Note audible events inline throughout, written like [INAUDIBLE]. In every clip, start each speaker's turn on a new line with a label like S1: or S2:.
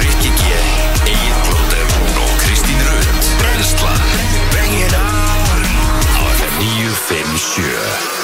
S1: Rikki G, Egil Blóter og Kristín Rund Brenslan Bring it on Á FM 957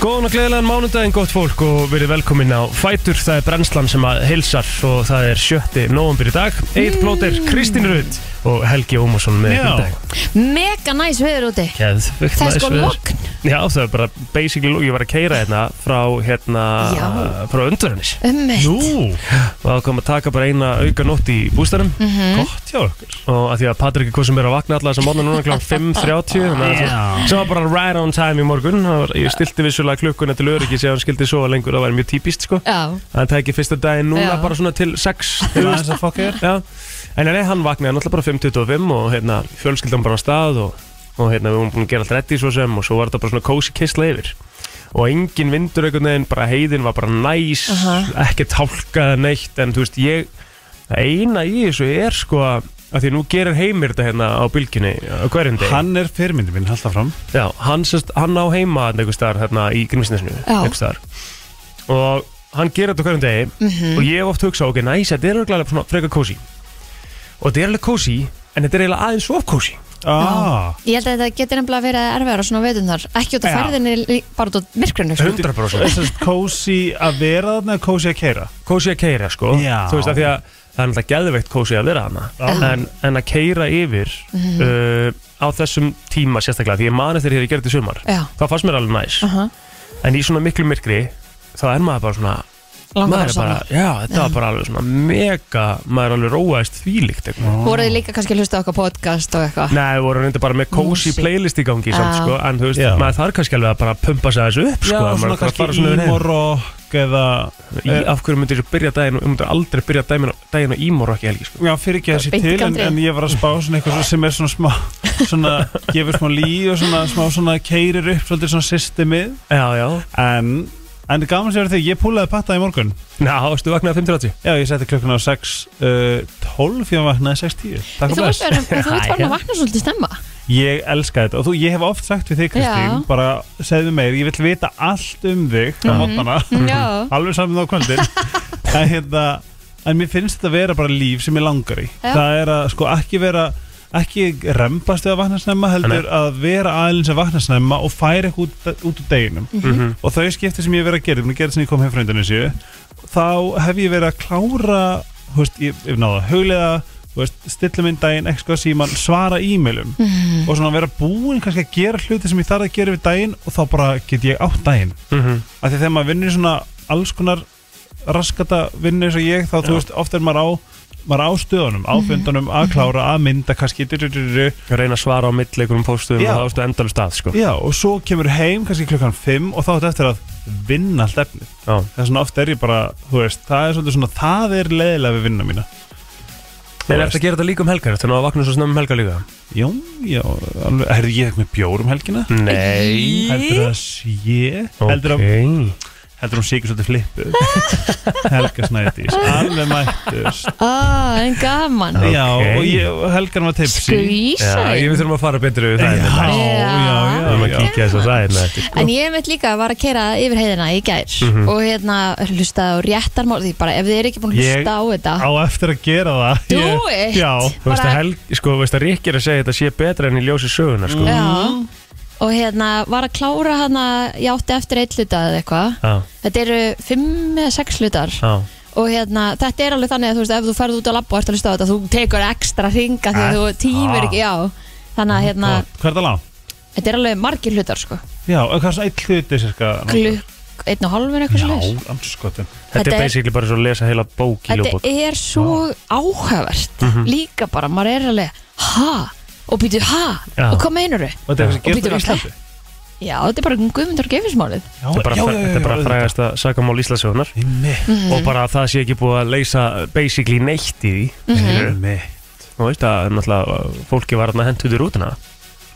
S2: Góðan og gleðilegan mánudaginn, gott fólk og verið velkomin á Fætur. Það er brennslan sem að hilsar og það er 7. november í dag. Eitt
S3: Mm.
S2: blótir, Kristín Rutt og Helgi Ómarsson með
S4: Já.
S2: ykkur í dag.
S3: Mega næs veður úti
S2: Geðvögt
S3: Það er sko logn.
S2: Já, það er bara basically logn. Ég var að keira hérna frá, hérna,
S3: Já.
S2: frá undurhennis.
S3: Ummitt
S4: Nú,
S2: Og það kom að taka bara eina auka nótt í bústærum.
S4: gott hjá okkur
S2: Og að því að Patrik er hvað sem er að vakna alla þess að móna núna kl. 5.30. þannig að
S4: Já.
S2: það- Sem var bara right on time í morgun. Það Var, ég stilti vissulega klukkuna til öryggis ef hann skildi svo lengur. Það var mjög típist sko.
S3: Já,
S2: hann tækir fyrsta daginn núna
S3: Já.
S2: bara svona til
S4: [LAUGHS]
S2: 6
S4: Það er þess að fokka þér
S2: já. en nei, hann vaknaði náttúrulega bara 5.25 og hérna, fjölskyldan bara á stað og, og hérna, við vorum búin að gera allt reddi svo sem og svo var þetta bara svona cozy kissla yfir og engin vindur einhvern veginn, bara heiðin var bara næs,
S3: Aha.
S2: ekkert hálkað neitt, en þú veist, ég það eina í þessu er sko að að því nú gerir heimir þetta hérna á bylginni á hverjum degi,
S4: Hann er fyrirmyndi minn, haldið fram
S2: já, hann, sest, hann á heima þarna einhvers staðar hérna í Grímsnesinu
S3: Já.
S2: einhvers staðar og hann gerir þetta á hverjum degi
S3: Mhm.
S2: og ég hef oft hugsað, ok, næs, þetta er örglega svona frekar kósi og þetta er alveg kósi en þetta er eiginlega aðeins of kósi
S4: ah,
S3: ég held að þetta getur nefnilega að vera erfiðar á svona veðunar Ekki út af
S4: Já.
S3: ferðinni, lí- bara út af myrkrinu sko.
S2: 100%
S4: Þess að kósi að vera þarna eða kósi að keira
S2: kósi að keira, sko
S4: Já.
S2: þú veist að því að það er náttúrulega geðveikt kósi að vera hana en, en að keira yfir
S3: Mhm.
S2: uh, á þessum tíma sérstaklega því ég mani þegar ég gerði þetta í sumar
S3: Já,
S2: það fannst mér alveg næs
S3: aha,
S2: en í svona miklu myrkri þá er maður bara svona
S3: langar
S2: maður
S3: að
S2: er bara,
S3: svona
S2: já, þetta var bara alveg svona mega, maður er alveg róaðist þvílíkt eitthvað.
S3: Voruð þið líka kannski að hlusta á okkar podcast og eitthvað
S2: Nei, við vorum reynda bara með cozy
S3: Músík.
S2: playlist í gangi samt,
S3: Já.
S2: sko, en þú veist,
S4: Já.
S2: maður þarf kannski alveg að bara pumpa sig þessu upp, sko,
S4: Já,
S2: maður
S4: svona
S2: þarf að fara
S4: kannski
S2: yfir heim.
S4: ímorokk eða
S2: Í, af hverju myndir þú byrja daginn, þú myndir aldrei byrja daginn, daginn á ímor ekki helgi, sko.
S4: Já, fyrir ekki þessi
S3: Beint í
S4: til en,
S3: galdri.
S4: en ég var að spá svona eitthvað sem er svona smá svona, gefur smá lí og svona smá svona keirir upp svolítið svona systemið
S2: Já, já.
S4: en, en gaman sér því, ég púlaði patta í morgun
S2: Ná, ástu vaknaði 5.30?
S4: Já, ég setti klukkuna á 6.12 uh, ég vaknaði 6.10
S3: Þú
S4: Takk og
S3: ert
S4: bless
S3: verið- þú ert farin
S2: [LAUGHS] Já.
S3: að vakna svolítið stemma
S4: Ég elska þetta og þú, ég hef oft sagt við þig Kristín
S3: Já.
S4: bara segðu mér, ég vil vita allt um þig á mótana,
S2: Mhm.
S3: Já,
S4: alveg saman á kvöldin en hérna en mér finnst þetta vera bara líf sem ég langar í
S3: Já.
S4: það er að sko ekki vera ekki rempast við að vakna snemma heldur að vera aðeins að vakna snemma og færa eitthvað út, út úr deginum
S2: Mhm.
S4: og þau skipti sem ég hef verið að gera, ég gerði sem ég kom heim frá Indonesia þá hef ég verið að klára þú veist, ég hef náða huglega þú veist, stilla minn daginn, eitthvað síman svara e-mailum og svona vera búinn kannski að gera hluti sem ég þarf að gera við daginn og þá bara get ég átt daginn
S2: Mhm.
S4: af því þegar maður vinnur í svona alls konar raskata vinnu eins og ég þá þú veist, oft er maður á maður á stöðunum,
S2: Mhm.
S4: á fundunum, að klára að mynda kannski, du, du, du, du, du,
S2: Reyna að svara á milli einhverjum póstuðum
S4: Já.
S2: og ástu endalum stað, sko.
S4: já, og svo kemur heim kannski klukkan 5 og þá áttu eftir að vinna allt efnið
S2: Já.
S4: það er svona oft er ég bara, þú veist, það er svolítið svona, það er leiðilega við vinna mína. Þú
S2: En
S4: veist.
S2: eftir að gera þetta líka um helgar, þannig að vakna svo snemma um helgar líka?
S4: Já, já, alveg, herðu ég eitthvað með bjór um helgina?
S2: Nei.
S4: Heldur það sé, heldur það,
S2: Ok.
S4: heldur hún sigur svolítið flippu.
S2: [LAUGHS]
S4: Helga Snædís, alveg mættust.
S3: ah, en gaman
S2: Já.
S4: Já,
S2: Ok.
S4: og ég, og Helgan var tipsi.
S2: Já, ég
S3: Skvísæn
S2: við þurfum að fara betur yfir það.
S4: Já,
S2: hérna.
S4: já,
S2: Við þurfum að
S4: já, já.
S2: kíkja þess að það hérna eftir, sko.
S3: En ég mitt líka var að keira yfir heiðina í gær
S2: Mhm.
S3: og hérna hlustaði á réttarmál því bara ef þið er ekki búin að
S4: Ég-
S3: hlusta á þetta
S4: Á eftir að gera það.
S3: Ah. Do
S4: Ég-
S3: it.
S4: Já,
S2: Þú veist að
S3: Bara-
S2: Helgi, sko, veist að Rík er að segja þetta sé betra enn í ljósi sögunar,
S3: Mm.
S2: sko.
S3: Já Og hérna var að klára hana Ég átti eftir eitt hluta eða eitthvað
S2: Já,
S3: Þetta eru fimm eða sex hlutar
S2: já.
S3: Og hérna, þetta er alveg þannig að þú veist Ef þú ferð út á labba og ert að hlusta á þetta Þú tekur ekstra ringa því að þú tímir
S2: Ah.
S3: ekki Já,
S2: Mhm.
S3: þannig að hérna
S4: Hvað er það langt?
S3: Þetta er alveg margir hlutar sko
S4: Já, og hvað er svona eitt hluti, sérska?
S3: Glukk, einn og hálfur eitthvað
S4: Já,
S3: slags
S4: anskotin.
S2: Þetta
S3: Þetta
S2: er
S3: er-
S2: basically bara svo að lesa heila bók í ljóbót.
S3: Þetta er svo áhugavert
S2: Mhm.
S3: Líka bara, maður er alveg Ha, og býtu ha
S2: Já.
S3: Og hvað meinar þau?
S4: Og þetta er kannski
S3: Og
S4: gert
S3: býtu
S4: á
S3: var
S4: Íslandi?
S3: Já, þetta er bara guðmundur og gefismálið
S4: Já,
S2: Þetta er bara,
S4: já, já,
S2: þetta
S4: já,
S2: er bara
S4: já,
S2: frægasta sagamál Íslandsögunar
S4: Einmitt.
S3: Mm. Mhm.
S2: og bara að það sé ekki búið að leysa basically neitt í því
S3: Mm. Mhm.
S4: Einmitt.
S2: Þú veist að náttúrulega uh, fólki var að hentu þér útina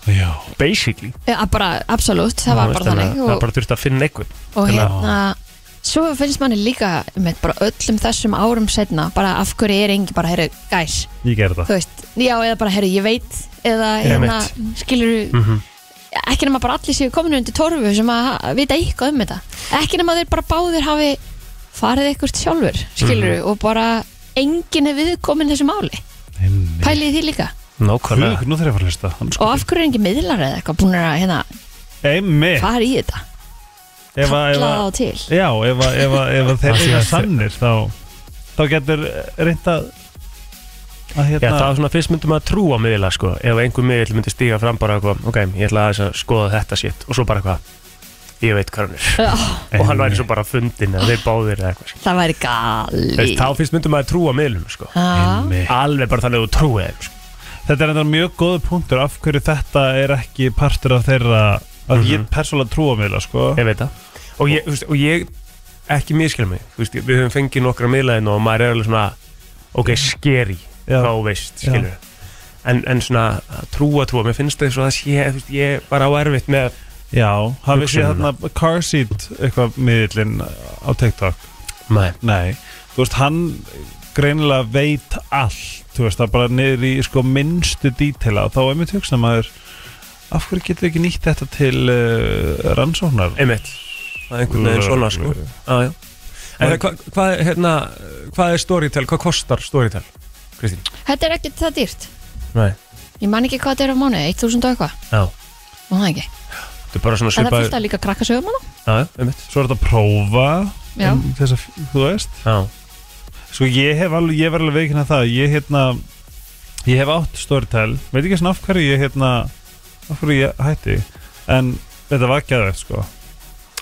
S4: Já.
S2: basically
S3: Ja, Eh, bara, absolutt, það var
S2: Þú
S3: bara
S2: veist, þannig
S3: þannig
S2: að Það
S3: og,
S2: bara þurfti að finna einhvern
S3: og
S2: Já.
S3: hérna svo finnst manni líka með bara öllum þessum árum setna bara af hverju er engi bara, herru, gæs
S4: Ég gerði það.
S3: þú veist, já, eða bara, herru, ég veit eða,
S2: Ég
S3: hérna, skilur
S2: Mhm.
S3: ekki nema bara allir séu komin undir torfu sem að ha- vita eitthvað um þetta ekki nema þeir bara báðir hafi farið eitthvað sjálfur, skilur
S2: Mhm.
S3: og bara enginn er viðkomin þessu máli pælið því líka
S2: Nákvæmlega
S4: Hug, nú þarf ég að fara að hlusta Hann
S3: og
S4: sko-
S3: af hverju er engin miðlar eða eitthvað búin að hérna,
S2: Eh.
S4: Einmitt
S3: fara í þetta
S4: Ef
S3: kalla
S4: að- ef
S3: það
S4: að-
S3: á til
S4: Já, ef, að- ef, að- ef að
S2: Það
S4: þeir
S2: sé
S4: eru
S2: að-
S4: sannir þá, þá getur reynd að að
S2: Já, það
S4: hérna
S2: var svona fyrst myndum að trúa miðla sko Ef einhver miðl myndi stíga fram bara eitthvað Ok, ég ætla aðeins að skoða þetta sétt Og svo bara eitthvað Ég veit hvað hann er
S3: Já,
S2: Og hann væri svo bara fundin Eða þeir báðir eða eitthvað sko.
S3: það væri
S2: Þú
S3: gali
S2: veist, Þá fyrst myndum að trúa miðlum sko
S3: Já,
S4: Einmitt.
S2: Alveg bara þannig að þú trúið þeim sko.
S4: Þetta er enda mjög góð punktur af hverju þetta er ekki partur af þeirra að ég persónulega trúa miðla sko.
S2: Ég veit það Og ég, þú veist, og ég ekki miskil mig Þú veist, Við höfum fengið nokkra miðlaðin Og maður er alveg svona Ok, skeri
S4: Já.
S2: Þá veist, skilur En, en svona, að trúa, trúa, mér finnst það eins og það sé, þú veist, ég bara á erfitt með,
S4: Já, hafið séð
S2: Hugsunina.
S4: hérna car seat eitthvað miðlinn á TikTok
S2: nei,
S4: Nei, þú veist hann greinilega veit allt þú veist það bara niður í sko minnstu dítila og þá er mér tjóksna maður af hverju getur ekki nýtt þetta til uh, rannsóknar
S2: einmitt, það er einhvern veginn svona, sko. Já, já. En það- hvað hva, hérna, hvað er Storytel, hvað kostar Storytel, Kristín?
S3: þetta er ekkert það dýrt
S2: Nei.
S3: ég man ekki hvað þetta er á mánu, 1000 og eitthvað
S2: Já.
S3: Má það ekki.
S2: Þetta er bara svona
S3: En það er
S2: svipað
S3: fullt af líka krakkasögum hana
S2: Já, já, einmitt
S4: Svo er þetta að prófa
S3: Já.
S4: um, þess að, þú veist
S2: Já,
S4: Sko ég hef alveg, ég verður alveg veikina það ég hérna, ég hef átt storytel, veit ekki svona af hverju ég hérna af hverju ég hætti en þetta var geðvegt sko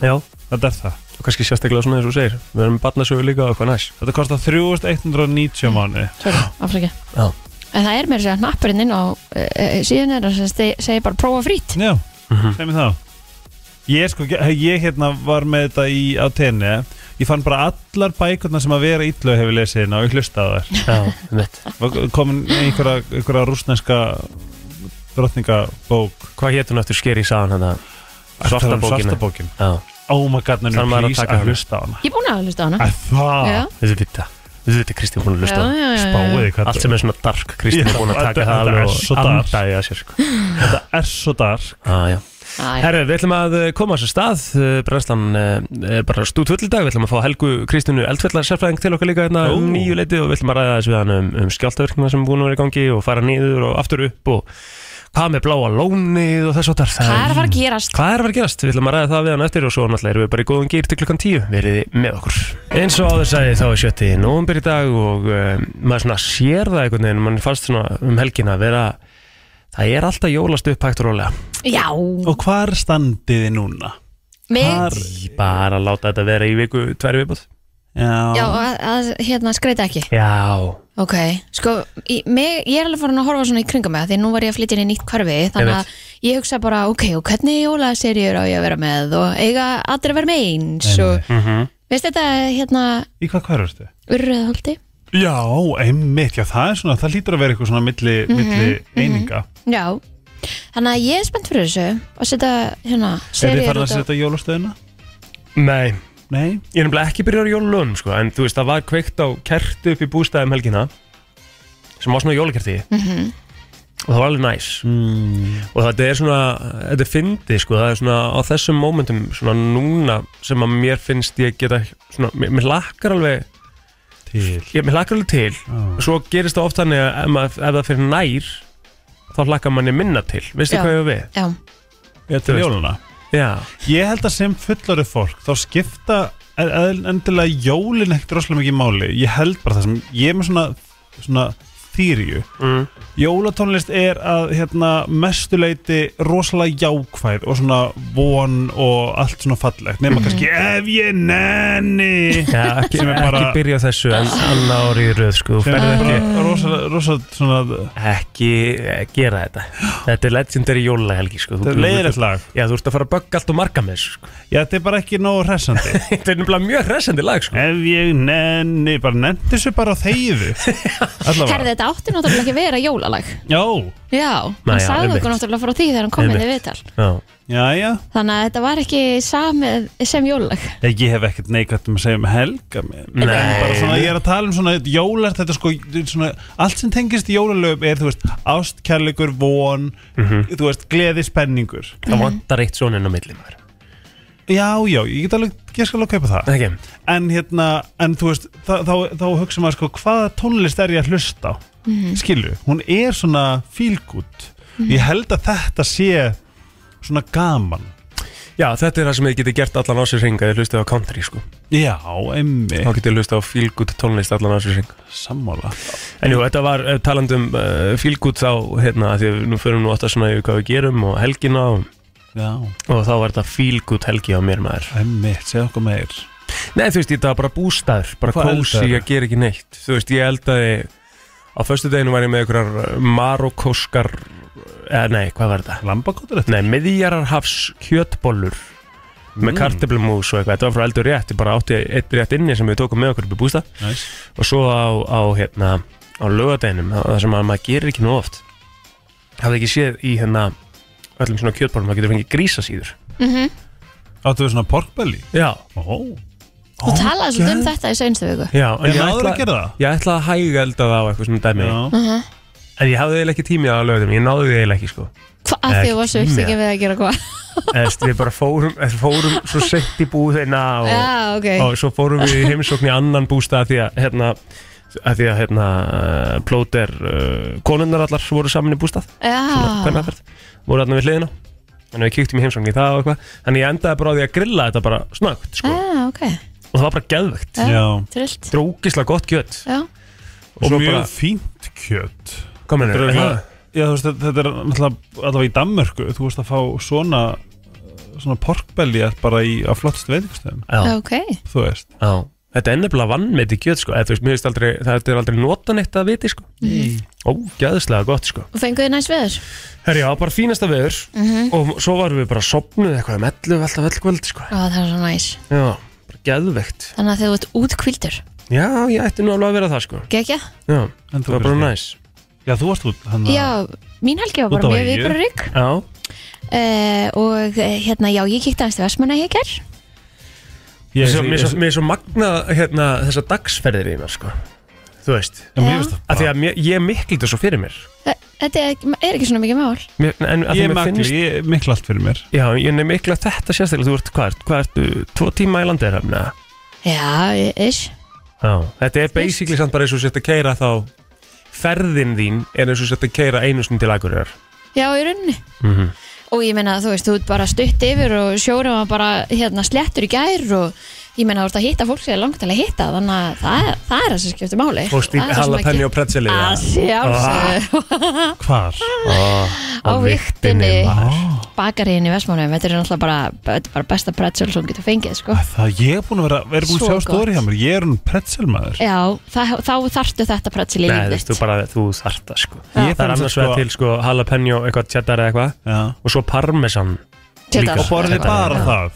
S2: já
S4: þetta er það
S2: Og kannski sérstaklega svona eins og þú segir Við erum með barnasögu líka og eitthvað næs
S4: Þetta kostar 3190 mánu
S3: Sorry, afsakið.
S2: Já.
S3: En það er meira að segja hnappurinn inn á e, e, síðan er að segja bara prófa frýtt
S4: Já,
S2: Mhm.
S4: segð mér þá Ég sko, ég hérna var með þetta í á tenni Ég fann bara allar bækurna sem að vera illu hefur lesið hérna og ég hlusta á þær
S2: [LAUGHS] Já, einmitt
S4: Var komin einhverja, einhverja rúsneska drottningabók
S2: Hvað hétt hún eftir skeri í sagan hann að
S4: Þetta
S2: Svarta
S4: var
S2: bókina
S4: Svartabókin
S2: hérna? Já,
S4: Oh my god, nann,
S2: Þarf maður að
S4: please
S2: taka
S4: að
S2: hana?
S4: hlusta á hana
S3: Ég er búin að hlusta á hana
S4: Að Það
S3: Já.
S2: þessi vita Þessi vita Kristín búin að
S3: Já,
S2: lusta
S3: já, já, já.
S4: Spáið þið hvað
S2: Allt sem er svona dark Kristín
S4: Já,
S2: er búin að
S4: þetta-
S2: taka það
S4: þetta er
S2: alveg
S4: svo
S2: og
S4: dark.
S2: andæja sér sko.
S4: þetta er svo dark
S2: Já, já
S3: Æ,
S2: Herru, við ætlum að eh, koma að sér stað Brænslan er bara stútvöld í dag Við ætlum að fá Helgu Kristínu Eldfellar sérfræðing til okkar líka hérna um
S4: Ó.
S2: nýju leiti og við ætlum að ræða þessu við hann um, um skjáltaverkna sem er búin að vera í gangi og fara niður og aftur upp og hvað með bláa lónið og þess og þar
S3: Hvað er að fara að gerast?
S2: Hvað er að fara að gerast? Við ætlum að ræða það við hann eftir og svo náttúrulega erum við bara í góðum gýr til klukkan tíu Veriði með okkur Eins og áður sagði þá er sjötti nóumbir í dag og um, maður svona sér það einhvern veginn mann fannst svona um helgina að vera það er alltaf jólast upp hægt og rólega
S3: Já,
S4: Og hvar standið þið núna?
S3: mig
S4: Hvar?
S2: bara að láta þetta vera í viku, tvær viðbúð
S3: Já,
S4: Já,
S3: að, að hérna skreita ekki
S2: Já,
S3: Ok, sko, í, mig, ég er alveg farin að horfa svona í kringum mig af Því nú var ég að flytja inn í nýtt hverfi Þannig að ég hugsa bara, ok, og hvernig jólaserjur á ég að vera með Og eiga allir að vera með eins Og
S2: Mhm.
S3: veist þetta, hérna,
S4: Í hvað hverfastu?
S3: urriðhaldi
S4: Já, einmitt, já það er svona, það lítur að vera eitthvað svona milli,
S3: Mhm,
S4: milli eininga
S3: Já, þannig að ég er spennt fyrir þessu að setja hérna
S4: Er þið
S3: seríur
S4: farin að
S3: út á-
S4: setja jólastöðina?
S2: nei
S4: Nei
S2: Ég er nefnilega ekki byrjar á jólunum sko En þú veist, það var kveikt á kerti upp í bústæðum helgina Sem var svona jólakerti -hmm.
S3: Mhm,
S2: Og það var alveg næs
S4: mm.
S2: Og þetta er svona, þetta er fyndið sko Það er svona á þessum mómentum Svona núna sem að mér finnst ég geta Svona, mér, mér lakkar alveg
S4: Til
S2: Ég, mér lakkar alveg til
S4: ah.
S2: Svo gerist það oft þannig að ef, maður- ef það fyrir nær Þá lakkar manni minna til Veistu
S3: Já.
S2: hvað ég á við?
S3: Já,
S4: Til jóluna
S2: Já,
S4: Ég held að sem fullari fólk þá skipta e- e- endilega jólin ekkert rosalega mikið máli Ég held bara það sem, ég er með svona, svona þýrju
S2: mm.
S4: Jólatónlist er að hérna, mestuleiti rosalega jákvæð og svona von og allt svona fallegt nema kannski ef ég nenni
S2: Mhm. Já ekki,
S4: Sem er bara-
S2: ekki byrja á þessu en annar ári í röð sko
S4: sem
S2: Ferð
S4: er
S2: ekki,
S4: bara rosalega rosa, svona
S2: ekki eh, gera þetta Þetta er legendary jólahelgi sko Þú-
S4: Þetta er
S2: þú-
S4: leiðilegt lag
S2: Já, þú ert að fara að bögga allt og marga með þessu sko. [LAUGHS]
S4: Já, þetta er bara ekki nógu hressandi
S2: Þetta er nefnilega mjög hressandi lag sko [LAUGHS]
S4: Ef ég nenni, bara nenni þessu bara á þeyðu Allavega
S3: herði þetta þetta átti náttúrulega ekki að vera jólalag
S4: Já,
S3: Já,
S2: Nei,
S3: hann
S2: já,
S3: sagði
S2: einmitt.
S3: okkur náttúrulega frá því þegar hann kom
S2: Einmitt.
S3: henni viðtal
S2: já.
S4: já, já
S3: Þannig að þetta var ekki samið sem jólalag
S4: Ég, ég hef ekkert neikvægt um að segja um helga mér.
S2: Nei.
S4: bara svona, ég er að tala um svona jólar, þetta er sko, svona, allt sem tengist í jólalöf er, þú veist, ástkærleikur von, þú veist, gleði spenningur.
S2: Það vantar eitt svona inn á milli maður
S4: Já, já, ég get alveg, ég skal alveg kaupa það
S2: Ekki,
S4: En hérna, en þú veist, þá, þá, þá hugsa maður sko, hvaða tónlist er ég að hlusta á? Skilju, hún er svona fílgút Ég held að þetta sé svona gaman
S2: já þetta er það sem ég geti gert allan ásins ringa Ég hlustið á country sko
S4: Já, emmi
S2: Þá geti ég hlustið á fílgút tónlist allan ásins ringa
S4: Sammála
S2: En jú, þetta var eh, talandi um uh, fílgút þá hérna, af Því að nú förum nú alltaf svona yfir hvað við gerum og helgina og,
S4: Já,
S2: og þá var þetta fílgút helgi á mér maður
S4: emmi, segð okkur meir
S2: Nei, þú veist, þetta var bara bústaður, bara
S4: Hvað
S2: kósi,
S4: eldaðirðu?
S2: ég ger ekki neitt. Þú veist, ég eldaði, á föstu deginu var ég með einhverjar eh, marokkóskar, eða nei, hvað var þetta?
S4: Lambakóttur
S2: Nei, miðjararhafs kjötbollur með kartöflumús og eitthvað, þetta var frá eldur rétt, ég bara átti eitt rétt inni sem við tókum með okkur upp í bústað
S4: Næs
S2: og svo á, á hérna, á lögadeginum, það sem að maður gerir ekki nú oft, hafði ekki séð í hérna, öllum svona kjötbollum, maður getur fengið grísasýður.
S4: Áttu við svona porkbelli?
S2: Já,
S4: Ó
S3: Þú talaði svolítið um þetta í seinstu viku
S2: já, en
S4: Ég náður að gera það
S2: Ég ætlaði að hæga elda það á eitthvað svona dæmi
S4: Já,
S2: En ég hafði eiginlega ekki tími á lögðum, ég náði því eiginlega ekki sko
S3: Hva- Af því
S2: Ekki
S3: þú varst
S2: tími,
S3: uppstekið við að gera hvað
S2: Eðst, Við bara fórum, eh, fórum svo sent í búðina og,
S3: Já, ok
S2: og svo fórum við í heimsókn í annan bústað Því að hérna að því að hérna eh, plóter uh, konunnar allar voru saman í bústað
S3: Já,
S2: hvernig voru allar við hliðina þannig að við kíktum í heimsókn í það og eitthvað þannig ég endaði bara á því að grilla þetta bara snögt sko.
S3: Já, ok
S2: og það var bara geðvegt,
S4: já
S3: Trillt
S2: drókislega gott kjött
S3: Já,
S2: og
S4: Og
S2: svo
S4: mjög
S2: bara,
S4: fínt kjöt
S2: hvað
S4: Þetta er
S2: mennur
S4: eitthvað- Já, þú veist, þetta- þetta er náttúrulega allavega í Danmörku, þú veist að fá svona svona porkbelli bara í, á flottst veitingastöðum,
S2: Já,
S3: ok
S4: þú veist
S2: já Þetta er ennefnilega vannmeti kjött sko, eða þú veist, mér veist aldrei, það er aldrei notan eitt að viti sko. Ógæðislega gott sko
S3: Og fenguðu næst veður
S2: Herri, já, bara fínasta veður
S3: Mm.
S2: Og svo varum við bara sopnuð eitthvað um 11 alltaf öll kvöld sko
S3: Ó, það er svo næs
S2: Já, bara geðveikt
S3: Þannig að þið vart útkvildur
S2: Já, ég ætti nú alveg að vera það sko
S3: Gekja?
S2: Já,
S4: En
S2: það
S4: þú
S2: var bara
S4: kannski?
S2: næs
S4: Já, þú varst út hann að-
S3: Já, mín helgi var
S4: Út á
S3: bara mjög
S4: Eyju.
S3: viðbröðrygg
S2: Já,
S3: uh, Og eh, hérna, já, ég kíkti aðeins til Vestmanna ég ger
S2: ég,
S4: ég,
S2: svo, mér,
S4: ég,
S2: svo, mér svo magna hérna, þessa dagsferðir í mér sko Þú veist,
S4: já, mér finnst það
S2: af því
S4: bara-
S2: að mér, ég mikli þetta svo fyrir mér,
S3: Eh, Þetta er, er ekki svona mikið mál
S2: mér En að
S4: Ég
S2: því mér
S4: makli,
S2: finnst
S4: ég mikla allt fyrir mér
S2: Já, ég nefnir mikla þetta sérstaklega, þú ert hvað, ert- hvað ertu, tvo tíma í landið eða?
S3: Já, ish
S2: Já, þetta er basically samt bara eins og sett að keira þá ferðin þín er eins og sett að keira einu sinni til aðgurjar
S3: Já, í rauninni
S2: mm -hmm.
S3: og ég meina þú veist, þú ert bara stutt yfir og sjórum var bara hérna slettur í gær og ég meina þú ert að hitta fólk sem er langt til að hitta þannig að það, það er það sem skiptir máli
S2: Fórst í
S3: Ah, Það er það sem ekki-
S2: halapenni og pretzeli
S3: að sjálfsögðu
S4: Hvar?
S2: Ah,
S3: á viktinni
S2: maður.
S3: bakaríðin í Vestmánum þetta er náttúrulega bara, þetta er bara besta pretzel sem þú getur fengið sko
S2: Ah,
S4: Það ég er búin að vera, er búin að
S3: Svo
S4: sjá
S3: gott.
S4: stóri hjá mér Ég er hún pretzelmaður
S3: Já, það, þá þarftu þetta pretzel í
S2: Nei, þú
S3: lífið
S2: veist, þú
S3: þitt.
S2: bara, þú þarft það sko
S4: Já. Ég
S2: Það er
S4: fann
S2: annars
S4: það,
S2: vegar
S4: sko-
S2: til sko halapenni og eitthvað cheddar eða eitthvað
S4: Já
S2: og svo parmesan
S3: Cheddar.
S2: líka.
S4: Og borðið
S3: Þetta-
S4: bara
S3: já.
S4: það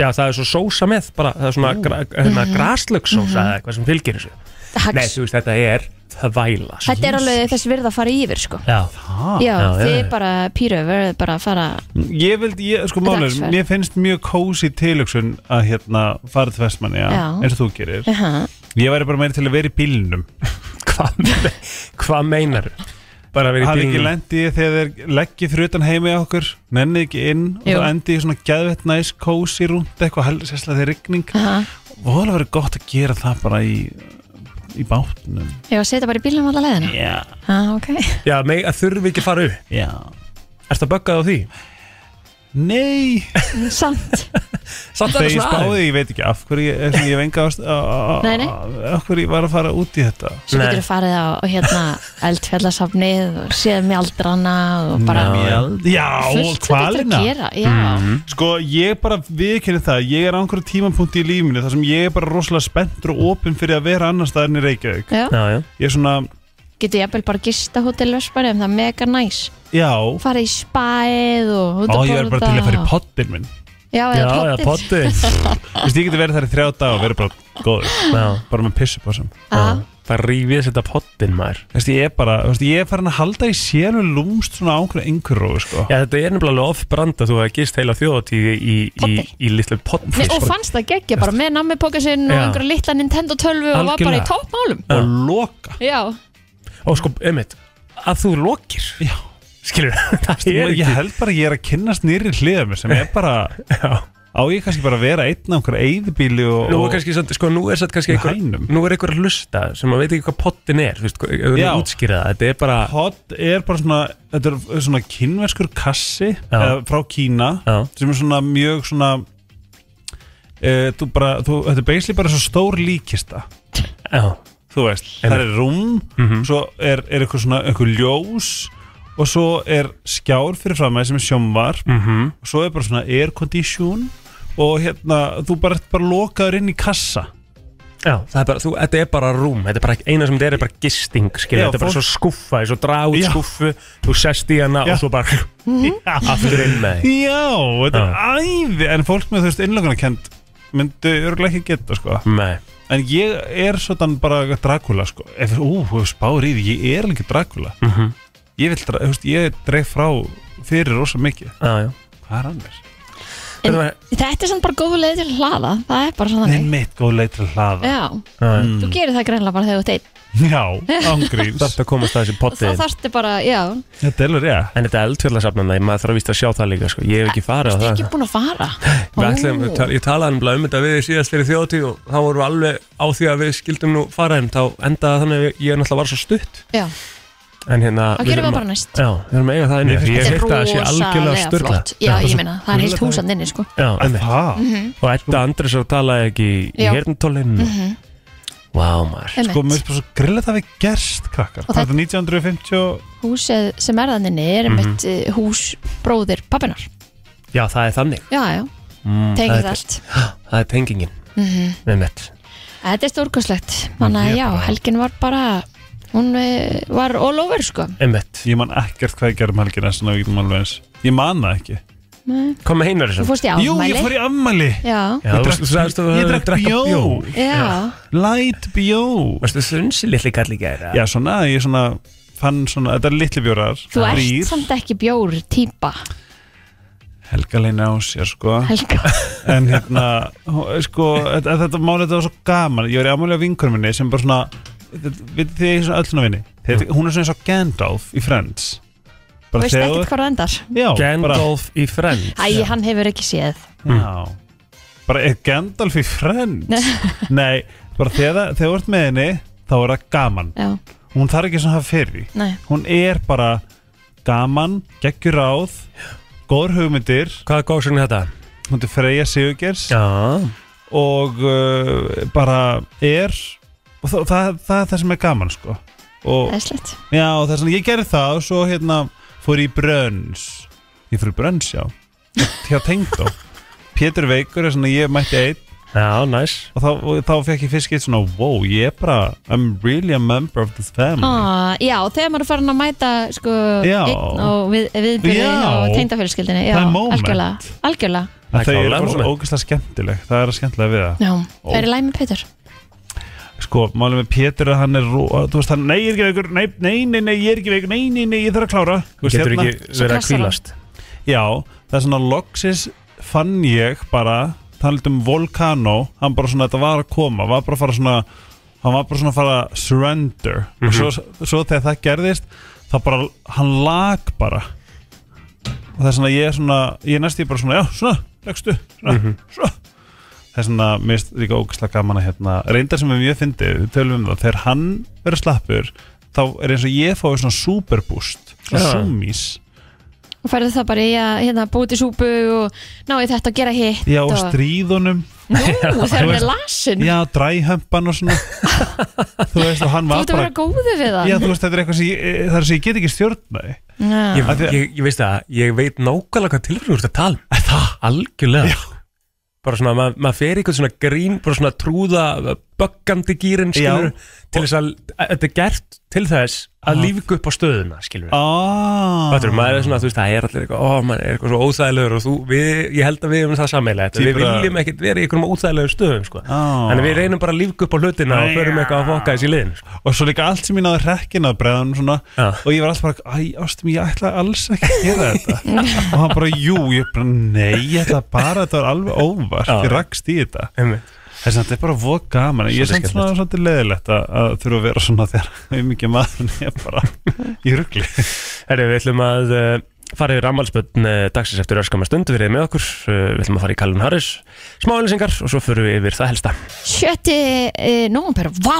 S2: Já, það er svo sósa með, bara, það er svona gra, hérna,
S3: Mhm.
S2: graslögssósa eða eitthvað sem fylgir þessu Nei,
S3: Hacks.
S2: þú veist, þetta er þvæla sko.
S3: Þetta er alveg þess virð að fara yfir sko
S2: Já,
S4: Ha?
S3: Já,
S2: já,
S3: þið
S2: já.
S3: bara pýru verður bara að fara
S4: Ég vildi, ég, sko
S3: Þetta er
S4: málur
S3: dagsferð.
S4: Mér finnst mjög kósi tilöksun að hérna fara til vestmanni,
S3: Já.
S4: eins og þú gerir
S3: uh -huh.
S4: Ég væri bara meira til að vera í bílnum
S2: hvað me- hvað meinar bara verið
S4: hafði ekki lendið þegar þeir leggið fyrir utan heimi á okkur nennið ekki inn
S3: Jú.
S4: og það endið í svona gæðvett næs kósi rúnd eitthvað hel- sérslega þegar rigning og það verið gott að gera það bara í í bátnum
S3: Ég var að setja bara í bílnum alla leiðina
S4: já,
S3: ah, okay.
S2: já, mei, að þurfi ekki fara upp
S4: já
S2: Ertu að böggað á því?
S4: nei,
S3: Samt
S2: Samt
S4: þegar
S2: alveg
S4: ég
S2: svona aðeins.
S4: spáði ég veit ekki af hverju ég, ég, ég venga ást
S3: Nei, nei.
S4: af hverju ég var að fara út í þetta
S3: Svo
S2: Nei.
S3: getur þú farið á á, hérna eldfjallasafnið og séð mjaldrana og bara
S4: já,
S3: fullt sem þú getur
S4: hvalina
S3: að gera Já,
S4: Sko, ég bara viðkynni það, ég er á einhverju tímapunkti í lífinu þar sem ég er bara rosalega spenntur og opinn fyrir að vera annar staðar en í Reykjavík.
S3: já.
S2: Já, já
S4: Ég er svona,
S3: Getur jafnvel bara gista hótel Vespari um það er mega næs
S4: já,
S3: Farið í spæð og út
S4: Ó,
S3: að
S4: ég er bara til að fara í pottin minn.
S3: Já, eða
S2: Já, já,
S3: pottið
S2: potti
S4: Þú veist, ég geti verið þar í þrjá dag og verið bara góður,
S2: Já,
S4: bara með pissu básum.
S3: [LAUGHS] Já.
S2: það rífið þetta pottin maður
S4: Þú veist, ég er bara, þú veist, ég er farin að halda í sélu lúmst svona á einhverju einhverju, sko
S2: Já, þetta er nefnilega off-brand að þú hefði gist heila þjóðatíði í, í, í,
S3: Poddi.
S2: í litlu sko. potti
S3: Nei, og fannst það geggja bara með nammipokasinn og
S2: Já.
S3: einhverja litla Nintendo tölvu og var
S2: Algjörlega.
S3: bara í toppmálum
S2: Já.
S4: Og loka
S3: Já,
S2: og sko, einmitt, að þú lokir
S4: Já.
S2: skilur, það
S4: Ég,
S2: er
S4: ég
S2: ekki
S4: held bara að ég er að kynnast nýri hliðum sem er bara,
S2: Já.
S4: á ég kannski bara að vera einn á einhverju eyðbíli og,
S2: Nú
S4: og
S2: er kannski, samt- sko, nú er satt kannski
S4: Með
S2: einhver,
S4: hænum.
S2: nú er einhver að hlusta sem að veit ekki hvað pottin er, þú veist, hvað- ef við
S4: Já.
S2: erum útskýrað það, þetta er bara
S4: Hot er bara svona, þetta er svona kynverskur kassi eða, frá Kína
S2: Já.
S4: sem er svona mjög svona e, þú bara, þú, þetta er basically bara svo stór líkista
S2: Já,
S4: þú veist,
S2: Einmitt. Mhm.
S4: það er rúm svo er, er eitthvað svona, eitthvað ljós og svo er skjár fyrir framæði sem er sjómvarp
S2: mhm,
S4: og svo er bara svona air condition og hérna, þú bara, ert bara lokaður inn í kassa
S2: já, það er bara, þú, þetta er bara rúm, þetta er bara eina sem þetta er, er bara gisting, skilur,
S4: Já,
S2: þetta er bara
S4: fólk-
S2: svo skuffa, svo draga út
S4: Já.
S2: skuffu, þú sest í hana
S4: Já.
S2: og svo bara Mhm. aftur inn með því.
S4: Já, þetta er æði en fólk með þú veist innlökunarkend myndi örgulega ekki geta sko
S2: Nei,
S4: en ég er svona bara Dracula sko ef ú, þú spáir í því, ég er alveg Dracula
S2: Mhm.
S4: ég vil, dra- þú veist, ég dreif frá fyrir rosa mikið,
S2: já, já.
S4: hvað er annars?
S3: En-
S2: Þetta var-
S3: þetta er samt bara góð leið til að hlaða Það er bara
S4: Nei, Mm.
S3: svona
S4: mitt góð leið til að hlaða
S3: Já,
S2: já, já.
S3: þú gerir það greinlega bara þegar þú deitt
S4: Já, ángríns
S2: Þarftu að komast að þessi
S3: Þá
S2: potti
S3: þarftu bara, já
S4: Þetta er alveg rétt
S2: En þetta eldfjallasafnana, ég maður þarf að víst að sjá það líka sko. Ég hef ekki farið á
S3: Þú ert
S2: það
S3: ekki búin að fara
S2: Við ætlum, við tal- Ég talaði um, um þetta við þig síðast fyrir þjóðtíð og þá vorum við alveg á því að við skildum nú fara en þá endaði þannig að ég- ég er náttúrulega var svo stutt
S3: Já,
S2: En hérna
S3: þá gerum við bara næst
S2: Já, við erum að eiga það inni
S4: Mér finnst
S2: Ég
S3: Þetta er
S2: hef þetta að sé algjörlega
S3: rosalega
S2: störla
S3: flott Já, ég meina, það er heilt húsan inni, sko
S2: Já, einmitt.
S4: Það,
S2: og Edda Andres að tala ekki í
S3: Já. Mhm.
S2: hérntólinn Vá maður
S4: sko, mér
S3: Einmitt.
S4: finnst bara svo grilla það við gerst krakkar
S3: Og
S4: Það er 1950 og-
S3: Húsið sem er þannig er mitt mm hús bróðir pappinar
S2: Já, það er þannig
S3: Já, já,
S2: mm, það
S3: tengir það Mhm.
S2: er-
S3: allt
S2: [GASPS] Það er tengingin Með mitt
S3: Þetta er stórkoslegt, þannig
S4: Ég
S3: að já,
S4: bara-
S3: helgin var bara, hún eh, var all over sko.
S2: Einmitt
S4: Ég man ekkert hvað ég gerði um helgina Svona við getum alveg eins Ég man það ekki
S3: Nei.
S2: Kom með heinar
S3: Þú
S2: þessum
S3: fórst í
S4: Jú,
S3: afmæli.
S4: ég fór í ammali
S2: Já,
S3: Já,
S4: Ég
S2: þú
S4: drakk-
S2: sagðist að þú
S4: ég
S2: hefðir
S4: drakk
S2: drekkað
S4: bjór.
S3: já,
S4: Light bjór
S2: Varstu þrunsi litli kall í gæra?
S4: Já, svona, ég svona fann svona, þetta er litli bjórar
S3: þú ert
S4: Þrír.
S3: samt ekki bjór típa,
S4: Helga leina á sér, sko
S3: Helga.
S4: En hérna, hó- sko, þetta, þetta máli þetta var svo gaman Ég var í ámæli á vinkunum minni sem bara svona Vitið þið ég er svona öll svona vinni Þeir, Hún er svona eins og Gandalf í Friends
S3: Þú
S4: Bara
S3: veist
S4: þegar
S3: ekkert hvað það endar.
S4: þú- Já, bara,
S2: Gandalf í Friends
S3: Æ, hann hefur ekki séð.
S4: já Bara er Gandalf í Friends Nei, bara þegar, þegar þú ert með henni Þá er það gaman
S3: Já,
S4: Hún þarf ekki svona að hafa fyrir því
S3: nei.
S4: hún er bara gaman, geggjur ráð góður hugmyndir
S2: Hvað er góðsugn þetta?
S4: hún er Freyja Sigurgers
S2: Já
S4: og uh, bara er og það, það, það er það sem er gaman sko og
S3: Það er slett.
S4: já, og það er svona, ég gerði það og svo hérna fór ég í brönns ég fór í brönns, já hjá tengdó Pétur Veikur er svona, ég mætti einn
S2: Já, næs
S4: og þá, og þá fekk ég fyrst geitt svona wow, ég er bara, I'm really a member of this family
S3: Ah, já, þegar maður er farin að mæta sko,
S4: Mhm. Já.
S3: einn og við, viðbyrði
S4: Já.
S3: á tengdafjölskyldinni. Já,
S4: Það er moment.
S3: Algjörlega, algjörlega.
S4: það
S2: Það er sko.
S4: er
S2: klárlega
S4: bara svo
S2: moment.
S4: ógeðslega skemmtileg það er að skemmtilega við það
S3: Já,
S4: Ó.
S3: það er í læmi Petur.
S4: sko, málið með Pétur að hann er ró, að, þú veist, hann, nei, ég er ekki veikur, nei, nei, nei, nei, ég er ekki veikur, nei, nei, nei, ég þarf að klára Þú veist, hérna-
S2: Getur ekki
S3: hérna
S2: verið
S3: Svo
S2: að
S3: krassar
S2: kvílast
S4: já, það er svona loksis fann ég bara talað um Volcano, hann bara svona þetta var að koma, var bara að fara svona hann var bara svona að fara að surrender og svo, svo þegar það gerðist þá bara, hann lag bara og það er svona, ég er svona ég er næst í bara svona, já, svona, leggstu
S3: Mhm.
S4: svona,
S2: Mhm.
S4: svona það er svona, mér finnst líka ógæslega gaman að hérna reyndar sem er mjög fyndið, við tölum um það þegar hann verður slappur þá er eins og ég fái svona superboost svona
S2: Já.
S4: sumis
S3: Og færðu það bara í að hérna, búti súpu og ná í þetta og gera hitt.
S4: já, og
S3: og
S4: stríðunum, [LAUGHS]
S3: Nú, þegar
S4: Þú
S3: hann
S4: veist-
S3: er lasin.
S4: já, dræhömpan og
S3: [LAUGHS]
S4: svona þú veist, og
S3: Þú
S4: hann var
S3: ert að
S4: bara
S3: vera góðu við það.
S4: já, þú veist, þetta er eitthvað sem ég, eh, það er sem ég get ekki stjórnaði
S3: Já.
S2: ég, ég, ég veist það, ég veit nákvæmlega hvað tilfyrir úr þetta tala um Það? Algjörlega Bara svona, ma- maður fer í eitthvað svona grín Bara svona trúða uh, böggandi gýrin skilur
S4: Já.
S2: til þess að, að þetta er gert til þess að lífga upp á stöðuna skilur
S4: Ah,
S2: Fattur, maður er svona, þú veist, það er allir eitthvað, ó, maður er eitthvað svo óþægilegur og þú, við, ég held að við erum það sammeilegt, við
S4: Tvíburar.
S2: viljum ekkert vera í einhverjum óþægilegur stöðum, sko.
S4: Á.
S2: Þannig við reynum bara að lífga upp á hlutina og förum eitthvað að fokka þessi liðin, sko.
S4: Og svo líka allt sem ég náði rekkin að bregðan svona,
S2: Já.
S4: Og ég var alltaf bara, æ, ástum, ég ætla alls ekki að gera
S3: [LAUGHS]
S4: þetta Og hann bara, jú, ég bara, nei, ég ætla bara, þetta var alveg óvart
S2: Já.
S4: Ég rakst í þetta
S2: Einmitt.
S4: Þess að þetta er bara voð gaman Ég er
S2: Svolítið
S4: samt svona svolítið leðilegt að, að þurfa að vera svona þegar [LAUGHS] við mikið maður er bara í rugli
S2: [LAUGHS] Herri, við ætlum að uh, fara yfir ammálspötn uh, dagsins eftir öskama stund, við erum með okkur, uh, við ætlum að fara í Callum Harris, smáhælisingar og svo förum við yfir það helsta. Um
S3: Sjötti e, nómper, vá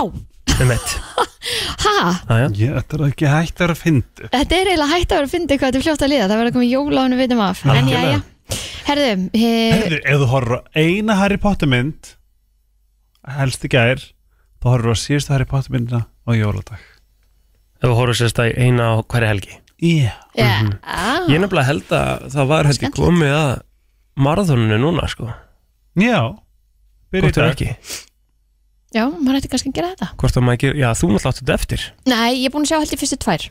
S2: Einmitt.
S3: Ha,
S2: Á, já.
S4: Ég, Þetta er ekki hægt að vera að fyndi
S3: þetta er eiginlega hægt að vera að fyndi hvað þetta er fljótt að liða, það verður að koma jólánu vitum af, en já,
S2: Algjörlega.
S3: já Herðu, e,
S4: Herðu, ef þú horfur á eina Harry Potter mynd helst í gær þá horfur á síðustu Harry Potter myndina á jóladag
S2: Ef við horfum sérst að eina á hverja helgi.
S4: yeah.
S3: yeah.
S2: Ég nefnilega held að það var held ég
S3: Ah. Skemmtilegt.
S2: komið að marathoninu núna, sko.
S4: Já
S2: Hvort er ekki?
S3: Já, maður ætti kannski að gera þetta
S2: Hvort að maður ekki, já, þú náttúrulega áttu þetta eftir.
S3: Nei, ég er búin að sjá held í fyrstu tvær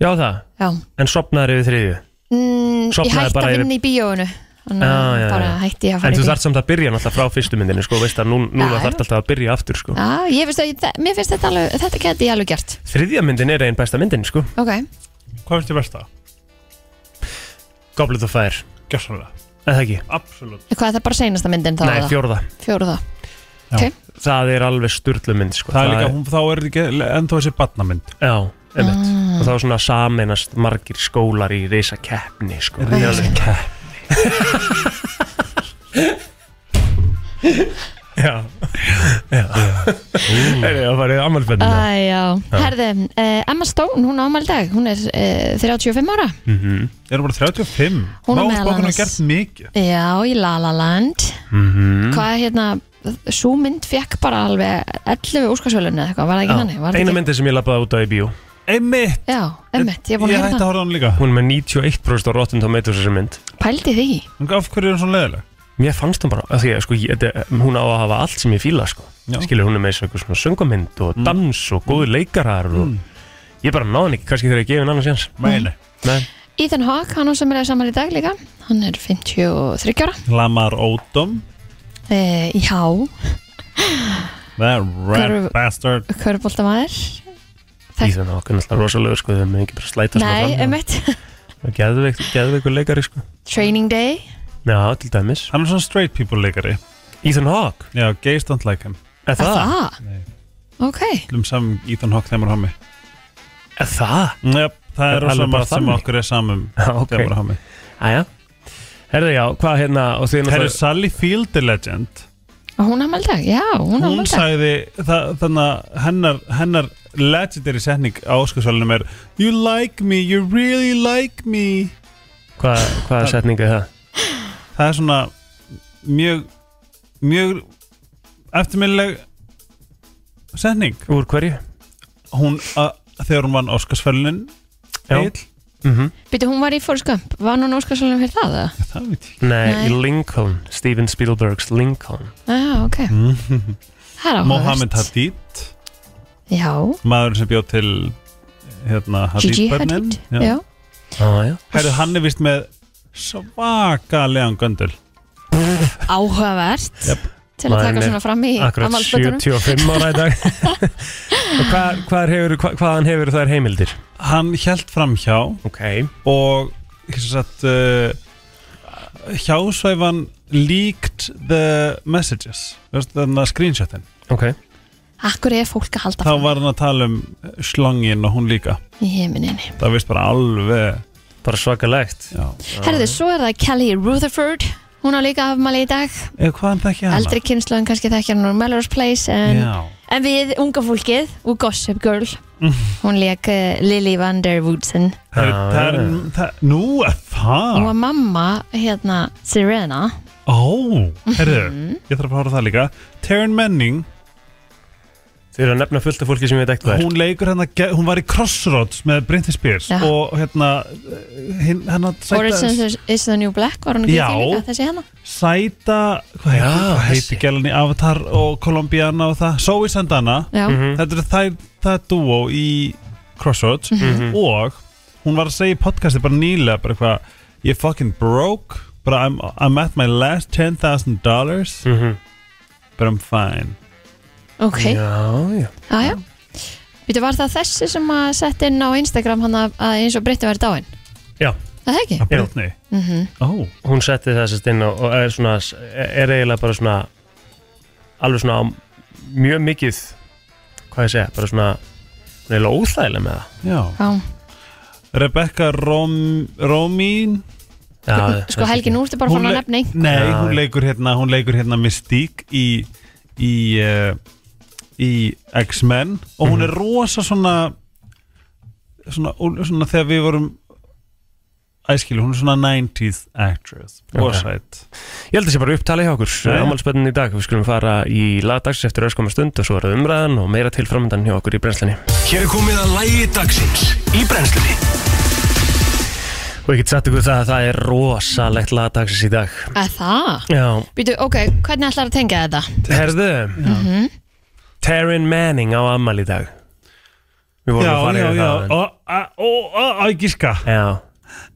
S2: Já, það.
S3: Já,
S2: En sopnaður yfir þriðju.
S3: mm, ég
S2: Sofnaði
S3: hætti
S2: bara
S3: að
S2: yfir-
S3: vinna í bíóinu Þannig
S2: Já,
S3: að
S2: já, já.
S3: bara hætti ég að
S2: En
S3: fara
S2: þú
S3: í bíó
S2: þarft samt að byrja náttúrulega frá fyrstu myndinu, sko, veist að nú, núna
S3: Já,
S2: þarft alltaf að byrja aftur, sko.
S3: Já, ég finnst að, ég- mér finnst þetta alveg, þetta geti ég alveg gert
S2: Þriðja myndin er einn besta myndin, sko.
S3: Ok,
S4: Hvað finnst þér versta?
S2: Goblet of Fire.
S4: Gjörsanlega,
S2: Er það ekki?
S4: absolutt
S3: hvað er það bara seinasta myndin þá?
S2: Nei, fjórða.
S3: Fjóruða
S4: Já.
S3: Ok,
S2: Það er alveg sturlu mynd, sko.
S4: Það er líka, hún, þá er þetta ekki ennþá þessi badnamynd
S2: Já, einmitt.
S3: Ah.
S2: Og þá er svona sameinast margir skólar í reysa keppni, sko. Það er alveg keppni. [LAUGHS] Já, Mm. já. Það er að fara í
S3: Ah,
S2: ammálspennina.
S3: æjá Herðu, uh, Emma Stone, hún ámæli dag Hún er uh, 35 ára
S4: Erum bara 35
S3: Hún er
S4: Vá,
S3: meðal
S4: hvað hún
S3: annars-
S4: er gert mikið
S3: Já, í La La Land
S2: Mhm.
S3: Hvað hérna Sú mynd fekk bara alveg 11 úrskarsvölinu eða eitthvað, var það ekki þannig? Var það
S2: Einu
S3: ekki-
S2: myndi sem ég lappaði út á í bíó
S4: Einmitt
S3: Já, emmitt, ég er búin
S4: Ég
S3: að
S4: hætti
S3: hérna
S4: að horfa á hann líka
S2: Hún er með 91% á Rotten Tomatoes þessi mynd
S3: Pældi því
S4: Af hverju er hún svona leðileg?
S2: Mér fannst hún bara af Því að sko, ég, þetta- hún á að hafa allt sem ég fíla sko.
S4: Já.
S2: Skilur hún er með eitthvað svona söngamind og dans og góði leikarar og Ég bara náði hann ekki, kannski þegar ég gefið hann annars jans
S4: Meini
S2: Nei,
S3: Ethan Hawke, hann á sem er að saman í dag líka Hann er 53 ára
S4: Lamar Odom
S3: e, Já,
S4: That red
S3: Hver-
S4: bastard
S3: körboltamæður
S2: í þannig okkur náttúrulega rosalegur sko Þegar mig ekki bara slæta
S3: Nei,
S2: svona
S3: emmitt
S2: fram Geðveik, geðveikur leikari sko
S3: [LAUGHS] Training Day
S2: Já, til dæmis
S4: Hann er svona straight people leikari
S2: Ethan Hawke,
S4: Já, gays don't like him
S2: er
S3: Er
S2: það?
S4: Nei.
S3: það? Ok,
S4: Lum saman Ethan Hawke þegar maður hami
S2: Er það?
S4: Jep, það
S2: Er
S4: er rosa
S2: alveg bara
S4: margt sem
S2: þannig?
S4: okkur er samum
S2: [LAUGHS] Já, ok.
S4: þegar maður hami
S2: Æja Herðu já, hvað hérna og þið
S4: Það er
S2: náttúrulega
S4: Sally Field the Legend
S3: og hún ámæli dag, já, hún
S4: Hún
S3: ámæli dag
S4: sagði það, þannig að hennar, hennar legendary setning á Óskarsvælunum er You like me, you really like me
S2: Hvað, hvað setningu er það?
S4: Það er svona mjög mjög eftirminnileg setning
S2: Úr hverju?
S4: hún að þegar hún vann Óskarsfælunin
S2: Já. Mhm
S3: Býtu, hún var í Forrest Gump, var hún Óskarsvölinu fyrir það? eða?
S4: það veit ég
S2: Nei,
S3: Nei.
S2: í Lincoln, Steven Spielbergs Lincoln
S3: Já, ok Það er áhugavert.
S4: Mohamed Hadid,
S3: Já,
S4: maður sem bjóð til hérna
S3: Gigi
S4: Hadid-börnin
S3: Hadid Já,
S2: ah, já.
S4: Hæru, hann er vist með svakalegan göndul
S3: áhugavert
S4: Jep.
S3: Til að
S2: Maðurinn
S3: taka
S2: er
S3: svona fram í
S2: Akkurat
S3: ammálspötunum
S2: 75 ára í dag Og hvað, hvað hefur, hvað, hvaðan hefur þær heimildir?
S4: hann hjælt framhjá
S2: Ok
S4: og satt, uh, hjásvæfan leaked the messages Veist, þannig að screenshotin
S2: Ok
S3: Akkur er fólk að halda
S4: þá
S3: fram
S4: var hann að tala um slongin og hún líka
S3: í heiminni
S4: það vist bara alveg
S2: Bara svakalegt
S4: já.
S3: Herðu, svo er það Kelly Rutherford Hún á líka afmæli í dag
S4: eða hvaðan þekki ég hana
S3: Eldri kynnslöðin kannski þekkja hann úr Melrose Place en,
S4: já.
S3: en við unga fólkið úr Gossip
S2: [LAUGHS]
S3: Girl Hún leik uh, Lily Vander Woodson
S4: Það, er,
S2: Já,
S4: það, er,
S2: já.
S4: það, nú er
S2: Ah.
S3: Hún
S4: það
S3: var mamma hérna Serena
S4: Mhm. ó, herðu, ég þarf að fara það líka Taryn Manning
S2: Þið eru að nefna fullt af fólki sem ég veit ekkert hvað er
S4: hún leikur hérna, ge- hún var í Crossroads með Britney Spears
S3: Já.
S4: og hérna hinn- hérna
S3: Orange is, is the New Black var hún ekki
S4: Já.
S3: í því líka þessi hérna
S4: Sæta, hvað
S2: Já,
S4: heitir, hvað heitir
S2: þessi.
S4: gælan í Avatar og Colombiana og það, Zoe Sandana
S3: Já,
S2: Mhm. Mm.
S4: þetta er það, það er duo í Crossroads
S2: Mm. Mhm.
S4: og hún var að segja í podcasti bara nýlega bara eitthvað, ég fucking broke but I'm, I'm at my last $10,000
S2: Mhm.
S4: but I'm fine
S3: ok, já,
S2: Já, já
S3: já Býtu, var það þessi sem að sett inn á Instagram hann að að eins og Britti væri dáin?
S2: Já,
S3: Það Mhm. er ekki?
S4: að Britney oh.
S2: hún setti það sérst inn og og er svona er eiginlega bara svona alveg svona á mjög mikið hvað ég segja, bara svona hún er eiginlega óþægilega með
S4: Já.
S3: Já,
S4: Rebecca Rom, Romín
S2: það Já,
S3: sko Helgi, nú ertu bara fann að
S4: le-
S3: nefna einn
S4: Nei,
S2: Já,
S4: hún
S2: já.
S4: leikur hérna, hún leikur hérna Mystique í, í, uh, í X-Men og hún
S2: Mhm.
S4: er rosa svona svona, úl- svona þegar við vorum æskilu, hún er svona 90s actress, bósætt
S2: Ég held að það sé bara upptalið hjá okkur
S4: Já, já.
S2: Ámálspennin í dag, við skulum fara í lagdags eftir öskama stund og svo er það umræðan og meira til framöndan hjá okkur í brennslinni
S1: Hér er komið að lægi dagsins í brennslunni
S2: og ég get sagt ykkur það að það er rosalegt lagdagsins í dag
S3: Að það?
S2: Já,
S3: Býtu, ok, hvernig ætlar að tengja þetta?
S2: herðu Taryn Manning á ammali í dag Við vorum að
S4: Já,
S2: fara
S4: já,
S2: yfir
S4: já,
S2: það, en-
S4: og á ekki ska
S2: Já,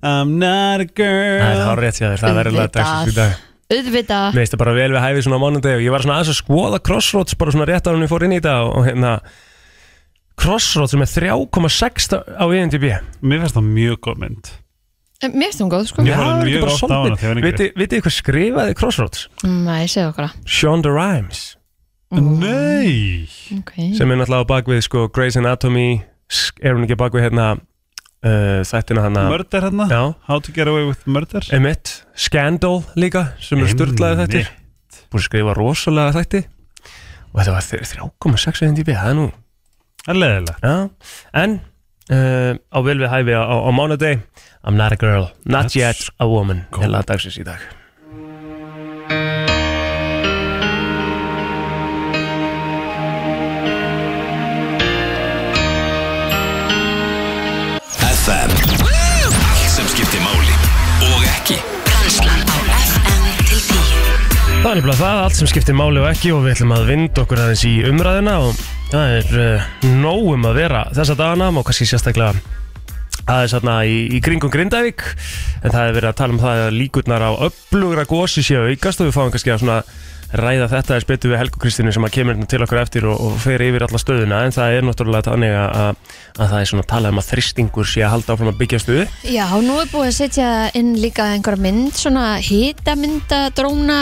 S4: I'm not
S2: það
S4: a
S2: er
S4: girl
S2: hárið hjá þér, það verður lagdagsins í dag
S3: Auðvitað,
S2: Mér finnst það bara vel við hæfi svona á mánudegi og ég var svona aðeins að skoða Crossroads bara svona rétt á hann við fór inn í þetta og, og hérna Crossroads sem er 3,6 á E IMDb
S4: Mér finnst það mjög góð mynd
S3: mér finnst hún góð, sko
S4: Já. horfði mjög oft á hana þegar ég var yngri.
S2: Vitið vitið hvað skrifaði Crossroads?
S3: Nei, segðu okkur það
S2: Shonda Rhimes
S4: Nei
S3: okay.
S2: sem er náttúrulega á bakvið sko Grey's Anatomy sk- er hún ekki á bakvið hérna uh, þættina hana
S4: Murder hérna,
S2: Já,
S4: How to get away with murder
S2: Emmett Scandal líka sem er styrlaði þættir búin að skrifa rosalega þætti og þetta var þr- 3,6 á IMDb, það er nú
S4: Það er leðilega
S2: Já, en uh, á vel við hæfi á, á, á mánudeg I'm not a girl, not
S4: That's
S2: yet a woman Hela dagsins í dag
S1: FM Allt sem skiptir máli og ekki
S5: Brænslan á FM til 10
S2: Það er nefnilega það, allt sem skiptir máli og ekki og við ætlum að vinda okkur aðeins í umræðina og það er uh, nógum að vera þessa dagana og kannski sérstaklega aðeins þarna í, í kringum Grindavík en það er verið að tala um það að líkurnar á öflugra gósi séu að aukast og við fáum kannski að svona ræða þetta eða betur við Helgu Kristínu sem að kemur hérna til okkur eftir og, og fer yfir alla stöðuna en það er náttúrulega þannig að, að, að það er svona að tala um að þristingur sé að halda áfram að byggja stöðu
S3: Já, nú er búið að setja inn líka einhver mynd, svona hitamynda, dróna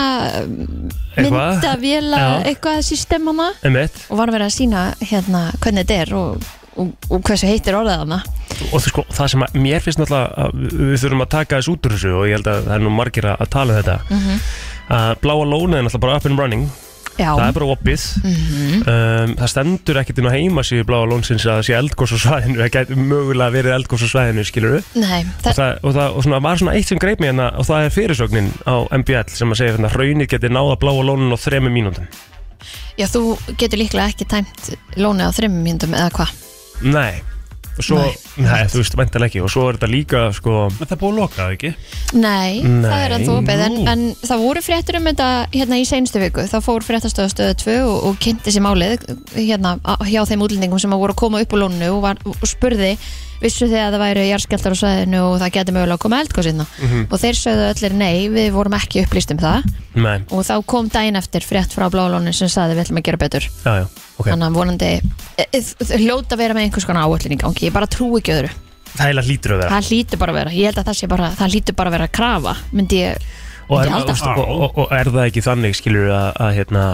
S2: Eitthvað.
S3: myndavéla,
S2: Já.
S3: eitthvað system hana
S2: Einmitt.
S3: og var að vera að sína hérna hvernig þetta er og, og, og hversu heitir orðið hana
S2: og þú sko, það sem að mér finnst náttúrulega að við- við þurfum að taka þessu út úr þessu og ég held að það er nú margir að að tala um þetta að bláa lónið er náttúrulega bara up and running
S3: Já,
S2: það er bara opið um, það stendur ekkert inn á heima síðu bláa lónsins að það sé eldgós á svæðinu það gæti mögulega verið eldgós á svæðinu skilur við
S3: nei,
S2: og,
S3: það,
S2: það, og, það, og svona var svona eitt sem greip mér hérna og það er fyrirsögnin á MBL sem að segja hérna hraunir geti náða bláa lónin á þremur mínútum
S3: já, þú getur líklega ekki tæmt lónið á þreymum myndum eða hvað
S2: nei og svo, nei, þú veist, væntalega ekki og svo er þetta líka sko,
S4: En það er búið að loka það ekki?
S3: Nei,
S2: Nei,
S3: það er að þú opið en,
S4: nú.
S3: en það voru fréttur um þetta hérna í seinstu viku þá fór fréttastöðastöðu 2 og, og kynnti sér málið hérna á- hjá þeim útlendingum sem að voru að koma upp úr lónu og, var, og spurði vissu þið að það væri jarðskjaldar á svæðinu og það geti mögulega að koma eldgóðsina mm
S2: Mhm.
S3: og þeir sögðu öllir nei, við vorum ekki upplýst um það
S2: nei,
S3: og þá kom daginn eftir frétt frá blálónu sem sagði við ætlum að gera betur
S2: já, já, ok
S3: þannig að vonandi e, e, þau hljóta að vera með einhvers konar áallin í gangi ég bara trúi ekki öðru,
S2: það heila hlýtur að vera
S3: það hlýtur bara að vera ég held að það sé bara, það hlýtur bara að vera að krafa myndi ég
S2: og er,
S3: Myndi halda.
S2: og, og, og, og er það ekki þannig skilur að, að hérna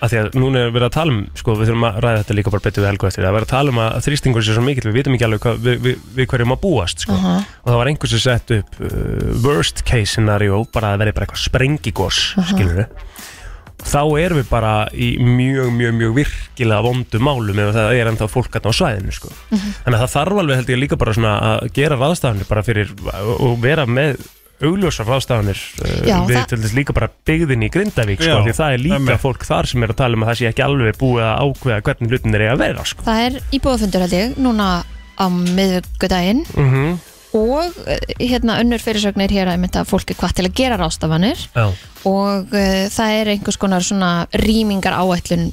S2: að því að núna er verið að tala um sko, við þurfum að ræða þetta líka bara betur við helgu eftir það er verið að tala um að þrýstingur sé svo mikill við vitum ekki alveg hvað, við, við, við hverjum að búast sko.
S3: Aha.
S2: og það var einhvers sem sett upp uh, worst case scenario bara að verið bara eitthvað sprengigos skilur þá erum við bara í mjög, mjög, mjög virkilega vondum málum ef það er ennþá fólk hérna á svæðinu sko.
S3: Mhm.
S2: þannig að það þarf alveg held ég líka bara svona að gera ráðstafanir bara fyrir og vera með augljósar ráðstafanir uh,
S3: Já,
S2: við
S3: það-
S2: til þess líka bara byggðin í Grindavík sko,
S4: Já,
S2: því það er líka
S4: emmi.
S2: fólk þar sem er að tala um að það sé ekki alveg búið að ákveða hvernig hlutin er eiga að vera sko.
S3: Það er íbúðafundur held ég núna á miðvikudaginn
S2: mm
S3: og eh, hérna önnur fyrirsögnir hér að mynda fólki hvað til að gera rástafanir
S2: Já.
S3: og uh, það er einhvers konar svona rýmingar áætlun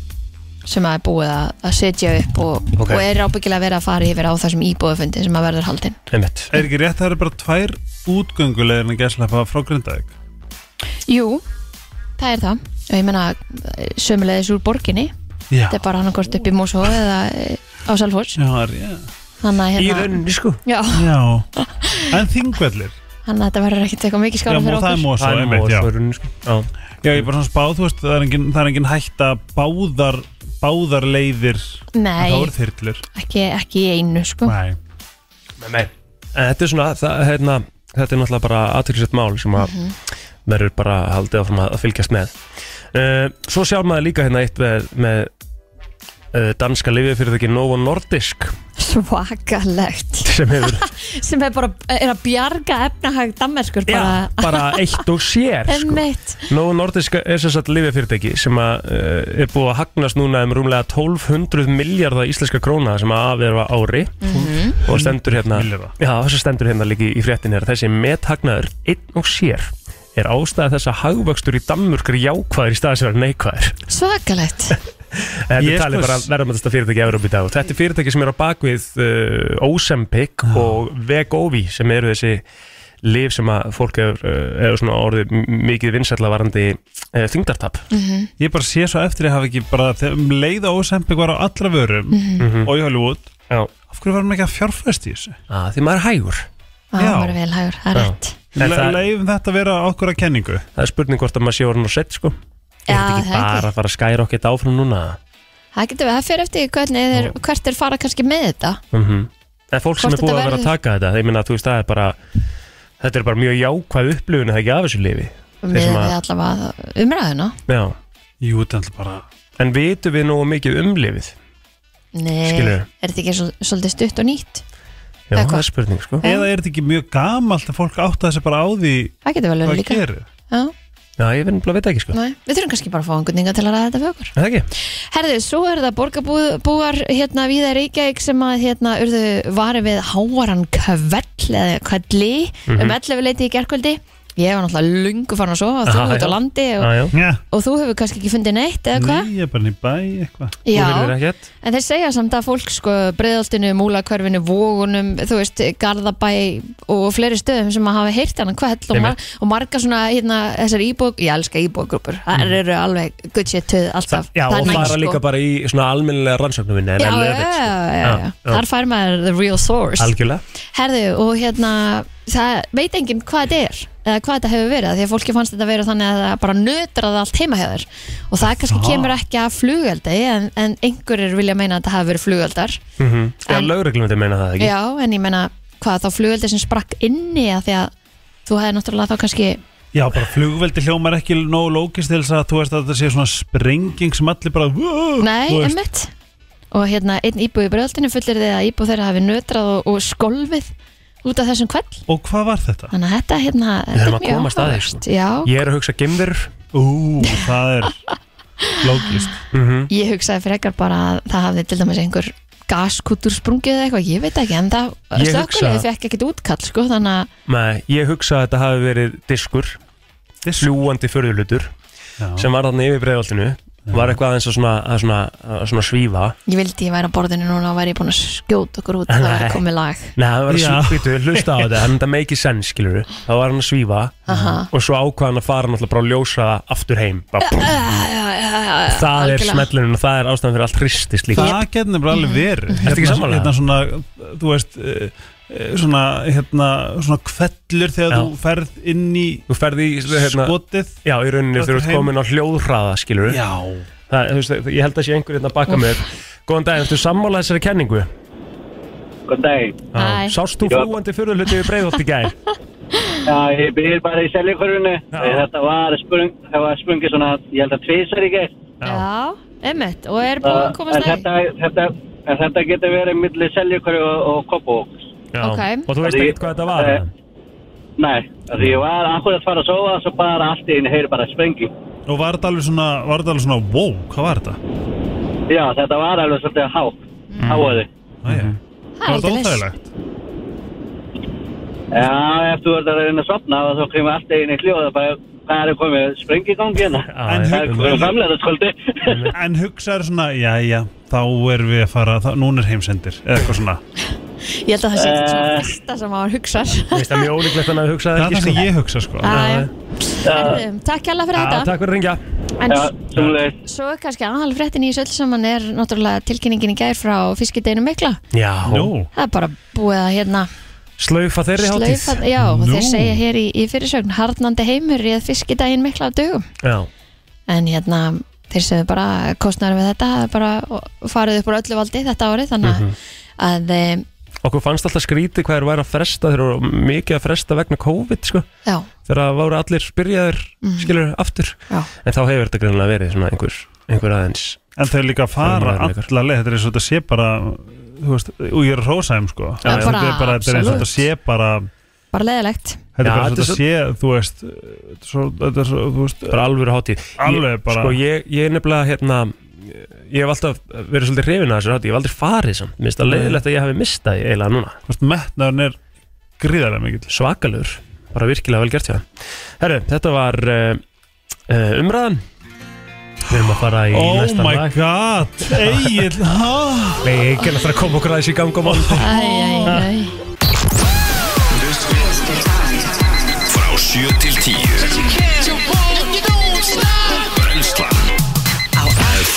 S3: sem að er búið að, að setja upp og,
S2: Ok.
S3: og er ábyggilega verið að fara yfir á þessum íbúðafundi sem að verður haldinn.
S2: Einmitt.
S4: Er ekki rétt að það eru bara tvær útgöngulegir en gæslepa frá Grindavík?
S3: Jú, það er það og ég meina eh, sömuleiðis úr borginni
S4: Já,
S3: þetta er bara annarkort upp í Mosó eða eh, á Salfors
S4: já, það er, já.
S3: þannig að
S2: Í
S3: hérna,
S2: rauninni sko
S3: já, [LAUGHS]
S4: já. En þingvellir?
S3: þannig að þetta verður ekkert eitthvað mikið
S4: Já,
S3: skála fyrir
S4: það er
S3: okkur
S4: Mosó,
S2: Það er
S4: einmitt, já.
S2: mór, rauninni, sko. Já.
S4: Já, ég er bara svona spáð, þú veist, það er engin, það er engin hætta báðar, báðar leiðir
S3: Nei,
S4: þá eru þyrlur
S3: ekki, ekki í einu sko.
S4: Nei,
S2: Nei, nei. En þetta er svona, það, hérna, þetta er náttúrulega bara aðtöklisett mál sem að verður bara haldið áfram að að fylgjast með. Uh, svo sjá maður líka hérna eitt með, með uh, danska lifið fyrir þekki Novo Nordisk
S3: svakalegt
S2: sem hefur
S3: sem er bara er að bjarga efnahag dammerskur
S2: bara,
S3: bara
S2: bara eitt og sér sko.
S3: emmitt
S2: Novo Nordisk er sem sagt lifið sem að, uh, er búið að hagnast núna um rúmlega 1200 miljardar íslenska króna sem að afverfa ári
S3: Mhm.
S2: og stendur hérna
S4: millera
S2: Já, þess að stendur hérna líki í fréttin er að þessi methagnaður einn og sér er ástæða þess að hagvöxtur í Danmörk er jákvæður í staðis að vera neikvæður.
S3: svakalegt
S2: En Þetta
S4: Ég
S2: er talið
S4: sko-
S2: bara verðamöndasta fyrirtæki í Európa í dag og þetta er fyrirtæki sem er á bakvið uh, Ozempic og Vegovi sem eru þessi liv sem að fólk hefur uh, hefur svona orðið m- mikið vinsætla varandi uh, þingdartap.
S3: Mhm.
S4: Ég bara sé svo eftir að hafa ekki bara þegar um leiða ósempik var á allra vörum
S3: Mhm. Mm.
S4: og í Hollywood,
S2: Mhm. Já,
S4: af hverju var hann ekki að fjárfæst í þessu?
S2: að Ah, því maður er hægur.
S3: Á,
S4: Já.
S3: maður er vel hægur, það er
S2: Já.
S3: rétt
S2: En
S4: Le
S2: það-
S4: Leifum þetta að vera okkur að kenningu
S2: Það er spurning hvort að maður sé orðin og sett sko. Er
S3: Já,
S2: þetta ekki
S3: það er
S2: bara
S3: ekki.
S2: að fara að skæra okkur áfram núna?
S3: það getur við, það fyrir eftir hvernig þeir, hvert þeir fara kannski með þetta
S2: mm En fólk sem er
S3: Hvort
S2: búið
S3: þetta
S2: að vera að
S3: verður-
S2: taka þetta Þeir minna að þú veist það er bara Þetta er bara mjög jákvæð upplifun er Það ekki af þessu lifi Þeir
S3: með
S2: sem
S3: við
S2: að,
S3: allavega umræðuna
S2: já.
S4: Jú, þetta er alltaf bara
S2: En vitum við nógu mikið um lifið
S3: Nei,
S2: Skilurðu?
S3: er þetta ekki svo, svolítið stutt og nýtt
S2: Já,
S3: Það er
S2: það
S3: gott.
S2: er spurning sko
S3: Já.
S4: Eða er þetta ekki mjög gamalt að fólk átta þessi bara á því
S3: það getur vel verið
S4: hvað
S3: líka
S4: gerir?
S3: Já,
S2: Já, ég verðum bara að veit ekki sko
S3: nei. við þurfum kannski bara að fá angutninga til að ræða þetta fyrir okkur
S2: Er Það ekki?
S3: Herðu, svo er það borgarbúar hérna viða Reykjavík sem að hérna urðu vari við hávaran kvell eða kvelli
S2: Mhm.
S3: um 11 leiti í gerkvöldi. Ég var náttúrulega lungu farin að sofa og þú
S2: Aha,
S3: út
S2: já.
S3: á landi og,
S2: Já, já
S4: Já,
S3: og þú hefur kannski ekki fundið neitt eða hvað?
S4: Nei, ég er bara niður bæ eitthvað
S2: Þú verður
S3: Já,
S2: ekkert
S3: en þeir segja samt að fólk sko breiðoltinu, múlakverfinu, vógunum, þú veist, Garðabæ og fleiri stöðum sem að hafa heyrt hann kveld og, mar og marga svona hérna þessar íbók, ég elska íbókgrúpur, það eru alveg good shit töð alltaf.
S2: Mhm. Já,
S3: Það er
S2: og
S3: næs,
S2: fara
S3: sko.
S2: líka bara í svona almennilega rannsóknum minni en
S3: já,
S2: en
S3: já,
S2: lifið, sko.
S3: já, já, já.
S2: Já, já.
S3: þar fær maður the real source
S2: Algjörlega
S3: herðu og hérna það veit enginn hvað þetta er eða hvað þetta hefur verið, af því að fólki fannst þetta verið þannig að það bara nötraði allt heima hjá þér og það kannski kemur ekki af flugeldi en, en einhverjir vilja meina að þetta hafi verið flugeldar
S2: Mhm. Já,
S3: En-
S2: lögreglum þetta meina það ekki
S3: já, en ég meina hvað þá flugeldi sem sprakk inni að því að þú hefði náttúrulega þá kannski
S4: Já, bara flugveldi hljómar ekki nógu lókist til þess að þú veist að þetta sé svona sprenging sem allir bara "Whoa",
S3: Nei,
S4: þú veist.
S3: einmitt Og hérna, einn íbúi í bröðaldinu fullir þið að íbúi þeirra hafi nötrað og, og skolfið út af þessum kveld
S4: Og hvað var þetta?
S3: Þannig að þetta hérna
S2: Við
S3: þetta
S2: þurfum
S3: er
S2: að
S3: mjög
S2: komast að því,
S3: áhugavert. Já,
S2: Ég er að hugsa gemður
S4: Ú, það er lókist
S2: Mhm.
S3: ég hugsaði frekar bara að það hafði til dæmis einhver gaskútur sprungið eða eitthvað, ég veit ekki en það
S2: Ég
S3: slökkulegði
S2: hugsa-
S3: fekk ekkit útkall sko, þannig að
S2: Nei, ég hugsa að þetta hafi verið diskur Fljúandi förðulutur
S4: Já,
S2: sem var þarna yfir breiðoltinu var eitthvað aðeins að svona, að svona, að svona svífa
S3: ég vildi ég væri á borðinu núna og væri ég búin að skjóta okkur út það væri
S2: Nei.
S3: komið lag
S2: Nei, það var að
S4: Já.
S2: svífitu, hlusta á þetta en það make it sense, skilur við þá var hann að svífa
S3: Aha.
S2: og svo ákvað hann að fara náttúrulega bara að ljósa það aftur heim bara, búm, það er
S3: algjörlega.
S2: smetlunum og það er ástæðan fyrir allt hristist líka
S4: það getur nefnilega alveg
S3: Mhm.
S4: verið
S2: Ertu ekki
S4: Hérna-
S2: sammála?
S4: Hérna svona, þú veist eh, eh, svona, hérna, svona kvellur þegar
S2: Já.
S4: þú ferð inn í
S2: þú ferði í, hérna,
S4: skotið
S2: já, í rauninni
S4: Aftur
S2: þegar þú ert
S4: heim.
S2: komin á hljóðhraða, skilur við
S4: Já
S2: það, þú veist, ég held að sé einhver hérna baka mér góðan dag, ertu sammála þessari kenningu?
S6: Góðan dag.
S3: Hæ.
S2: sást þú
S6: Já.
S2: flúandi fyrir hluti við breiðholt í gær?
S6: Já, ég byrjir bara í seljumhverfunu.
S2: Já.
S6: Þetta var sprung, það var sprungið svona, ég held að tvísar í gætt.
S3: Já, emmitt, og er búin að komast
S6: en
S3: að því
S6: þetta, þetta, en þetta getur verið millir seljumhverfu og, og kopu.
S2: Já.
S3: Ok.
S2: og þú veist
S6: Því-
S2: ekkert hvað þetta var?
S6: Nei.
S2: eða?
S6: Nei, því ég var akkurat að fara að sofa svo bara allt í einu heyri bara sprengi.
S4: Og var þetta alveg svona, var þetta alveg svona, wow, hvað var þetta?
S6: Já, þetta var alveg svolítið há,
S3: Mm.
S6: háaði.
S2: Mhm.
S4: Æja,
S3: Það er
S4: var þetta
S3: lítið viss.
S4: óþægilegt?
S6: Já, ef þú ert að reyna að sopna og þá kemur allt í einu hljóða bara hvað er komið sprengi í gangi hérna.
S2: Já,
S4: En
S2: já.
S6: Það er komið framlega skvöldi.
S4: En hugsaður svona, jæja, þá erum við að fara, þá, núna er heimsendir, eða eitthvað svona.
S3: Ég held að það sé
S6: Eh.
S3: svona fyrsta sem maður hugsar
S2: Mér finnst það mjög ólíklegt að hann hugsa það
S4: Það er
S2: ekki
S4: það sem ég hugsa, sko.
S3: Æ,
S2: já.
S3: Herðu, Takk hérlega fyrir
S2: Já,
S3: þetta
S2: Takk fyrir að ringja
S3: En
S6: Já, sumulegis.
S3: svo er kannski aðal fréttin í þessu öll saman er náttúrulega tilkynningin í gær frá fiskideginu mikla
S2: Já,
S4: Nú,
S3: Það er bara búið að hérna
S2: slaufa þeirri hátíð
S3: slaufa Já, og
S4: Nú.
S3: þeir segja hér í, í fyrirsögn harnandi heimur í að fiskidegin mikla á dögum
S2: Já,
S3: En hérna, þeir segja bara kostnæður við þetta það er bara farið upp úr öllu valdi þetta árið þannig
S2: Mhm.
S3: mm að e,
S2: okkur fannst alltaf skrítið hvað þeir væri að fresta þeir eru mikið að fresta vegna COVID sko.
S3: Já, mm,
S2: þegar það voru allir byrjaðir skilur aftur
S3: já
S2: en þá hefur þetta greinlega verið svona einhver, einhver aðeins
S4: en þau líka fara
S2: Það er maður
S4: alla leið, þetta er svo þetta sé bara, þú veist, og ég er rósæm, sko.
S3: Já,
S4: Þetta
S3: bara,
S4: er bara, þetta er eins og
S3: absolutt.
S4: þetta sé bara,
S3: Bara leðilegt
S4: þetta
S2: Já,
S4: er bara svo
S2: þetta er
S4: þetta sé, þú veist, þetta er svo, þetta er svo, þú veist,
S2: bara alvöru hátíð
S4: Alveg bara-
S2: ég, sko, ég, ég er nefnilega hérna ég hef alltaf verið svolítið hrifin að þessu hátíð ég hef aldrei farið samt, minnst það leiðilegt að ég hafi mistað því eiginlega núna,
S4: þú veist, metnaðurinn er gríðarlega mikill.
S2: svakalur bara virkilega vel gert hjá það herru, þetta var uh, uh, umræðan við erum að fara í
S4: Oh
S2: næsta
S4: my
S2: lag
S4: god, Egil, hæ?
S2: við erum að fara að koma okkur aðeins í gang og mál
S3: Æ, æ, æ, æ.
S1: Frá 7 til 10 Brenslan
S5: á F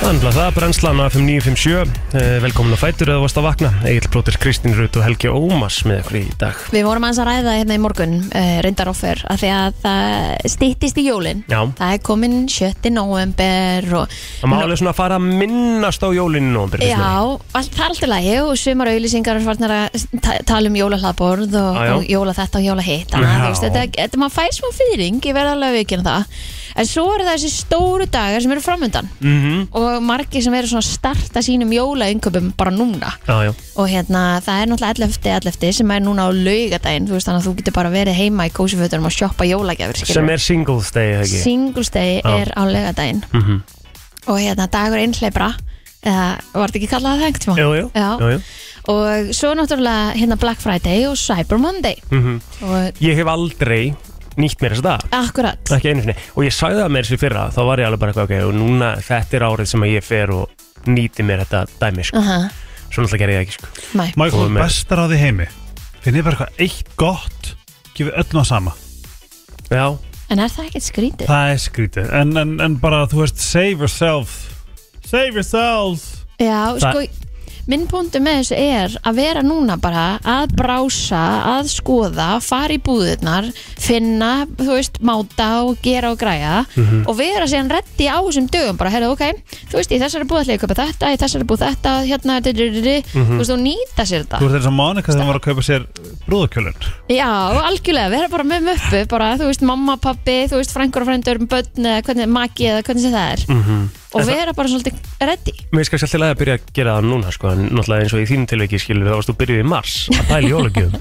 S2: Þannig að það brennslan á FM 957 Eh, Velkomin að fætur eða varst að vakna Egil Plóter, Kristín Rut og Helgi Ómas með okkur í dag
S3: Við vorum aðeins að ræða hérna í morgun uh, reyndar offer að því að það stýttist í jólin
S2: Já.
S3: Það er komin 7. november og
S2: Það má alveg svona að fara að minnast á jólinn og
S3: Já, allt, það er alltaf lægi og sumar auðlýsingar er farnar að ta tala um jólahlaðborð og,
S2: Já, já.
S3: og jóla þetta og jóla hitt Þannig að
S2: Já.
S3: þú veist, þetta, þetta maður fæ smá fyrring, ég verð alveg að vikina það En svo eru þessi stóru dagar sem eru framöndan
S2: Mhm.
S3: og margir sem eru svona að starta sínum jólainköpum bara núna
S2: Já, já,
S3: og hérna það er náttúrulega 11. 11. sem er núna á laugadaginn þú veist þannig að þú getur bara verið heima í kósifötunum og sjoppa jólagjafur skilurðu.
S2: sem er Singles Day, ekki?
S3: Singles Day
S2: Já.
S3: er á laugadaginn
S2: Mhm.
S3: og hérna dagur einhleipra eða var þetta ekki kallað það hengt tíma
S2: Jú, jú,
S3: Já.
S2: jú, jú.
S3: og svo náttúrulega hérna Black Friday og Cyber Monday
S2: Mhm.
S3: og
S2: Ég hef aldrei nýtt mér þess að
S3: akkurat
S2: það Ekki einu sinni Og ég sagði það mér sér fyrra Þá var ég alveg bara eitthvað ok Og núna þetta er árið sem að ég fer og nýti mér þetta dæmi sko.
S3: Aha,
S2: Svo náttúrulega gerði ég það ekki sko.
S3: mæ.
S4: Má ég
S2: Og
S4: koma
S2: með-
S4: bestar á því heimi Finnið bara eitthvað eitt gott Gefið öllum á sama
S2: Já,
S3: en er það ekkert skrítið?
S4: Það er skrítið En, en, en bara þú veist Save yourself Save yourself
S3: Já,
S4: Það-
S3: sko minn punktu með þessu er að vera núna bara að brása, að skoða fara í búðirnar, finna þú veist, máta og gera og græja
S4: Mhm.
S3: og vera síðan reddi á þessum dögum bara, heyrðu, ok, þú veist, í þessari búð ætla ég að kaupa þetta, í þessari búð þetta hérna, di, di, di, di. þú veist, og nýta sér þetta
S4: Mhm. Þú veist þess að Monika þegar hún var að kaupa sér brúðakjölun
S3: Já, algjörlega, vera bara með möppu bara, þú veist, mamma, pappi, þú veist, frængur og frændur börn eða hvernig, maki eða hvernig sem það er
S4: Mhm.
S3: og vera bara svolítið reddi
S2: Mér finnst kannski alltaf leið að byrja að gera það núna sko, en náttúrulega eins og í þínum tilveiki skilur þá varst þú byrjuð í mars að pæla í
S3: [LAUGHS]
S2: jólugjöfum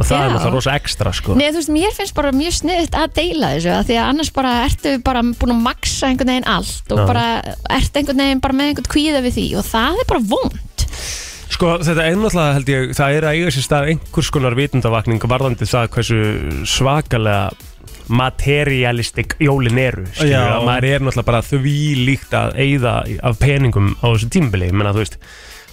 S2: og það er
S3: Já.
S2: náttúrulega rosa ekstra sko.
S3: Nei, þú veist, mér finnst bara mjög sniðt að deila þessu að því að annars bara ertu bara búin að maksa einhvern veginn allt og
S2: Já.
S3: bara ertu einhvern veginn bara með einhvern kvíða við því og það er bara vond
S2: sko þetta er náttúrulega held ég það er að eiga sér stað einhvers konar vitundavakning varðandi það hversu svakalega materialistik jólin eru skilur,
S4: Já.
S2: að maður er náttúrulega bara því líkt að eigða af peningum á þessu tímbili menna þú veist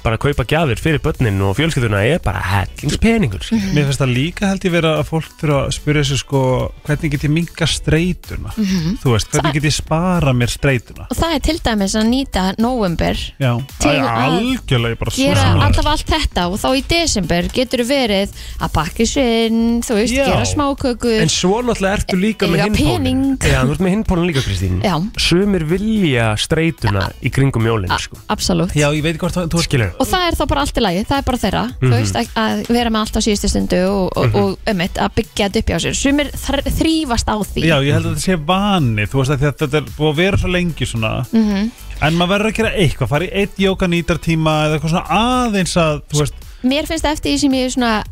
S2: bara að kaupa gjafir fyrir börnin og fjölskylduna er bara hellings peningur skilur.
S4: Mér finnst það líka held ég vera að fólk þurfa að spyrja sér sko Hvernig get ég minga streituna
S3: Mhm.
S4: Þú veist, hvernig get ég spara mér streituna
S3: og það er til dæmis að nýta november
S4: Já,
S3: Til
S4: Æ,
S3: að
S4: algjörlega ég bara
S3: gera
S4: sammála.
S3: alltaf allt þetta og þá í desember getur verið að pakka sinn, þú veist,
S4: Já.
S3: gera smákökur
S2: En svo náttúrulega ertu líka með
S3: Eiga
S2: hinpólinn
S3: pening.
S2: Já, þú ert með hinpólinn líka Kristín
S3: Já. Ah.
S2: Sumir vilja streytuna í kringum jólinn sko.
S3: absolutt
S4: Já, ég veit hvort það þú-
S2: Skilur
S3: og það er þá bara allt í lagi, það er bara þeirra
S2: Mhm.
S3: þú veist, að, að vera með allt á síðustu stundu og, og, og ömmit að byggja þetta upp hjá sér sumir þr- þrífast á því
S4: Já, ég held að þetta sé vani Þú veist að þetta er búið að vera svo lengi svona
S3: Mhm.
S4: En maður verður að gera eitthvað Fara í eitt jókanýtartíma Eða eitthvað svona aðeins að Þú veist
S3: mér finnst eftir því sem ég er svona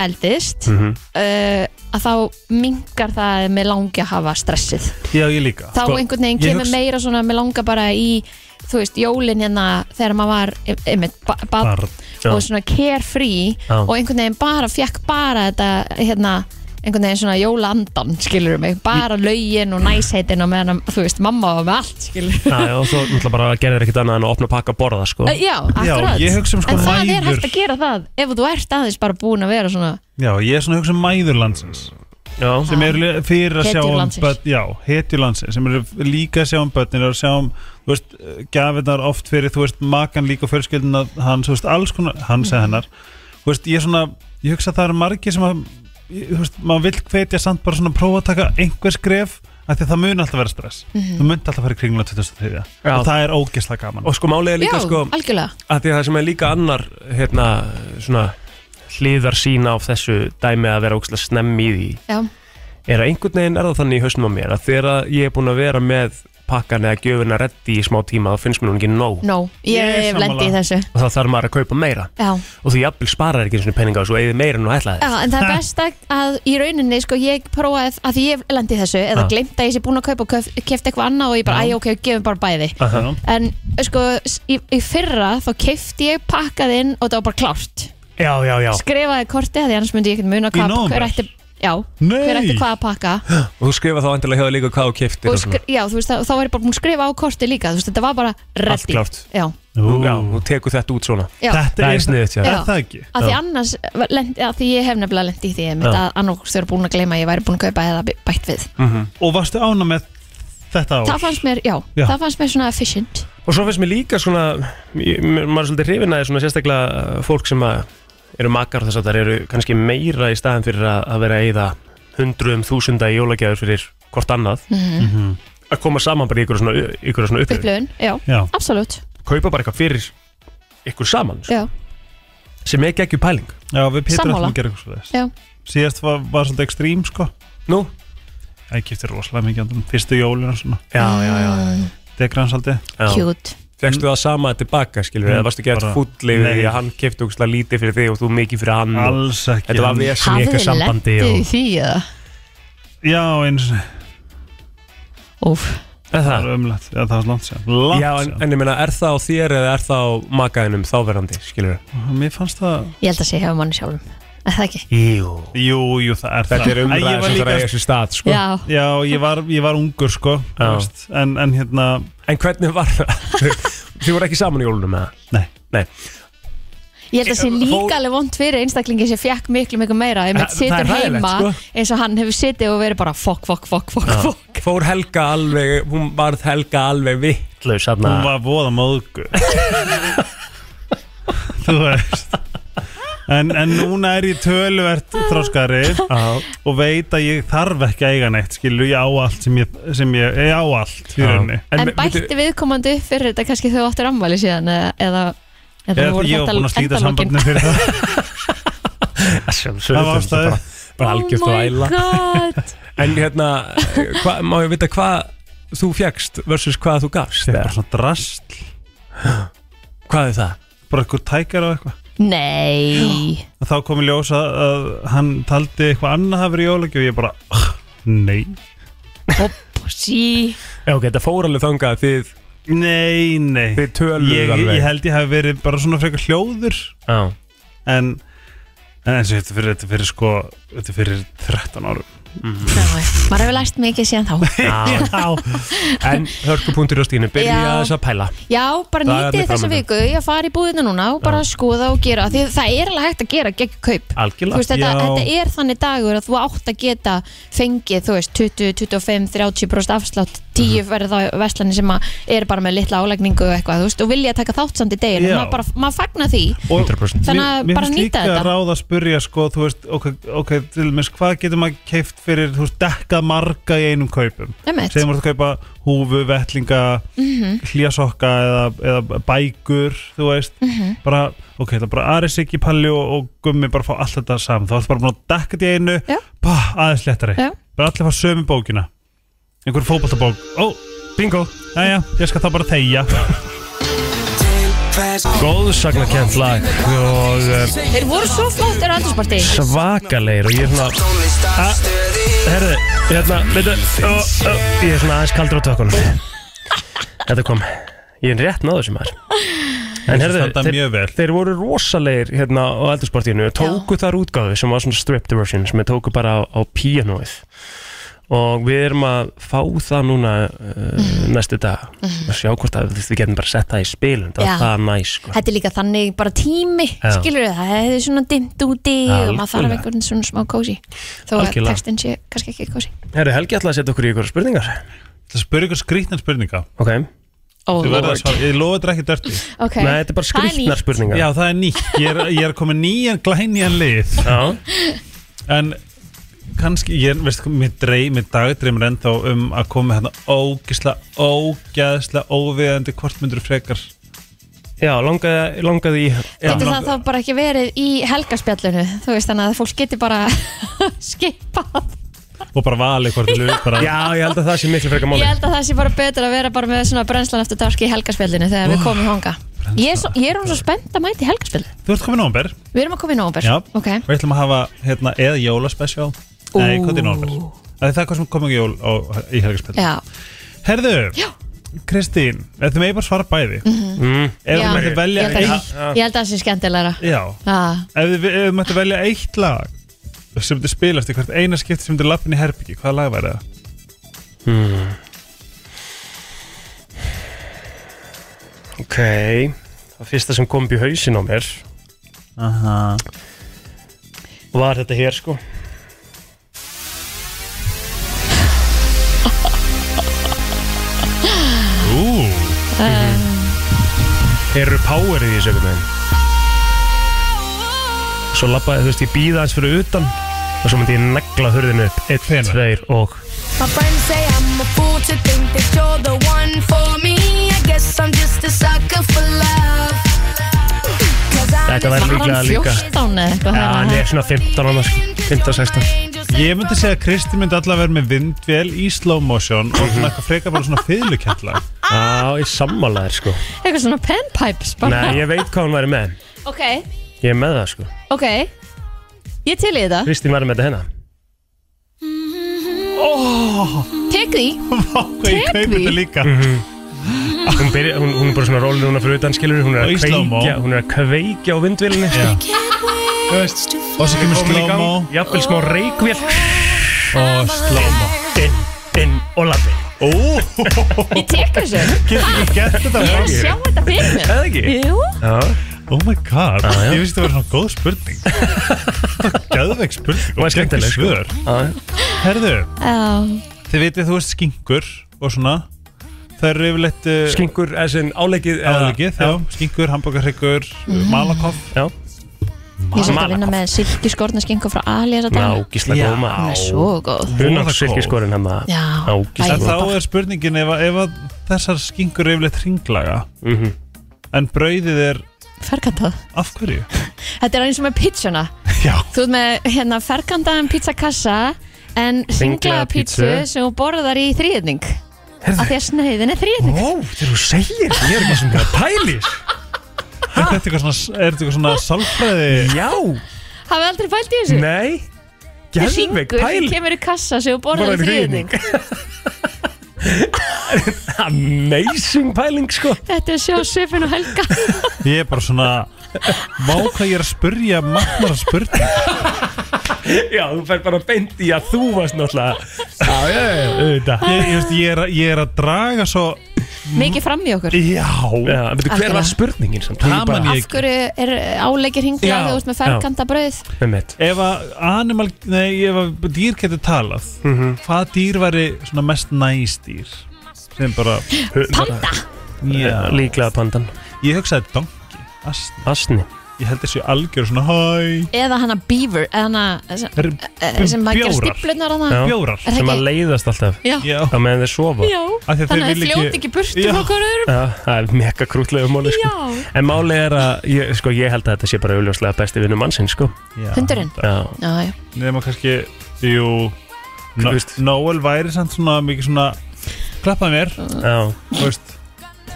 S3: eldist
S4: Mhm.
S3: uh, að þá mingar það með langi að hafa stressið
S4: Já, ég líka
S3: þá einhvern veginn
S4: Sko, ég
S3: kemur
S4: hugsa-
S3: meira svona með langa bara í þú veist, jólin hérna þegar maður var einmitt, ba ba
S4: Barn,
S2: já.
S3: og svona carefree
S2: Já.
S3: og einhvern veginn bara fekk bara þetta hérna einhvern veginn svona jólandan skilur mig, bara lögin og næsheitin og meðan þú veist, mamma var með allt skilur
S2: Já, já, og svo náttúrulega bara gerðir ekkert annað en að opna pakka að borða sko.
S3: Já, akkurat
S4: ég hugsa um sko
S3: En það er
S4: mæður.
S3: hægt að gera það ef þú ert aðeins bara búin að vera svona
S4: Já, ég er svona að hugsa um mæðurlandsins
S2: Já,
S4: sem eru li- fyrir að sjá
S3: Ah. Hetjur
S4: um
S3: landsins.
S4: börn, já, hetjulandsins sem eru líka að sjá um börnin og sjá um, þú veist, gafinnar oft fyrir þú veist, makan líka og fjölskyldina hans, þú veist, alls konar, hans
S3: Mhm.
S4: eða hennar þú veist, ég er svona, ég hugsa að það eru margir sem að, ég- þú veist, maður vill hvetja samt bara svona að prófa að taka einhver skref af því að það mun alltaf vera stress
S3: Mhm.
S4: þú mun alltaf fara í kringla 2003
S2: Já.
S4: og það er ógeðslega gaman
S2: og sko málið er líka
S3: Já,
S2: sko
S3: algjörlega
S2: að því að það sem er líka annar hérna, svona hliðar sína á þessu dæmi að vera ógslag snemmi í því
S3: Já,
S2: er að einhvern veginn er það þannig í hausnum á mér að þegar ég er búin að vera með pakkan eða gjöfuna reddi í smá tíma þá finnst mér hún ekki nóg
S3: no, ég,
S4: Ég er
S3: ég
S4: sammála.
S3: lendi í þessu
S2: og þá þarf maður að kaupa meira
S3: Já,
S2: og þú jafnvel sparar ekki einu sinni peninga og svo eigið meira en þú ætlaði
S3: Já en það er best að, að í rauninni sko ég prófaði að því ég lendi í þessu eða
S2: Ah.
S3: glemt að ég sé búin að kaupa og köf- kefti eitthvað annað og ég bara, æ, ok, gefum bara bæði
S4: Aha.
S3: En sko, s- í, í fyrra þá kefti ég pakkað inn og það var bara klárt
S2: Já, já, já
S3: Skrifaði kortið því annars myndi ég ekkert muna
S4: Í
S3: hvað,
S4: nóvember?
S3: hver ætti Já,
S4: Nei.
S3: hver ætti hvað að pakka
S2: Og þú skrifa þá endilega hjá þér líka hvað þú kiftir
S3: og skri, já, þú veist, þá, þá var ég bara búin að skrifa á korti líka þú veist, þetta var bara ready
S2: Allt klárt.
S3: já,
S2: Þú, já, þú tekur þetta út svona
S3: já.
S4: þetta
S2: Það
S4: er,
S2: er sniðugt, já.
S4: er
S3: Já.
S4: það ekki
S3: að því annars, lend, að því ég hef nefnilega lent í því einmitt,
S2: Já.
S3: að annars þau eru búin að gleyma að ég væri búin að kaupa eða bætt við
S4: og varstu ána með þetta ár
S3: það fannst mér, já,
S4: Já.
S3: það fannst mér svona efficient
S2: Og svo finnst mér líka svona ég- mér- maður er svolítið hrifin að svona sérstaklega uh, fólk sem að eru makar og þess að það eru kannski meira í staðin fyrir að, að vera að eyða hundruðum þúsunda í jólagjafur fyrir hvort annað
S3: Mhm.
S4: Mhm.
S2: að koma saman bara í ykkur svona, ykkur svona upplifin
S3: upplöfun, já,
S4: já,
S3: absolutt
S2: kaupa bara eitthvað fyrir ykkur saman sko,
S3: já,
S2: sem ekki ekki pæling
S4: já, við Pétur ætlum
S3: Sammála.
S4: að gera eitthvað svo
S3: já,
S4: síðast var, var svolítið ekstrím sko
S2: Nú?
S4: Það kiptir rosalega mikið andrum fyrstu jólun og svona
S2: Já, já, já,
S4: degra hans aldrei
S2: já.
S3: cute
S2: Fekstu það sama tilbaka, skilur
S4: Mm,
S2: eða varstu ekki
S4: bara-
S2: að fúllið
S4: Nei.
S2: því að hann kefti okkur lítið fyrir þig og þú mikið fyrir hann og
S4: alls ekki
S2: Þetta var vesen í eitthvað
S3: hafið
S2: sambandi
S3: lendið í
S2: og...
S3: því eða
S4: já eins
S3: Úf.
S2: Er
S4: það
S2: það?
S4: var umlætt já það var langt sér langt
S2: Já, en, en ég meina, er það á þér eða er það á makaðinum þáverandi, skilur
S4: sér mér fannst það
S3: ég held að sé hefur manni sjálfum, er það ekki
S2: Jú
S4: jú jú það er
S2: Þetta
S4: það
S2: er
S4: Æ, ég
S2: umræðið
S4: var
S2: sem þarf að eiga
S4: líka,
S2: sér stað sko.
S3: já,
S4: já ég var ég var ungur sko þú
S2: Já.
S4: veist, en, en hérna
S2: En hvernig var
S4: [LAUGHS]
S2: það? Þið voru ekki saman í jólunum með það?
S4: nei
S3: Ég held að sé
S2: Fó-
S3: líka alveg vond fyrir einstaklingi sem fjekk miklu miklu meira einmitt
S2: Það- það er
S3: situr
S2: hræðilegt,
S3: heima
S2: sko.
S3: eins og hann hefur sitið og verið bara fokk, fokk, fokk, fokk, fokk
S2: Fór Helga alveg, hún varð Helga alveg vittlaus hérna
S4: hún var voða móðgu [LAUGHS] þú veist en, en núna er ég töluvert þróskari og veit að ég þarf ekki að eiga neitt skilu ég á allt sem ég, sem ég, ég á allt í rauninni
S2: vi-
S3: En,
S2: veitu-
S3: bætti
S2: viðkomandi
S3: viðkomandi upp fyrir þetta kannski þau áttur ammæli síðan eða, eða, eða
S4: Eða ég var búin að slíta sambandinu fyrir það [LAUGHS]
S2: Það
S4: var ástæður.
S2: Bara
S3: Oh
S2: algjört og æla
S3: god
S2: En hérna, hva, má ég vita hvað þú fjækst versus hvað þú gafst?
S4: Þetta er
S2: eða?
S4: bara svona drast
S2: Hvað er það?
S4: Bara eitthvað tækar og eitthvað
S3: Nei
S4: Og þá kom í ljós að, að hann taldi eitthvað annað hafa verið jólagi Og ég bara, "Ah, nei
S3: Hopp, sí
S2: Já, ok, þetta fór alveg þangað að þið,
S4: Nei, nei
S2: þið töluðu
S4: ég,
S2: alveg
S4: ég held ég hafi verið bara svona frekar hljóður
S2: Já,
S4: En, en eins og þetta er fyrir, þetta er fyrir sko Þetta er fyrir 13 árum
S3: Ná, eh. Maður hefur lært mikið síðan þá
S2: já. En hörkupunktur á stíðinu, byrja
S3: Já.
S2: þess að pæla
S3: Já, bara
S2: Það er
S3: nýtið
S2: mikið
S3: þessa
S2: framundan.
S3: viku Ég að fara í búðina núna og bara skoða og gera Því það er alveg hægt að gera gegn kaup Þú
S2: Algjörlega
S3: veist, þetta,
S4: Já.
S3: þetta er þannig dagur að þú átt að geta fengið, þú veist, 20, 25, 30% afslátt, 10
S4: Mhm.
S3: mm verður þá veslanir sem að eru bara með litla álægningu og eitthvað, þú veist, og vilja taka þátt samt í deginu,
S4: Já.
S3: maður bara, maður fagna því,
S2: 100%
S3: þannig að bara nýta
S4: Mér finnst líka
S3: þetta.
S4: ráð að spyrja sko Þú veist, ok, ok, til mér Hvað getur maður keift fyrir, þú veist, dekkað marga í einum kaupum
S3: Einmitt. Mhm.
S4: segjum að kaupa húfu, vettlinga hlýjasokka eða, eða bækur, þú veist
S3: Mhm.
S4: bara, ok, það er bara Ari Siggi Palli og, og Gummi bara fá allt þetta saman þá ertu bara búin að dekka þetta í einu
S3: Já.
S4: pá, aðeins léttari,
S3: Já.
S4: bara allir fá sömu bókina einhver fótballtabók, ó, bingo jæja, ég skal þá bara þegja
S2: Góðsagnarkent lag og eh,
S3: Þeir voru svo flott er aldursparti
S2: svakalegir og ég er svona Ah, Herðu, hérna, veitu ó, ó, Ég er svona aðeins kaldur á tökunum Þetta kom Ég er rétt náður sem maður En herðu,
S4: standa mjög vel.
S2: þeir, þeir voru rosalegir hérna á eldursportínu og tóku þar útgáðu sem var svona stripped version sem við tóku bara á, á píanóið og við erum að fá það núna uh,
S3: Mhm.
S2: næstu dag að sjá hvort að við getum bara að setja það í spilum það
S3: Já.
S2: var það næs sko.
S3: Þetta er líka þannig bara tími
S2: Já.
S3: skilur við það, það er svona dimmt úti og maður þarf
S2: Algjörlega.
S3: einhvern svona smá kósi þó að
S2: Algjörlega.
S3: textin sé kannski ekki kósi
S2: Herru, Helgi ætlaði að setja okkur í ykkur spurningar
S4: Það spurði ykkur skrýtnar spurninga
S2: Ok,
S3: oh,
S4: Þú verður að svara, ég lofa þetta ekki dörti
S3: okay.
S2: nei, þetta er bara
S3: Það
S2: skrýtnar
S3: nýtt.
S2: spurningar
S4: Já, það er nýtt, ég er, ég er komið nýjan glænýjan lið
S2: Já.
S4: En kannski, ég veist, mér dreif, mér dagdreymur ennþá um að koma með hérna ógisla, ógæðsla, óviðandi hvort myndur frekar
S2: Já, langaði, langaði í
S3: Getur
S4: Já.
S3: það þá bara ekki verið í helgaspjallinu þú veist þannig að fólk getur bara [LAUGHS] skipað
S4: og bara vali [LAUGHS] hvort þú bara
S2: Já, ég held að það sé miklu frekar
S3: Ég
S2: máli
S3: held að það sé bara betur að vera bara með svona brennslan eftir darski í helgaspjallinu þegar við komum honga Ég er, svo, ég er um svo spennt að mæti helgaspjallinu
S4: Þú ert komið nómber,
S3: Við erum að koma í nómber
S4: já,
S3: Ok,
S4: við ætlum að hafa hérna, eða jólaspecial
S3: Ú.
S4: Nei, hvað er nómber? Það er það hvað sem komið jól á, í helgarspil
S3: já,
S4: Herðu,
S3: Já. Mhm.
S4: Kristín, ef þið megið bara svara bæði mm -hmm. Ef
S3: Já.
S4: þið mætti
S3: ég
S4: velja
S3: held að,
S4: eitt
S3: ég held að það sé skemmtilegra
S4: Já,
S3: ah,
S4: ef þið, ef þið mætti velja eitt lag sem þið spilast í hvert eina skipti sem þið lappin í herbyggi, hvaða lag væri það?
S2: Ok, það fyrsta sem kom upp í hausin á mér
S4: Aha.
S2: var þetta hér sko
S4: Ú,
S3: Eh.
S2: Eru powerið í þessu einhvern veginn Svo labbaði, þú veist, ég býða aðeins fyrir utan og svo myndi ég negla hurðinu upp Eitt,
S4: Hvenær?
S2: tveir og
S7: My friends say I'm a fool to think that you're the one for me. I guess I'm just a sucker for love. 'Cause I'm
S2: Þetta
S3: Var
S2: væri líklega
S3: hann
S2: líka
S3: 14 eða eitthvað
S2: Já, hann er svona 15 annars 15-16
S4: ég myndi segja að Kristi myndi allavega vera með vindvél í slow motion og
S2: Mhm.
S4: svona eitthvað frekar bara svona fiðlukentla
S3: Ah.
S2: Já, ég sammála þér sko
S3: Eitthvað svona penpipes bara
S2: Nei, ég veit hvað hún væri með
S3: Ok,
S2: Ég er með það sko
S3: ok Ég til í þetta,
S2: Kristín væri með þetta hérna
S3: tek því
S4: og ég kaupi þetta líka
S2: Mhm. Hún, byrja, hún, hún er bara svona rólið núna fyrir utan skilur Hún er
S4: Og í
S2: að
S4: slow-mo.
S2: kveikja, hún er að kveikja á vindvílinni
S4: Já.
S2: Þú veist,
S4: og svo kemur
S2: komin í
S4: slow mo
S2: gang Jafnvel smá reikvél
S4: og slow mo
S2: Inn, inn og labbi
S4: Ú,
S3: Ég tek þessu,
S4: getur ekki gert þetta
S3: ég er að
S4: Maggi?
S3: sjá þetta fyrir mér
S2: Eða ekki?
S3: Jú,
S2: Já,
S4: Oh my god,
S2: já.
S4: ég vissi þetta var svona góð spurning Gæðveik spurning [LAUGHS]
S2: Var
S4: og
S2: skemmtileg, sko.
S4: geggjur svör.
S2: já
S4: Herðu,
S3: já,
S4: þið vitið þú veist skinkur og svona það eru yfirleitt uh,
S2: Skingur, eða sem áleikið eða-
S4: álegið, já, skinkur, hambúkarhryggur malakoff
S2: Já,
S3: ég er svolítið
S2: Malakoff.
S3: að vinna með silkiskorna skingu frá Ali þessa dagana.
S2: nákísla
S4: Já.
S2: góma hérna.
S3: Hún er svo góð
S2: Hún á
S4: Voða
S2: silkiskorinn hann að
S3: Já,
S2: Ágísla
S4: en
S3: æði.
S2: góð
S4: þá er spurningin ef, að- ef að þessar skinkur eru yfirleitt ringlaga
S2: Mhm.
S4: en brauðið er
S3: ferkantað
S4: af
S2: [LAUGHS]
S4: hverju?
S3: Þetta er eins og með pizzuna
S4: já,
S3: Þú ert með hérna ferkantaðan pizzakassa en
S2: Hringlaga
S3: hringlaða pizzu
S2: pizzu.
S3: sem þú borðar í þrýðning af því að sneiðin er þrýðning
S2: Ó, þegar þú segir það, ég er ekki sem það pælis
S4: er þetta eitthvað svona, er þetta eitthvað svona sálfræði
S2: Já,
S3: Hafið aldrei pælt í þessu?
S2: nei
S3: Þetta er hringur
S2: Gerðveik,
S3: sem
S2: pæl
S3: kemur í kassa sem þú borðar í þrýðning
S2: Amazing pæling, sko
S3: Þetta er sjá svipin og
S4: [LAUGHS]
S3: helga
S4: ég er bara svona má hvað ég er að spurja magnar að spurja
S2: Já, þú fær bara beint í að þú varst náttúrulega Já, já, já, auðvitað
S4: ég, ég, veist, ég, er, að- ég er að draga svo
S3: Mikið fram í okkur
S4: já,
S2: Já, veitu, hver var
S3: Algjörlega.
S2: spurningin samt?
S4: Það man
S3: Af
S4: ég
S3: hverju er áleikir hringlaði
S4: Já,
S3: þegar þú ert með
S2: já.
S3: ferkanta brauð
S2: Með mitt
S4: ef að animal, nei, ef að dýr getur talað
S3: Mhm.
S4: hvað dýr væri svona mest næstýr sem bara
S3: Panda
S4: já,
S2: Líklega pandan
S4: ég hugsaði donki asni.
S2: Asni
S4: ég held þessi algjör svona hæ
S3: Eða hana beaver eða hana eh,
S4: Þeir eru
S3: sem maður gerir
S4: bjórar.
S3: stiflunar að
S2: Já.
S3: það
S4: bjórar
S3: Er það
S2: Sem
S3: ekki?
S2: að leiðast alltaf
S3: Já,
S4: já,
S2: Já, meðan þeir sofa
S3: já
S4: Af því að þeir
S3: Þannig að þið
S4: vilja
S3: fljóti
S4: ekki-
S3: ekki burtu
S4: Já.
S3: með okkur öðrum
S2: Já, það er mega krútlega máli sko.
S3: Já.
S2: En máli er að, ég, sko, ég held að þetta sé bara auðljóslega besti vinnu mannsinn, sko
S4: já.
S3: Hundurinn?
S2: Já,
S3: Já, já.
S4: nema kannski jú no,
S2: Þú veist.
S4: Noel væri samt svona mikið svona klappaði mér
S2: já,
S4: þú veist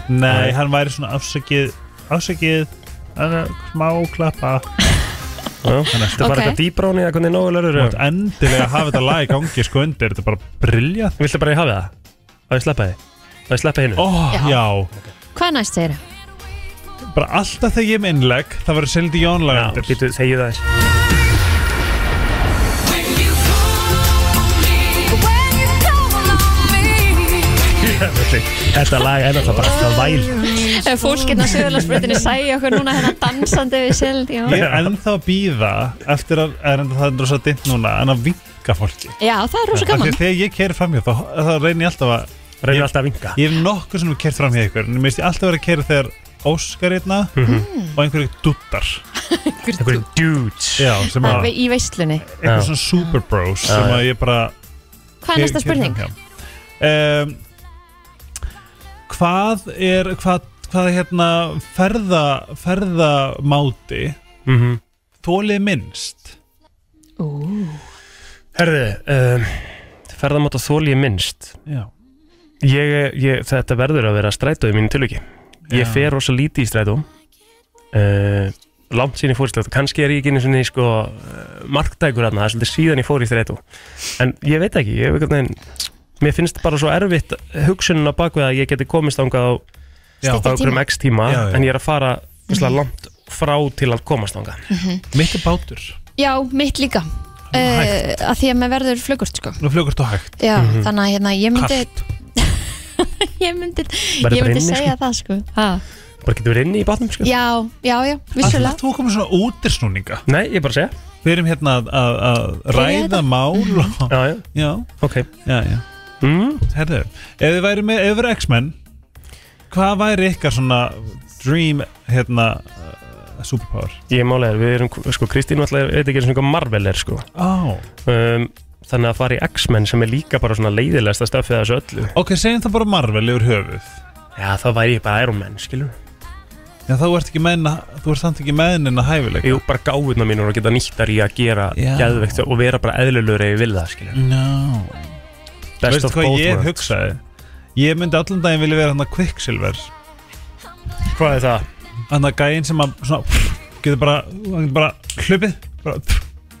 S4: nei, hann væri svona afsakið ásakið eh, smá klappa
S2: Þetta er
S3: Ok.
S2: bara eitthvað dýbra hún í að hvernig nógu lörur
S4: Þú mátt endilega hafa þetta lag í gangi sko undir þetta er bara briljað
S2: Viltu bara að ég hafi það? Að ég sleppa þið? Að ég sleppa hinu?
S4: Ó,
S3: Já.
S4: já,
S3: Hvað er næst þeirra?
S4: bara alltaf þegar ég er með innlegg það verður Cindy Jón lag
S2: Já,
S4: undir
S2: býtu, þegju
S3: [LAUGHS]
S2: það þess Þetta lag er alltaf bara alltaf væl
S3: Ef fólk hérna sögurlagsbreytinni sæja okkur núna hérna dansandi við sild já.
S4: Ég er ennþá að býða eftir að, er enda það er rosa dimmt núna en að vinka fólki
S3: já, það er rosa
S4: Af því
S3: gaman
S4: að þegar ég keri framhjá þá, þá reynir ég alltaf að
S2: Reynir alltaf að vinka
S4: ég hef nokkuð sem kert framhjá ykkur en mér finnst ég alltaf að vera að keri þegar Óskar hérna
S2: Mhm.
S4: og einhverju duttar
S2: Einhverjum dudes
S4: já, sem að
S3: Alveg í veislunni
S4: eitthvað svona super bros sem
S2: Já,
S4: að ég bara
S3: Hvað er næsta spurning?
S4: um, hvað er hvað, hvað er hérna ferða, ferðamáti
S2: Mhm.
S4: þólið minnst
S2: Herðu, um, ferðamáta þól ég minnst
S4: já,
S2: ég, ég, Þetta verður að vera strætó í mínu tilviki Ég
S4: Já.
S2: fer rosa lítið í strætó uh, Langt síðan ég fór í strætó Kannski er ég ekki einu sinni sko, eh, marktækur þarna, það er svolítið síðan ég fór í strætó En ég veit ekki ég, hef einhvern veginn, Mér finnst bara svo erfitt hugsunin á bakvið að ég geti komist þangað á
S4: já.
S2: á okkur um x tíma
S4: Já, já.
S2: En ég er að fara mm. langt frá til að komast þangað
S4: mitt er bátur
S3: Já, mitt líka uh,
S4: Hægt.
S3: að Því að maður verður flugust sko
S4: nú flugur þú hægt
S3: Já, þannig að hérna, ég myndi
S4: Kalt.
S3: [LAUGHS] Ég myndi,
S2: bara
S3: ég myndi
S2: inni,
S3: segja það sko ha.
S2: Bara getur verið inni í batnum sko?
S3: Já, já, já,
S4: Ætlar
S3: vissulega
S4: þú að koma svona útirsnúninga
S2: Nei, ég er bara að segja
S4: Við erum hérna að, að, að ræða
S3: þetta? Mhm.
S4: mál og,
S2: Já, já,
S4: Já,
S2: ok
S4: já, já
S2: mm.
S4: Herðu, ef þið væri með yfir X-Men Hvað væri ykkar svona Dream, hérna uh, Superpower?
S2: Ég málega, við erum, sko, Kristín náttúrulega veit ekki einu sinni hvað Marvel er, sko
S4: Ó
S2: um, Þannig að fara í X-Men sem er líka bara svona leiðilegasta stöfið af þessu öllu
S4: Ok, segjum það bara Marvel yfir höfuð
S2: Já, þá væri ég bara Iron Man, skilur
S4: Já, þá ert ekki menn Þú ert samt ekki menn en að hæfileika
S2: Jú, bara gáðuna mínur og geta nýttar í að gera
S4: Já.
S2: geðveikt og vera bara eðlulegur ef ég vil það, skilur
S4: no.
S2: Best
S4: Veistu
S2: of
S4: hvað
S2: both
S4: ég
S2: worlds.
S4: hugsaði? Ég myndi allan daginn vilja vera hann að Quicksilver
S2: Hvað er það?
S4: Hann að gæinn sem að svona, getur bara, hann getur bara hlupið bara,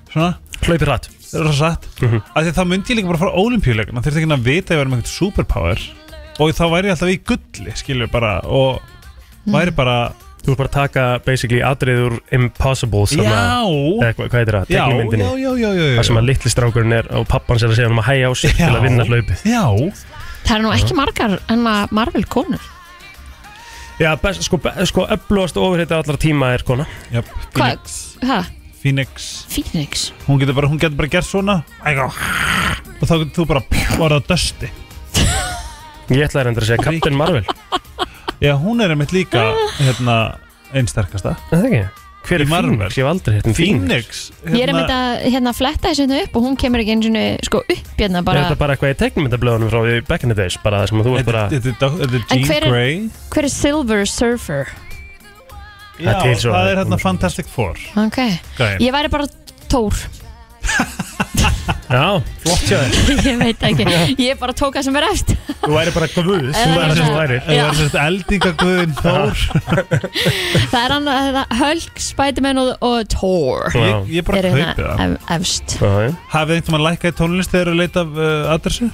S4: Svona
S2: Hlaupi hratt
S4: Það er rosa satt mm
S2: Mhm.
S4: Því þá myndi ég líka bara fara ólimpíuleikana Þurfti ekki að vita að ég væri með eitthvað superpower Og þá væri ég alltaf í gulli, skilur bara Og væri bara
S2: Þú er bara að taka, basically, atriður Impossible sem að
S4: Já
S2: eða hvað hvað heitir það,
S4: Já,
S2: teknimyndinni
S4: já, já, já, já, já.
S2: Það sem að litli strákurinn er og pappan sér að segja hann um að hæja á sig til
S4: Já.
S2: að vinna hlaupið
S4: Já,
S3: Það er nú ekki margar en að Marvel konur
S2: Já, best, sko, be, sko öflugast ofurheita allra tíma er kona
S4: Jöp,
S3: Hvað?
S4: Phoenix,
S3: Ha?
S4: Phoenix.
S3: Phoenix
S4: Hún, getur bara, hún getur bara gert svona Ægá. Og þá getur þú bara Varða að dösti
S2: Ég ætlaði reyndar að segja Captain [LAUGHS] Marvel
S4: Já, hún er einmitt líka hérna, Einsterkasta
S2: Er Það ekki? Hver
S4: Í
S2: er
S4: Marvel.
S2: Phoenix? Ég hef aldrei hérna
S4: Phoenix
S3: Ég er einmitt að hérna fletta þessu hérna upp og hún kemur ekki einu sinni sko upp hérna
S2: Er
S3: bara
S2: þetta bara eitthvað í teknimyndablöðunum frá því back in the days bara það sem að þú ert bara
S4: Þetta þetta er Doc- þetta er
S3: En
S4: Jean
S3: hver er-
S4: Grey
S3: Hver er Silver Surfer?
S4: Já,
S2: Það er til svo-
S4: það er hérna Fantastic Four
S3: Ok,
S4: Gæin
S3: ég væri bara Tór
S2: Já, flott hjá þér
S3: [LAUGHS] Ég veit ekki, ég bara tók það sem er eftir
S2: Þú væri bara guð Þú væri það sem þú væri
S4: Það er sérst
S2: [LAUGHS]
S4: eldingaguðin Þór
S3: Það er hann að Hulk, Spiderman og, og Thor
S2: Já.
S4: Ég, ég bara
S3: Er
S4: kaupi
S3: hérna
S4: það
S3: ef- efst
S2: Já, já.
S4: Hafið einhvern veginn lækkað í tónlist þegar að leita af uh, adressu?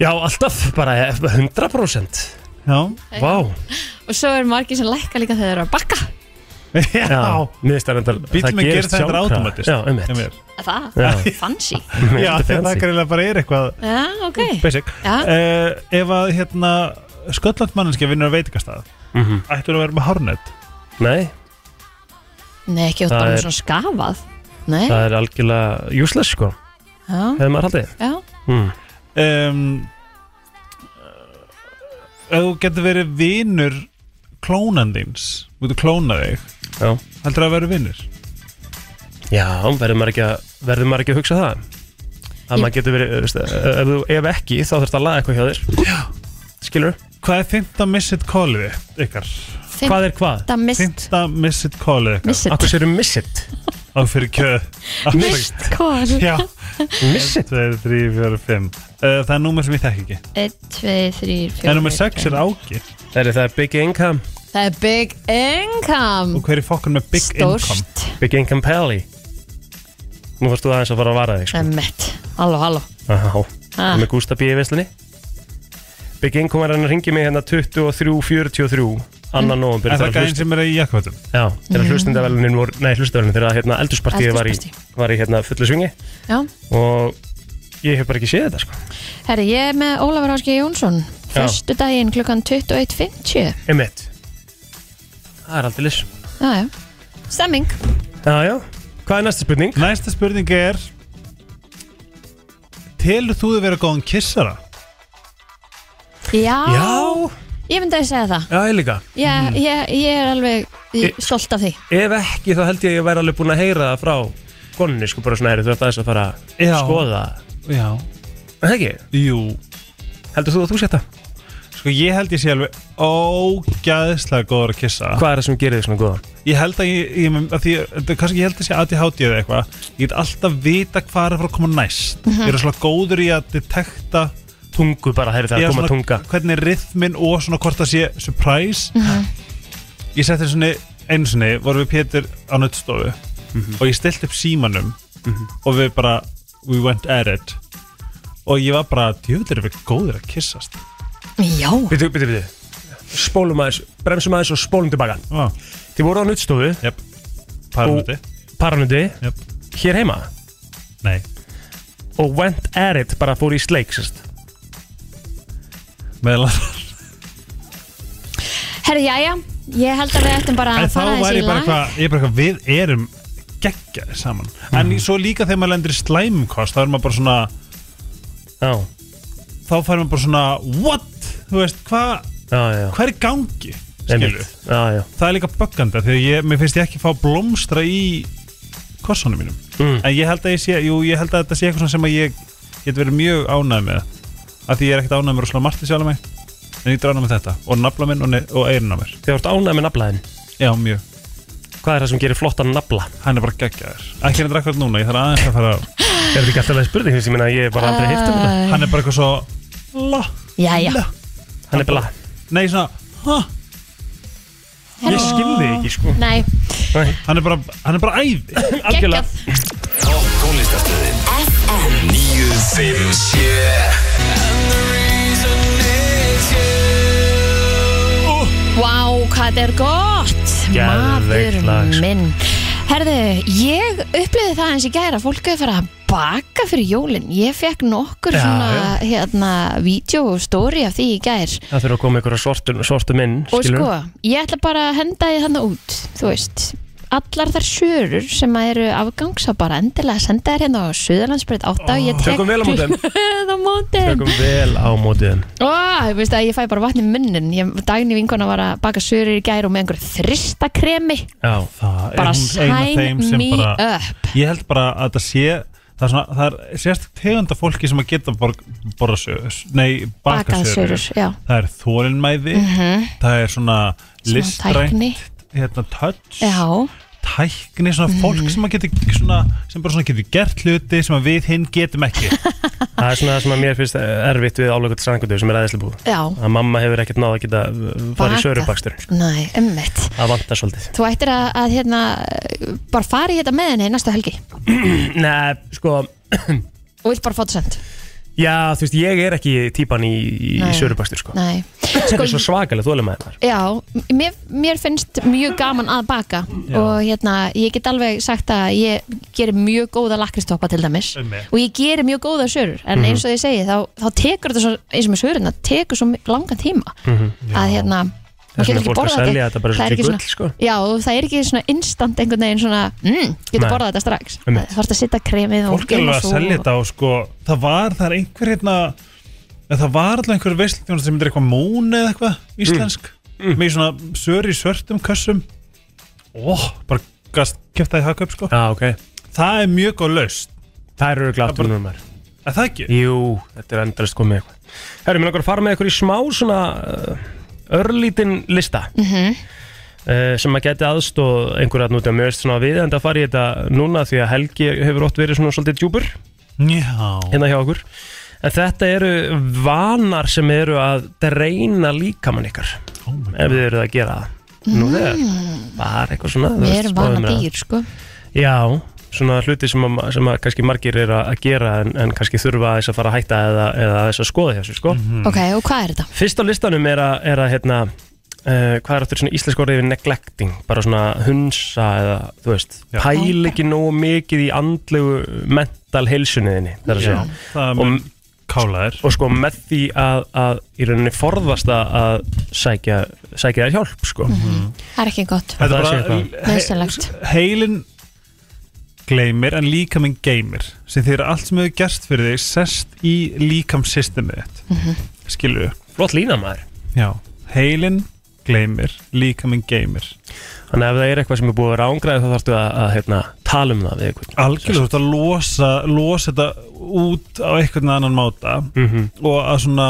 S2: Já, alltaf bara 100%
S4: Já [LAUGHS]
S2: Vá
S3: Og svo er margir sem lækka líka þegar þeir eru að bakka
S2: Já, miðist er reyndar
S4: Bíllinn er gerð þetta
S2: sjálfkrafa.
S4: automatist
S2: Já, um eitt
S4: Já,
S3: Er Það,
S2: [LAUGHS] Já,
S3: fancy
S2: Já,
S4: það er greinlega bara er eitthvað
S3: Já, ok
S4: Basic
S3: Já,
S4: uh, Ef að hérna Skölland manneskja vinnur að veitingastað
S2: Mhm.
S4: Ættur að vera með hárnett
S2: Nei,
S3: nei ekki út
S2: Það
S3: bara
S2: er-
S3: með svona skafað Nei,
S2: það er algjörlega useless sko
S3: já,
S2: Hefur maður haldið
S3: já
S2: mm.
S4: um, eh, Ef þú getur verið vinur klónandins Þú getur klónað þig
S2: Já
S4: Heldur að vera vinnur
S2: Já, verður maður ekki að, verður maður ekki að hugsa það að
S3: Ég-
S2: maður getur verið, veist, eh, ef, þú- ef ekki þá þurft að laga eitthvað hjá þér Já Skilur,
S4: Hvað er fymta missed callið ykkar?
S2: hvað er hvað?
S3: Þetta mist,
S4: Fymta missed callið ykkar
S3: missið
S2: Akkur sérum miss it
S4: Á fyrir kjöð Á fyrir-
S2: Mist
S3: Hvað?
S4: Já
S2: Miss it
S4: 2, 3, 4, 5 Eh, Það er númer sem ég þekk ekki
S3: 1, 2, 3, 4
S4: En númer 6 er ágir
S2: Það er það Big Income
S3: Það er big income
S4: Og hver er fokkun með big income?
S3: Stórst
S2: Big Income Pally Nú fórst þú aðeins að fara að vara þig sko.
S3: Emmett Halló, halló
S2: Aha,
S3: Ah.
S2: Með Gústa B. í veslunni Big Income er hann að ringi mig hérna 23.43
S3: Mm.
S2: annan november
S4: Er það
S2: Þegar
S4: gæðin sem er í jakkvættum?
S2: Já, þegar hlustendavelunin voru, nei hlustendavelunin þegar hérna eldurspartíð var í,
S3: Eldurspartí.
S2: var í hérna fullu svingi
S3: Já
S2: og ég hef bara ekki séð þetta sko
S3: Herri, ég er með Ólafur Áski Jónsson Fyrstu daginn klukkan 21.50
S2: Emmett Það er aldrei lis
S3: Já, já Stemming
S2: Já, já, hvað er næsta spurning?
S4: Næsta spurning er Telur þú þið vera góðan kissara?
S3: Já,
S2: Já,
S3: Ég myndi að segja það
S2: já, ég líka
S3: Ég, ég, ég er alveg
S2: Eh.
S3: ég, stolt af því
S2: Ef ekki þá held ég að ég væri alveg búin að heyra það frá konunni sko bara svona heyri, þú ert aðeins að fara að
S4: Já.
S2: skoða
S4: Já
S2: Það ekki,
S4: Jú,
S2: heldur þú að þú sétt það?
S4: sko ég held ég sé alveg ógæðslega góður að kissa
S2: Hvað er það sem gerir þig svona góðan?
S4: Ég held að ég, ég að því, þetta er kannski ég held að sé ADHD eða eitthvað Ég get alltaf vita hvað er að fara að koma næst Ég er svona góður í að detekta
S2: Tungu bara, heyri það
S4: Já,
S2: að koma
S4: svona
S2: tunga
S4: Hvernig er rithmin og svona hvort það sé surprise Ég setti svona einu sinni vorum við Pétur á nöttstofu
S2: Mhm.
S4: og ég stilti upp símanum og við bara, we went at it og ég var bara djöður er við góður að kissast
S3: Já
S2: Býtu, býtu, býtu Spólum aðeins, bremsum aðeins og spólum tilbaka
S4: ah.
S2: Þið voru á nuttstofu,
S4: Jep, paramundi
S2: paranundi,
S4: Jep,
S2: hér heima
S4: nei,
S2: og went at it, bara fór í sleik sérst.
S4: meðal
S3: Herri, já, já Ég held að við ættum bara
S4: En
S3: að
S4: þá
S3: fara
S4: var
S3: þessi
S4: ég bara
S3: lag
S4: eitthvað, ég bara eitthvað, við erum geggjaði saman
S3: Mhm.
S4: En svo líka þegar maður lendir í slæmum kost, þá er maður bara svona
S2: Já,
S4: þá fær maður bara svona, what? Þú veist, hvað
S2: já, já
S4: hvað er í gangi
S2: Einmitt.
S4: skilur
S2: Já, já
S4: það er líka bögganda því að ég, mér finnst ég ekki fá blómstra í korsunum mínum
S2: Mm.
S4: en ég held að ég sé, jú, ég held að þetta sé eitthvað svona sem að ég get verið mjög ánægð með af því ég er ekkert ánægð með rosalega margt í sjálf mig en ég er ánægð með þetta og nafla minn og, ne- og eirin á mér
S2: Þið voru ánægð með naflaðin
S4: já, mjög,
S2: Hvað er það sem gerir flottan nafla?
S4: hann er bara geggjaður ekki hendur ekkert núna, ég þarf aðeins að fara á-
S2: Er þetta ekki alltaf leið spurning? Ég meina, ég hef bara aldrei heyrt um
S3: Uh,
S2: þetta
S4: hann er bara eitthvað svo la,
S3: Já, já
S2: Hann er bara,
S4: nei svona ha,
S2: ég skilði ekki, sko
S3: Nei,
S4: hann er bara, hann er bara æði [LAUGHS]
S2: Algjörlega.
S3: geggjað
S1: Topp tónlistarstöðin
S5: FM
S1: 957
S3: Vá, hvað þetta er gott
S2: Geðveikt lag,
S3: Maður
S2: sko.
S3: minn Herðu, ég upplifði það eins í gæra Fólk er fyrir að baka fyrir jólin Ég fekk nokkur
S2: Já,
S3: svona Hérna, vídeo og stóri af því í gær
S2: Það þurfa að koma ykkur að sortum, sortum inn
S3: Og
S2: skilurðu?
S3: sko, ég ætla bara að henda því þannig út Þú veist Allar þar sörur sem að eru afgangs að bara endilega senda þér hérna á Suðalandsbreyt 8 oh, Ég tek
S2: Tökum vel á
S3: [LAUGHS]
S2: móti þeim.
S3: á mótin
S2: Tökum vel á mótiðin
S3: Ó, þú veist að ég fæ bara vatn í munnin ég, Dagný vinkona var að baka sörur í gær og með einhverju þristakremi
S2: Já,
S4: það
S3: bara
S4: er hún ein af
S3: sign
S4: þeim sem
S3: me
S4: bara
S3: up
S4: Ég held bara að það sé Það er, svona, það er sérst tegunda fólki sem að geta borg, borða sögur, nei, baka
S3: bakaðsörur
S4: sögur.
S3: já,
S4: Það er þólinmæði, það er svona
S3: tækni.
S4: listrænt, hérna, touch,
S3: já,
S4: tækni, svona fólk sem að geta, svona, sem bara svona getur gert hluti sem að við hinn getum ekki.
S2: það er svona það sem að mér finnst erfitt við álögut strangutu sem er aðeinslega búið
S3: já
S2: að mamma hefur ekkert náð að geta uh, farið í
S3: Bakað.
S2: sörubakstur
S3: Nei, ummitt
S2: það vantar svolítið
S3: Þú ættir að, að hérna, bara fara í þetta með henni næsta helgi
S2: Nei, sko,
S3: og vilt bara fóta send
S2: já, þú veist, ég er ekki típan í, í
S3: Nei.
S2: sörubakstur sko.
S3: Nei,
S2: það er
S3: sko,
S2: svo svakalega þólum að það
S3: já mér, mér finnst mjög gaman að baka og hérna, ég get alveg sagt að ég gerir mjög góða lakristoppa til dæmis
S4: Einmitt.
S3: og ég gerir mjög góða sörur en eins
S2: Mhm.
S3: og ég segi, þá, þá tekur þetta svo, eins og með söruna, tekur svo langan tíma að hérna
S2: Mhm. Það er
S3: maður getur
S2: svona
S3: ekki
S2: fólk að
S3: borðað
S2: selja þetta bara
S3: það er
S2: svo
S3: ekki
S2: gull,
S3: svona
S2: sko.
S3: Já, og það er ekki svona instant einhvern veginn svona, mm, getur
S2: Nei.
S3: borðað þetta strax
S2: Einmitt.
S3: Það þarf að setja kremið og
S4: Fólk er alveg að selja þetta og sko, það var, það er einhver hérna, eða það var alltaf einhver veistljónast sem myndir eitthvað mún eða eitthvað, íslensk,
S2: Mm,
S4: með svona söri svörtum kössum, óh, bara gast kjöftaði haka upp sko.
S2: Já, ok,
S4: Það er mjög góð laust,
S2: það eru glatt um numar
S4: er það ekki?
S2: Jú, þetta er endalist komið eitthvað Herru, mér langar að fara með ykkur í smá svona uh, örlítinn lista
S3: Mhm.
S2: uh, sem að geti aðstóð einhverjarn út af mjög veist svona við en það fari þetta núna því að Helgi hefur oft verið svona svolítið djúpur
S4: Já,
S2: hérna hjá okkur en þetta eru vanar sem eru að dreina líkamann ykkar
S4: oh my god.
S2: ef þið eruð að gera það nú þegar bara eitthvað svona þú
S3: Við
S2: veist,
S3: erum
S2: spáðum
S3: Mm. vana
S2: að-
S3: dýr, sko
S2: Já, svona hluti sem, að, sem að kannski margir er að að gera en, en kannski þurfa aðeins að fara að hætta eða, eða aðeins að skoða hjá sér sko.
S3: Ok, og hvað er þetta?
S2: Fyrst á listanum er að, er að hérna, uh, hvað er aftur svona íslensk orðið yfir neglecting, bara svona hunsa eða þú veist,
S4: Já.
S2: pæl ekki nógu mikið í andlegu mental heilsunniðinni þar að segja.
S4: það
S2: Og-
S4: mun kála þér
S2: Og sko með því að, að í rauninni forðast að að sækja, sækja þér hjálp sko.
S3: Það er ekki gott,
S2: Það sé
S4: Þetta er
S2: eitthvað.
S4: bara
S3: nöðsynlegt
S4: heilin gleymir en líkaminn geymir sem þeir allt sem hefur gerst fyrir þig sest í líkamssystemið þitt mm -hmm. skilur
S2: Flott lína maður.
S4: já, heilin gleymir líkaminn geymir
S2: Þannig að ef það er eitthvað sem er búið að vera ángræði þá þarftu að, að hérna, tala um það við einhvern.
S4: algjörlega þú ert að losa, losa þetta út á einhvern annan máta
S2: Mhm.
S4: og að svona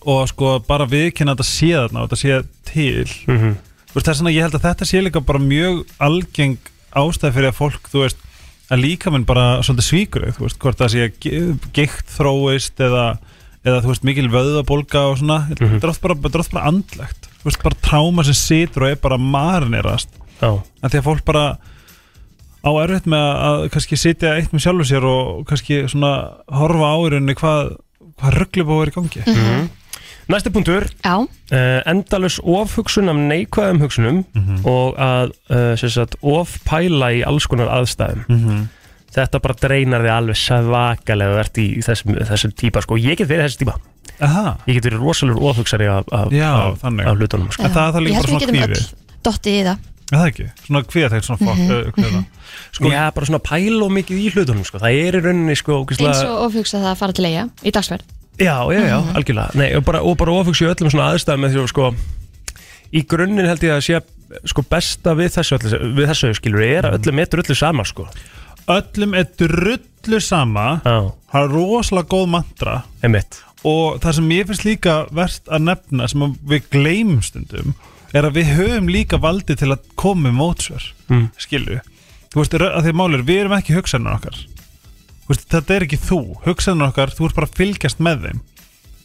S4: og að sko bara viðkynna þetta sé þarna og þetta sé til
S2: Mm -hmm.
S4: Þú veist, það er svona, ég held að þetta sé líka bara mjög algeng ástæð fyrir að fólk þú veist, að líkaminn bara svolítið svíkur þau, þú veist, hvort það sé ge- gigt þróist eða, eða þú veist, mikil vöðabólga og svona mm -hmm. drótt bara, þetta er oft bara andlegt þú veist, bara tráma sem situr og er bara marinerast,
S2: Já.
S4: að því að fólk bara á erfitt með að, að kannski sitja eitt með sjálfu sér og kannski svona horfa á í rauninni hvað hvað rugglubó er í gangi
S2: Næsti punktur,
S3: Já,
S2: uh, endalus ofhugsun af neikvæðum hugsunum og að uh, sem sagt, ofpæla í alls konar aðstæðum. Þetta bara dreinar þig alveg svakalega og ert í þessum, þessum típa. Sko. Ég get verið þessi típa.
S4: Aha,
S2: Ég get verið rosalur ofhugsari af, af,
S4: Já,
S2: af,
S4: þannig.
S2: af hlutunum. Sko.
S4: En það er það líka
S3: ég held
S4: bara
S3: við
S4: svona
S3: getum
S4: kvíði.
S3: öll dottið í það
S4: er það ekki? Svona kvíðatækt, svona fokk mm -hmm.
S2: Sko, Já, bara svona pæla og mikið í hlutunum. Sko. Það er í rauninni sko, ógeðslega-
S3: eins og ofhugsa það að fara til eiga í dagsverð
S2: Já, já, já, algjörlega Nei, og bara, og bara ofugsi öllum svona aðstæðum með því að, sko, í grunninn held ég að sé sko besta við þessu, öllu, við þessu skilur er að öllum er drullu sama sko
S4: öllum er drullu sama
S2: Já,
S4: það er rosalega góð mantra
S2: einmitt
S4: og það sem ég finnst líka verst að nefna sem að við gleymum stundum er að við höfum líka valdi til að koma með mótsver
S2: Mm.
S4: skilu, þú veist rö- að því málur við erum ekki hugsanar okkar Þú veist, þetta er ekki þú, hugsanar okkar þú ert bara að fylgjast með þeim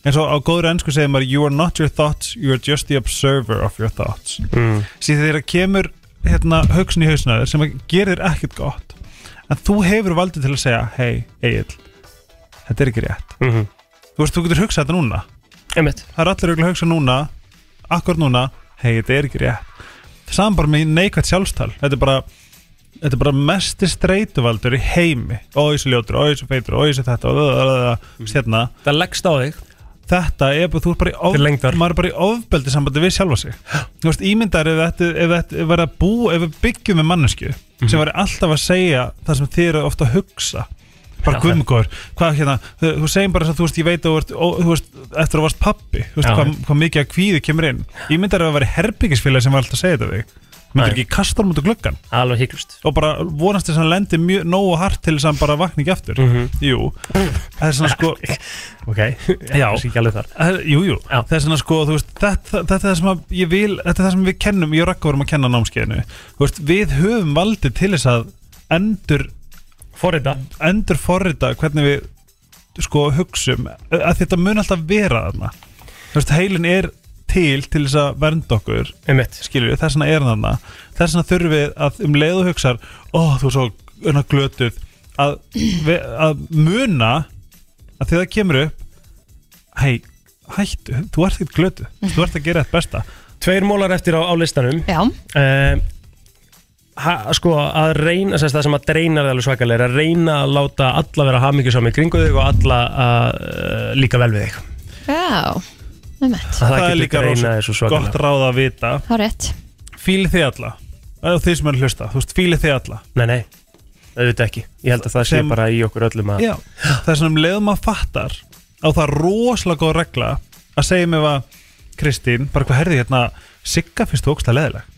S4: eins og á góður ennsku segir maður you are not your thoughts, you are just the observer of your thoughts
S2: mm.
S4: síðan þegar kemur hérna, hugsun í hausnaður sem að gerir þér ekkert gott en þú hefur valdið til að segja hei, Egil, þetta er ekki rétt
S2: Mm -hmm.
S4: þú veist, þú getur hugsað þetta núna
S2: Einmitt
S4: það er allir auðvitað að hugsa núna akkur núna, hei, þetta er ekki rétt saman bara með neikvægt sjálfstal þetta er bara, þetta er bara mesti streytuvaldur í heimi ói svo ljótur, ói svo feitur, ói svo þetta og mm. hérna,
S2: Það leggst á þig
S4: þetta er bara, þú ert bara í of,
S2: Til lengdar.
S4: maður er bara í ofbeldi sambandi við sjálfa sig þú veist, ímyndar ef þetta, ef þetta ef verið að bú, ef við byggjum með mannesku
S2: Mhm.
S4: sem verið alltaf að segja það sem þið eru ofta að hugsa bara
S2: Já,
S4: gummgóður, hvað hérna þú, þú segir bara þess að þú veist, ég veit að þú veist, ó, þú veist eftir að þú varst pappi, þú veist
S2: Já.
S4: hvað, hvað mikið að kvíði kemur inn, ímyndar ef það verið herbyggisfélagi sem var alltaf að segja þetta við myndir
S2: Nei.
S4: ekki kasta hann út á gluggan
S2: Alveg hygglust
S4: og bara vonast þess að hann lendir mjög nógu hart til þess að hann bara vakna ekki aftur
S2: Mhm.
S4: jú, það er svona
S2: [LAUGHS]
S4: sko
S2: Ok, já Það sé ekki alveg þar
S4: Það- Eh, Jú, jú,
S2: Já.
S4: það er svona sko þú veist, þetta, þetta er það sem að ég vil þetta er það sem við kennum, ég og Ragga vorum að kenna á námskeiðinu Þú veist, við höfum valdið til þess að endur,
S2: Forrita
S4: endur forrita hvernig við sko hugsum að þetta mun alltaf vera þarna Þú veist, heilin er til til þess að vernda okkur
S2: Einmitt
S4: skilur við, þess vegna er hann þarna þess vegna þurfum við að um leið og hugsar ó, þú er svo unna glötuð að, við, að muna að þegar það kemur upp hei, hættu þú ert ekkert glötuð, þú ert að gera þetta besta
S2: Tveir mólar eftir á, á listanum
S3: Já,
S2: uh, ha, sko að reyna sem sagt, það sem að dreina þig alveg svakalega er að reyna að láta alla vera hamingjusam í kringu þig og alla að uh, líka vel við þig
S3: já, nefnt
S2: það,
S4: það er
S2: getur
S4: líka
S2: greina
S4: rosa
S2: þessu svakalega
S4: gott ráð að vita
S3: Það er rétt
S4: fíli þið alla, eða þið sem eru að hlusta þú veist, fíli þið alla
S2: Nei, nei, auðvitað ekki Ég held að það sé
S4: Sem-
S2: bara í okkur öllum að
S4: Já. það er svona um leið og maður fattar á það rosalega góð regla að segja mér að Kristín, bara hvað herði hérna Sigga finnst þú ógstlega leðileg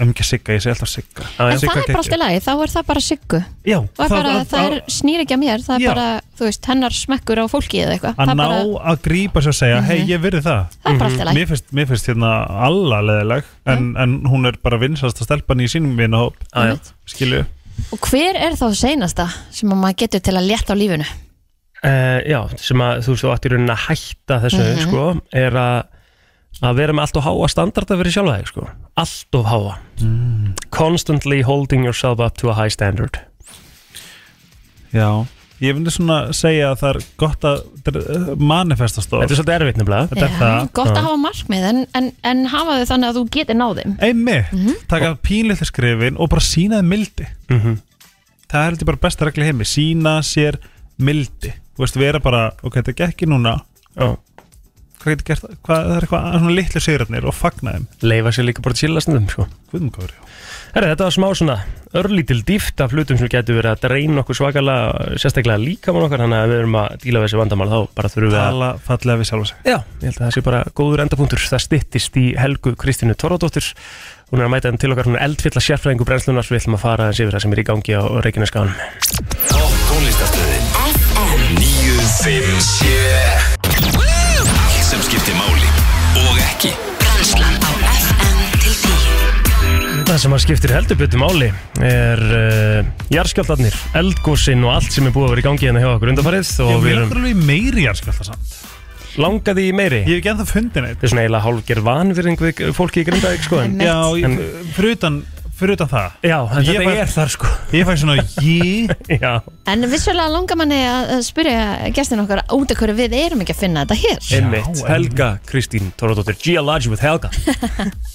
S4: um ekki Sigga, ég segi alltaf Sigga
S2: Já,
S3: En
S2: já.
S3: það
S4: Sigga
S3: er
S4: geggjuð.
S3: bara alltaf lagi, þá er það bara siggu
S4: Já,
S3: Og það, bara, það er, snýr ekki að mér, það er
S4: Já.
S3: bara, þú veist, hennar smekkur á fólki eða eitthvað
S4: að
S3: Það er
S4: ná
S3: bara, Mhm.
S4: að grípa sér og segja hei, ég virði það
S3: það er bara alltaf lagi
S4: mér finnst, mér finnst hérna alla leðileg en, en hún er bara vinsast að stelpa hann í sínum vinahóp,
S2: Já, já.
S4: skilju
S3: Og hver er þá seinasta sem að maður getur til að létta á lífinu?
S2: Eh, já, sem að þú veist þú átt í rauninni að hætta þessu sko, er að að vera með allt og háa standarda fyrir sjálfa þig sko. allt og háa
S4: Mm.
S2: constantly holding yourself up to a high standard
S4: Já Ég myndi svona segja að það er gott að þetta er, eh, manifestast
S2: þetta
S4: og
S2: er svolítið erfitt nefnilega
S4: Þetta er það.
S3: Gott
S2: Já.
S3: að hafa markmið en, en, en hafa þau þannig að þú getur náðum
S4: Einmi, taka pínlítið skrifin og bara sína þið mildi
S2: Mhm.
S4: Það er heldur bara besta regli í heimi Sína sér mildi Þú veist, vera bara, ok, þetta gekk ekki núna
S2: Já.
S4: Hvað getur gert, hvað, það er eitthvað svona litlu sigurarnir og fagna þeim
S2: leifa sér líka bara chilla stundum sko.
S4: Guðum góður, já
S2: Herra, þetta var smá svona örlítil dýft af hlutum sem getur verið að dreina okkur svakalega sérstaklega líkamann okkar þannig að við erum að díla við þessi vandamál þá bara þurfum við að
S4: Tala fallega við sjálfa sig
S2: Já, ég held að það sé bara góður endapunktur það styttist í Helgu Kristínu Torfadóttir hún er að mæta henn til okkar hún er eldfylla sérfræðingu brennslunars við ætlum að fara aðeins yfir það sem er í gangi á Reykjaneskáðan
S1: Topp tónlistarstöðin
S5: FM
S1: 957 Allt sem skiptir máli og ekki
S5: Brennslan á FM til 10
S2: Það sem að skiptir heldur betur máli er uh, jarðskjáltarnir, eldgósin og allt sem er búið að vera í gangi hérna hjá okkur undanfarið og við
S4: Ég vil
S2: erum
S4: okkur alveg meiri jarðskjálta samt
S2: langaði í meiri
S4: Ég hef ekki ennþá fundið neitt
S2: Þetta er svona eiginlega hálfgerð vanvirðing við fólki í grindaðik sko en,
S3: Einmitt.
S4: Já,
S2: En-
S4: ég- fyrir utan, fyrir utan það
S2: Já, en
S4: Ég
S2: þetta
S4: bara-
S2: er þar sko
S4: Ég fæ svona, ég
S2: Já,
S3: En vissulega langar manni að að spyrja gestin okkar út af hverju við erum ekki að finna þetta hér
S2: einmitt,
S4: einmitt.
S2: Helga Kristín Tóradóttir, Geology with [LAUGHS] Helga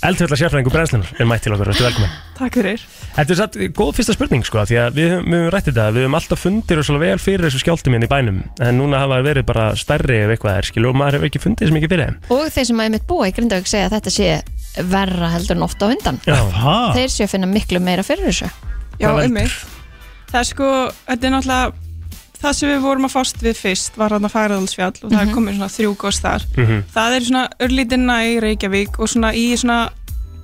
S2: Eldfjölda sérfræðingu brennslunar er mætt til okkur, þetta er velkomin
S8: Takk fyrir.
S2: Þetta er satt góð fyrsta spurning sko, því að við höfum við höfum rætt þetta, við höfum alltaf fundir og vel fyrir þessu skjáltum hérna í bænum en núna hafa þeir verið bara stærri ef eitthvað er skil og maður hefur ekki fundið sem ekki fyrir þeim
S3: Og þeir sem að mitt búa í Grindavík segja að þetta sé verra heldur en oft á undan
S2: Já,
S4: Ha?
S3: Þeir séu að finna miklu meira fyrir þessu
S8: Já,
S2: Hvað veldur?
S8: um mig. Það er sko, þetta er náttúrulega, það sem við vorum að fást við fyrst var hann að Færaðalsfjall og það er komið svona þrjú gos þar. Það er svona örlítinna í Reykjavík og svona í svona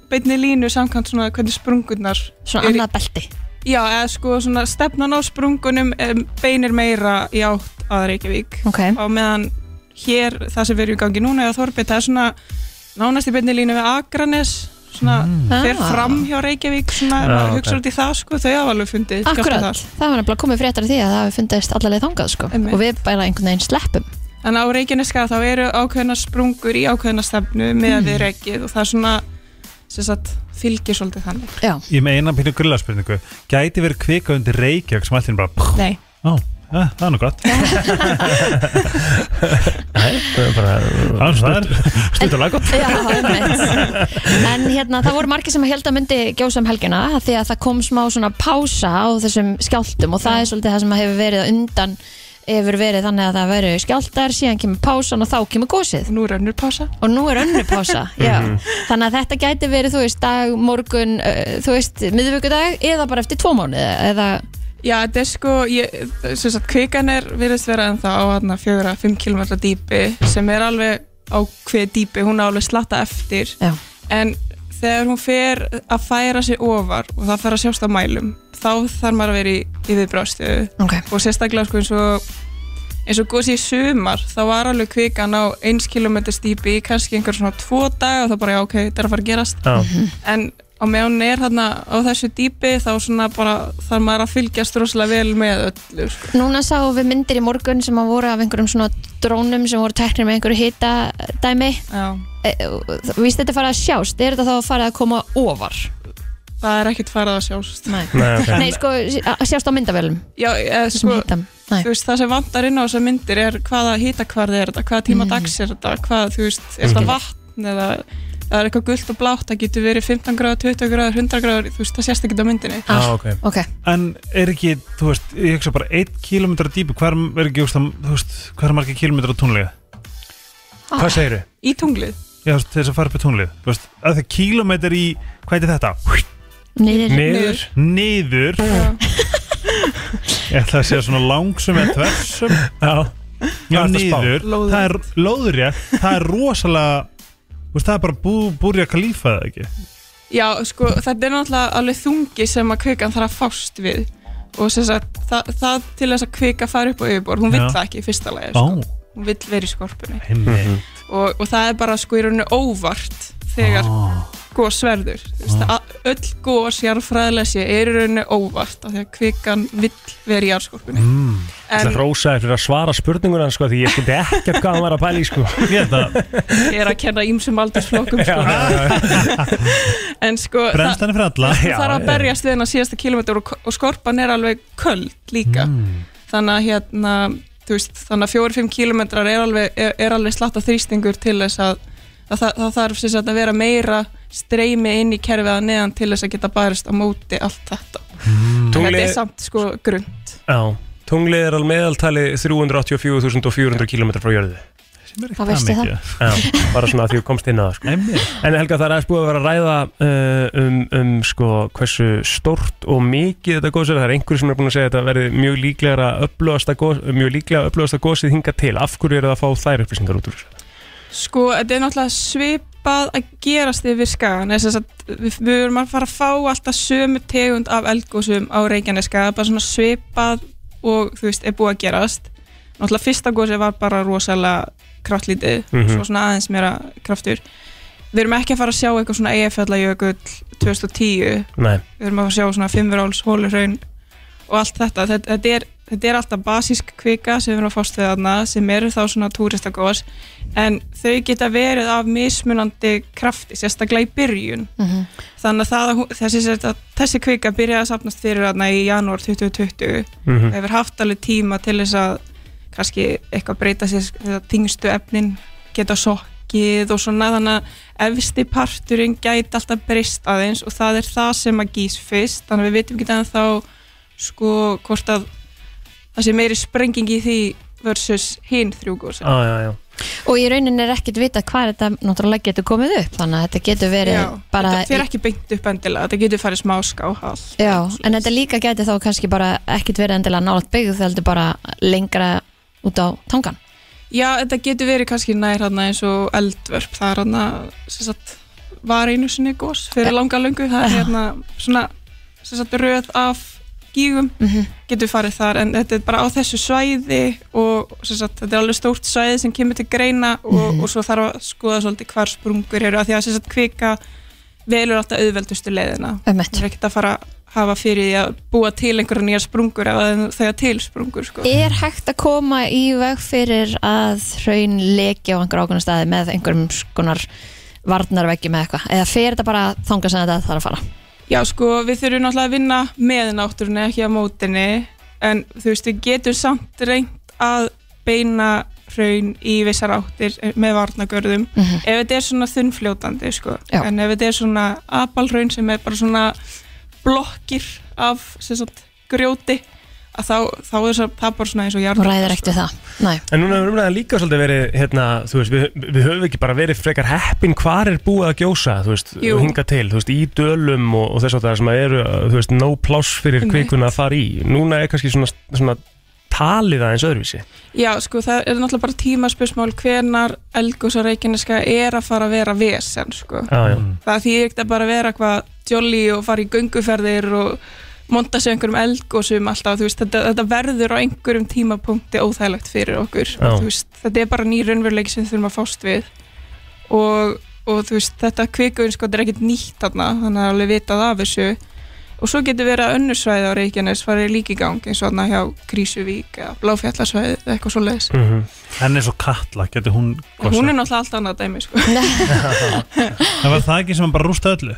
S8: beinni línu samkvæmt svona hvernig sprungurnar
S3: Svona
S8: eru í-
S3: annað belti
S8: Já, eða sko svona stefnan á sprungunum em, beinir meira í átt að Reykjavík
S3: Ok,
S8: á meðan hér, það sem við erum í gangi núna eða Þorbið, það er svona nánast í beinni línu við Akranes svona fer
S3: Ah.
S8: fram hjá Reykjavík svona, ef
S2: Mm. Já,
S8: maður
S2: ok.
S8: hugsa út í það sko, þau hafa alveg fundið skjálfta
S3: akkurat
S8: þar.
S3: Það var nefnilega komið fréttar af því að það hafi fundist allarleið þangað sko
S8: Einmitt.
S3: Og við bara einhvern veginn sleppum
S8: en á Reykjaneska þá eru ákveðna sprungur í ákveðna stefnu með
S3: Mm.
S8: við Reykjið og það er svona sem sagt, fylgir svolítið þannig
S3: Já,
S4: Ég með eina pínu grilla spurningu Gæti verið kvika undir Reykjavík sem allir bara pff,
S8: Nei,
S4: Ó, eh, það er nú gott
S2: það er bara
S4: Það er svona það er-
S2: stutt og laggótt
S3: Já, einmitt. en hérna það voru margir sem held að myndi gjósa um helgina af því að það kom smá svona pása á þessum skjáltum og það er svolítið það sem hefur verið á undan hefur verið þannig að það veru skjáltar síðan kemur pásan og þá kemur gósið
S8: og nú er önnur pása
S3: og nú er önnu pása
S2: [LAUGHS]
S3: já.
S2: Mhm.
S3: þannig að þetta gæti verið þú veist dag, morgun, uh, þú veist miðvikudag eða bara eftir tvo mánuði eða
S8: Já, þetta er sko, ég, sem sagt, kvikan er virðist vera en það á hann að fjögra, fimm kilometra dýpi sem er alveg á hver dýpi, hún er alveg slatta eftir
S3: já,
S8: en þegar hún fer að færa sig ofar og það fer að sjást á mælum þá þarf maður að vera í, í viðbráðstöðu
S3: ok
S8: og sérstaklega sko eins og eins og góðs í sumar þá var alveg kvikan á 1 km dýpi í kannski einhver svona 2 dag og þá bara já ok, þetta er að fara að gerast
S2: Já.
S8: en á meðan hún er þarna á þessu dýpi þá svona bara þarf maður að fylgjast rosalega vel með öllu sko.
S3: Núna sáum við myndir í morgun sem að voru af einhverjum svona drónum sem voru teknir með einhverju hita dæmi
S8: já,
S3: E, víst þetta farið að sjást, er þetta þá að farið að koma ofar?
S8: það er ekkert farað að sjást
S3: Nei,
S2: Nei, ok.
S3: sko, að sjást á myndavélum
S8: já, eða,
S3: sem
S8: sko,
S3: hitam Nei.
S8: þú veist, það sem vantar inn á þessar myndir er hvaða hítakvarð er þetta, hvaða tíma dags er þetta hvað, þú veist, er þetta vatn eða það er eitthvað gult og blátt, það getur verið 15 gráður, 20 gráður, 100 gráður þú veist, það sést ekki á myndinni
S2: Já, Ah, ok
S3: Ok,
S4: En er ekki, þú veist, ég hugsa bara 1 km dýpi, hver er ekki, úsla, þú veist, hver er margir kilometrar á túnlið?
S2: Hvað segirðu?
S8: í tunglið,
S4: Já, þú veist, til þess að fara upp í túnlið, þú veist, að það kilometrar í, hvað er þetta?
S3: niður
S2: Niður
S4: Niður Ég ætla að segja svona langsum eða tversum
S2: Já
S4: Já,
S2: ertu að spá?
S4: niður,
S8: Lóðrétt.
S4: það er lóðrétt, það er rosalega, þú veist, það er bara bú, búrja kalífa eða ekki?
S8: já, sko þetta er náttúrulega alveg þungi sem að kvikan þarf að fást við og sem sagt, það, það til þess að kvika fari upp á yfirborð, hún vill
S4: Já.
S8: það ekki í fyrsta lagi,
S4: Ó,
S8: sko. hún vill verið í skorpunni
S4: heimmi,
S8: og, og það er bara sko í rauninu óvart þegar gos verður Þú veist, að- öll gós jarðfræðilega sé er í rauninu óvart af því að kvikan vill vera í jarðskorpunni mm.
S2: Það
S8: en
S2: rósaði fyrir að svara spurninguna sko, því ég skildi ekkert hvað hann var að pæla í sko. [LAUGHS]
S8: ég er að kenna ímsum aldursflokkum sko. en sko það-
S4: Brennst hann er fyrir alla
S8: það þarf að berjast við hennar síðasta kilometr og, og skorpan er alveg köld líka
S4: mm.
S8: þannig að hérna þú veist, þannig að fjóri-fimm kilometrar er alveg, er, er alveg slatta þrýstingur til þess að, að það, það þarf sem sagt að vera meira streymi inn í kerfið að neðan til þess að geta barist á móti allt þetta
S4: Mm.
S8: en þetta
S2: Tungli,
S8: er samt sko grund
S2: á, tungli er alveg meðaltali 384.400 km frá jörðu
S3: Hvað veistu það?
S2: Já, bara svona að því þú komst inn að það sko. En Helga, það er aðeins búið að vera að ræða uh, um, um sko, hversu stórt og mikið þetta góðs er Það er einhverjum sem er búin að segja að þetta verði mjög líklega að upplöðasta gós, mjög líklega upplöðasta gósið hinga til Af hverju eru það að fá þær upplýsingar út úr þessu?
S8: Sko, þetta er náttúrulega svipað að gerast yfir skagan við, við erum að fara að fá alltaf sömu tegund af eldgósum á Reykjaneska bara svona svipað og þú veist, er búið að gerast náttúrulega fyrsta gósi var bara rosalega kraftlítið,
S2: Mhm.
S8: svo svona aðeins meira kraftur við erum ekki að fara að sjá eitthvað svona EFL-jökull 2010
S2: Nei,
S8: við erum að fara að sjá svona fimmveráls, hólurhraun og allt þetta, þetta, þetta, er, þetta er alltaf basísk kvika sem við erum að fást við þarna sem eru þá svona túristagós en þau geta verið af mismunandi krafti, sérstaklega í byrjun
S3: Mhm.
S8: þannig að það, að hún- þessi, þessi, þessi kvika byrjaði að sapnast fyrir þarna í janúar 2020
S2: mm
S3: Mhm.
S8: og hefur haft alveg tíma til þess að kannski eitthvað breyta sér þess að þingstu efnin geta sokkið og svona þannig að efsti parturinn gæti alltaf breyst aðeins og það er það sem að gís fyrst þannig að við vitum ekki þannig þá sko hvort að það sé meiri sprenging í því versus hinn þrjúgósi
S2: á, Ah, já, já
S3: Og í rauninni er ekkert vitað hvað þetta náttúrulega getur komið upp þannig að þetta getur verið bara
S8: þetta fyrir ekki beint upp endilega þetta getur farið smá skáhall
S3: Já, en þetta líka getur þá kannski bara ekkert verið endilega nálat byggð þegar þetta bara lengra út á tangan
S8: Já, þetta getur verið kannski nær hann eins og eldvörp, það er hann sem sagt, var einu sinni gós fyrir langa löngu, það er hérna svona, sem sagt, röð af gígum, getur farið þar en þetta er bara á þessu svæði og sem sagt, þetta er alveg stórt svæði sem kemur til greina og, og svo þarf að skoða svolítið hvar sprungur eru, af því að sem sagt kvika velur alltaf auðveldustu leiðina
S3: Ömmett.
S8: það er ekkert að fara að hafa fyrir því að búa til einhverja nýjar sprungur eða þegar til sprungur sko.
S3: Er hægt að koma í veg fyrir að hraun leki á einhver ákveðna staði með einhverjum skonar varnarveggi með eitthvað eða fer þetta bara þangað sem þetta þarf að fara
S8: Já, sko, við þurfum náttúrulega að vinna með náttúrunni, ekki á mótinni en þú veist, við getum samt reynt að beina hraun í vissar áttir eh, með varnagörðum ef þetta er svona þunnfljótandi, sko
S3: Já.
S8: en ef þetta er svona apalhraun sem er bara svona blokkir af sem sagt, grjóti að þá, þá er svo, það bara svona eins og sko.
S3: og
S8: jarðar
S3: ræðir ekkert við það Nei.
S2: En núna hefur umræðan líka svolítið verið, hérna, þú veist, við, við höfum ekki bara verið frekar heppin hvar er búið að gjósa, þú veist,
S8: Jú.
S2: hinga til, þú veist, í dölum og, og þess að það sem eru, þú veist, no pláss fyrir kvikuna að fara í. Núna er kannski svona, svona talið aðeins öðruvísi.
S8: Já, sko, það er náttúrulega bara tímaspursmál hvenar Elgós og Reykjaneska er að fara að vera vesen, sko
S2: Já, já.
S8: það þýðir ekkert að bara vera eitthvað jolly og fara í gönguferðir og monta sig einhverjum eldgósum alltaf, þú veist, þetta, þetta verður á einhverjum tímapunkti óþægilegt fyrir okkur
S2: Já.
S8: Þú veist, þetta er bara ný raunveruleiki sem við þurfum að fást við og, og þú veist, þetta kvikuðin sko, þetta er ekkert nýtt þarna, þannig að alveg vitað af þessu og svo getur verið að önnur svæði á Reykjanes farið líka í gang eins og þarna hjá Krísuvík eða Bláfjallasvæði eða eitthvað svo leiðis
S2: Mm
S4: Henni er svo katla, getur hún
S8: Hún
S4: gosað?
S8: er náttúrulega allt annað dæmi sko.
S4: Það var það ekki sem hann bara rústa öllu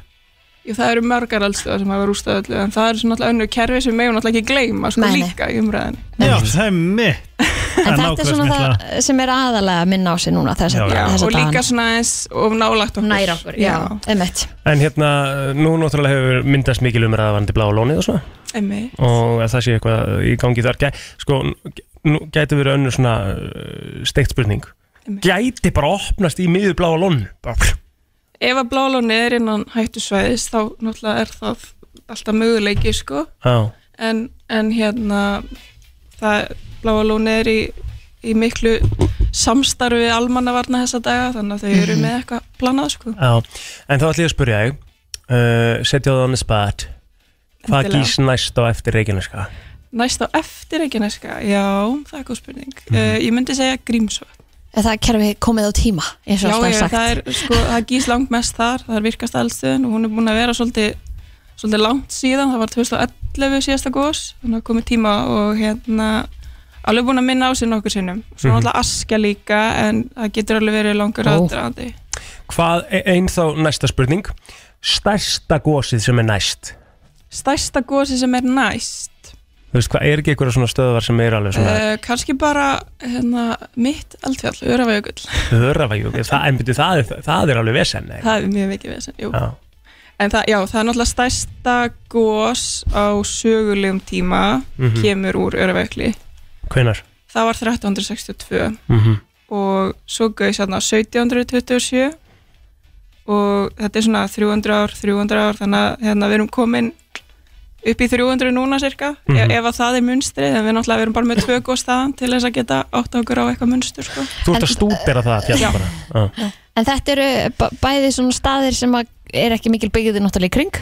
S8: Jú, það eru mörgar eldstöðar sem hafa rústað öllu en það eru svona alltaf önnur kerfi sem megum alltaf ekki gleyma sko
S3: Nei, nei.
S8: líka í umræðinni
S4: Já, það er mitt
S3: En
S4: Það er
S3: þetta er
S4: nákvæmlega
S3: svona
S4: sem ég
S3: það sem er aðalega að minna á sig núna þess
S4: Já,
S3: að
S4: já.
S3: þess
S8: og
S3: að
S8: líka svona eins og nálagt okkur
S3: nær okkur, já, einmitt
S2: En hérna, nú náttúrulega hefur myndast mikil umræða varandi blá lónið og svona,
S8: emmi
S2: og að það sé eitthvað í gangi þar. Gæ, sko, nú gæti verið önnur svona uh, steikt spurning.
S8: Einmitt.
S2: Gæti bara opnast í miður blá lónu, bara
S8: ef að blálóni er innan hættusvæðis þá náttúrulega er það alltaf möguleiki sko
S2: Já,
S8: en, en hérna það bláa lóni er í, í miklu samstarfi almannavarna þessa daga þannig að þau
S3: Mhm.
S8: eru með eitthvað planað sko
S2: já. En þá ætlum ég að spyrja þig uh, Setja það on the spot Hvað
S8: Endilega.
S2: gís næst á eftir Reykjaneska?
S8: næst á eftir ekki næska, já, það er góð spurning
S3: Mhm.
S8: uh, ég myndi segja grímsvöld
S3: Er það kerfi komið á tíma eins og
S8: Já,
S3: alltaf er
S8: ég,
S3: sagt
S8: það er sko, það gís langt mest þar, það er virkast eldstöðin og hún er búin að vera svolítið svolítið langt síðan, það var 2011 síðasta gós, þannig að komið tíma og hérna alveg búin að minna á sig nokkur sinnum svo
S2: Mhm.
S8: náttúrulega askja líka en það getur alveg verið langur
S3: Ó.
S8: aðdraðandi
S2: Hvað, einn þá næsta spurning Stærsta gósið sem er næst
S8: stærsta gósi sem er næst
S2: Þú veist, hvað er ekki einhverja svona stöðvar sem er alveg svona
S8: uh, kannski bara hérna, mitt eldfjall, Örafajökull
S2: [LAUGHS] Hörafægjúk, það, en byrju, það, er- það er alveg vesen nei?
S8: Uh. það er mjög mikið vesen, jú
S2: Já,
S8: en það, já, það er náttúrulega stærsta gós á sögulegum tíma
S2: Mhm.
S8: kemur úr Örafajökli
S2: hvenar?
S8: það var 1362
S2: Mm
S8: og svo gauði sérna 1727 og þetta er svona 300 ár, 300 ár þannig að hérna, við erum komin upp í 300 núna cirka
S2: Mhm.
S8: ef, ef að það er munstrið, en við náttúrulega erum bara með tvö góð staðan til þess að geta átt okkur á eitthvað munstur sko.
S2: Þú ert
S3: En-
S2: að stúdera það fjall
S8: Já.
S2: bara Já.
S3: En þetta eru b- bæði svona staðir sem að er ekki mikil byggðið náttúrulega í kring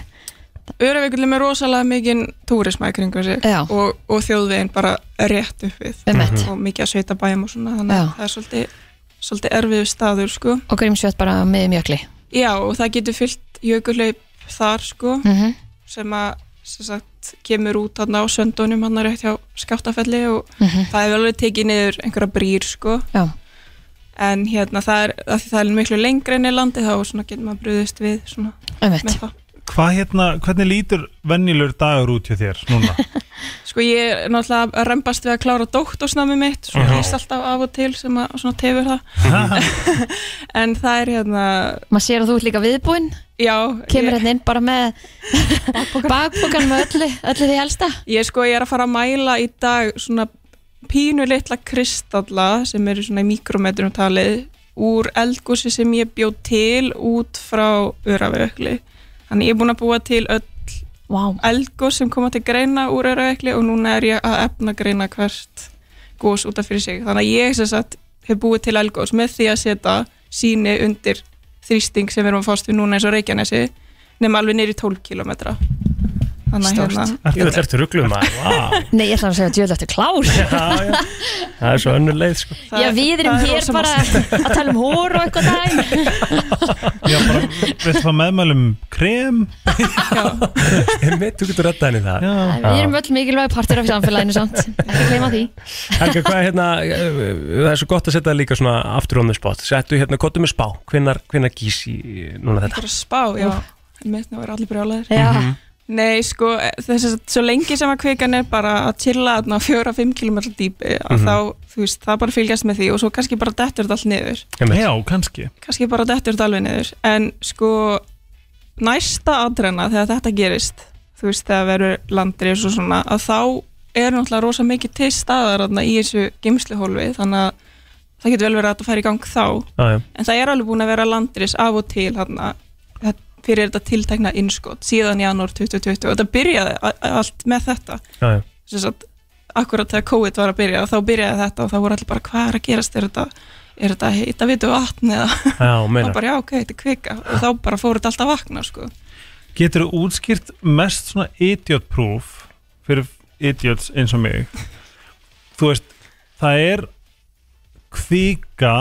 S8: Öreveikullum er rosalega mikinn túrisma í kringum sig
S3: Já.
S8: og, og þjóðveginn bara rétt upp við
S3: um ett
S8: og mikið að sveita bæjum og svona þannig að
S3: Já.
S8: það er svolítið, svolítið erfiður staður sko.
S3: og grímsvöld bara með mjökli
S8: Já, og það getur fyllt jökulaupp þar sko
S3: mm
S8: sem að sem sagt, kemur út hann á söndunum hann rétt hjá skjáttafelli og það hefur alveg tekið niður einhverja brýr sko.
S3: Mhm. Já, um
S8: en hérna það er, af því það er miklu lengra inn í landi þá svona getur maður brúðist við svona,
S3: um
S8: með
S3: ett
S8: það.
S4: Hvað hérna, hvernig lítur venjulur dagur út hjá þér núna?
S8: Sko ég er náttúrulega að rembast við að klára dóttorsnami mitt svo
S2: Já.
S8: hlýst alltaf af og til sem að svona tefur það [LAUGHS] en það er hérna,
S3: Maður sér að þú ert líka viðbúinn
S8: já
S3: kemur
S8: ég,
S3: hérna inn bara með [LAUGHS] bakpokan með öllu, öllu því helsta
S8: ég sko ég er að fara að mæla í dag svona pínu litla kristalla sem eru svona í mikrometrum talið úr eldgósi sem ég bjó til út frá Öravökli þannig ég er búin að búa til öll
S3: Vá,
S8: eldgós sem koma til greina úr Öravökli og núna er ég að efna greina hvert gós út af fyrir sig þannig að ég sem sagt hef búið til eldgós með því að setja síni undir þrýsting sem við erum að fást við núna eins og Reykjanesi nema alveg niður í 12 kilometra þannig að
S3: Stórt.
S8: hérna
S2: Jú, þetta ertu ruglum [LAUGHS] að wow.
S3: nei ég ætla að segja að djöðlöftu klár
S2: já, já. Það er svo önnur leið sko.
S8: það
S3: Já,
S8: er-
S3: við erum
S8: það er
S3: hér
S8: rosa
S3: bara
S8: margt.
S3: að tala um hór og eitthvað dæmi
S4: Já, bara, veistu það meðmælum um krem?
S2: Einmitt, Þú getur rettað henni það
S4: Já,
S3: [LAUGHS] Við erum öll mikilvæg partur af samfélaginu samt Ekki gleyma því
S2: Helga, hvað er hérna, eh, það er svo gott að setja það líka svona aftur on the spot Settu hérna, kottu með spá, hvenar, hvenar gís í núna þetta?
S8: bara spá, já Mér finnst að vera allir brjálæðir.
S3: Já,
S8: Nei, sko, þess að svo lengi sem að kvikan er bara að chilla þarna á 4-5 km dýpi, að þá, þú veist, það bara fylgjast með því og svo kannski bara dettur þetta allt niður.
S2: Einmitt.
S4: já kannski.
S8: kannski bara dettur þetta alveg niður en sko næsta aðrenna þegar þetta gerist þú veist þegar verður landris og svona að þá er náttúrulega rosa mikið til staðar þarna í þessu geimsluhólfi þannig að það getur vel verið að þetta færi í gang þá
S2: Já, já.
S8: en það er alveg búin að vera landris af og til þarna þetta- fyrir þetta tiltekna innskot síðan janúar 2020 og þetta byrjaði a- a- allt með þetta
S2: Já, já.
S8: sem sagt akkurat þegar COVID var að byrja þá byrjaði þetta og þá voru allir bara hvað er að gerast er þetta, er þetta heita vitu vatn eða
S2: Já,
S8: [LAUGHS] og
S2: meinar
S8: bara já, ok, þetta er kvika og þá bara fór þetta alltaf að vakna sko.
S4: Getur þú útskýrt mest svona idiot proof fyrir idiots eins og mig? Þú veist, það er kvíka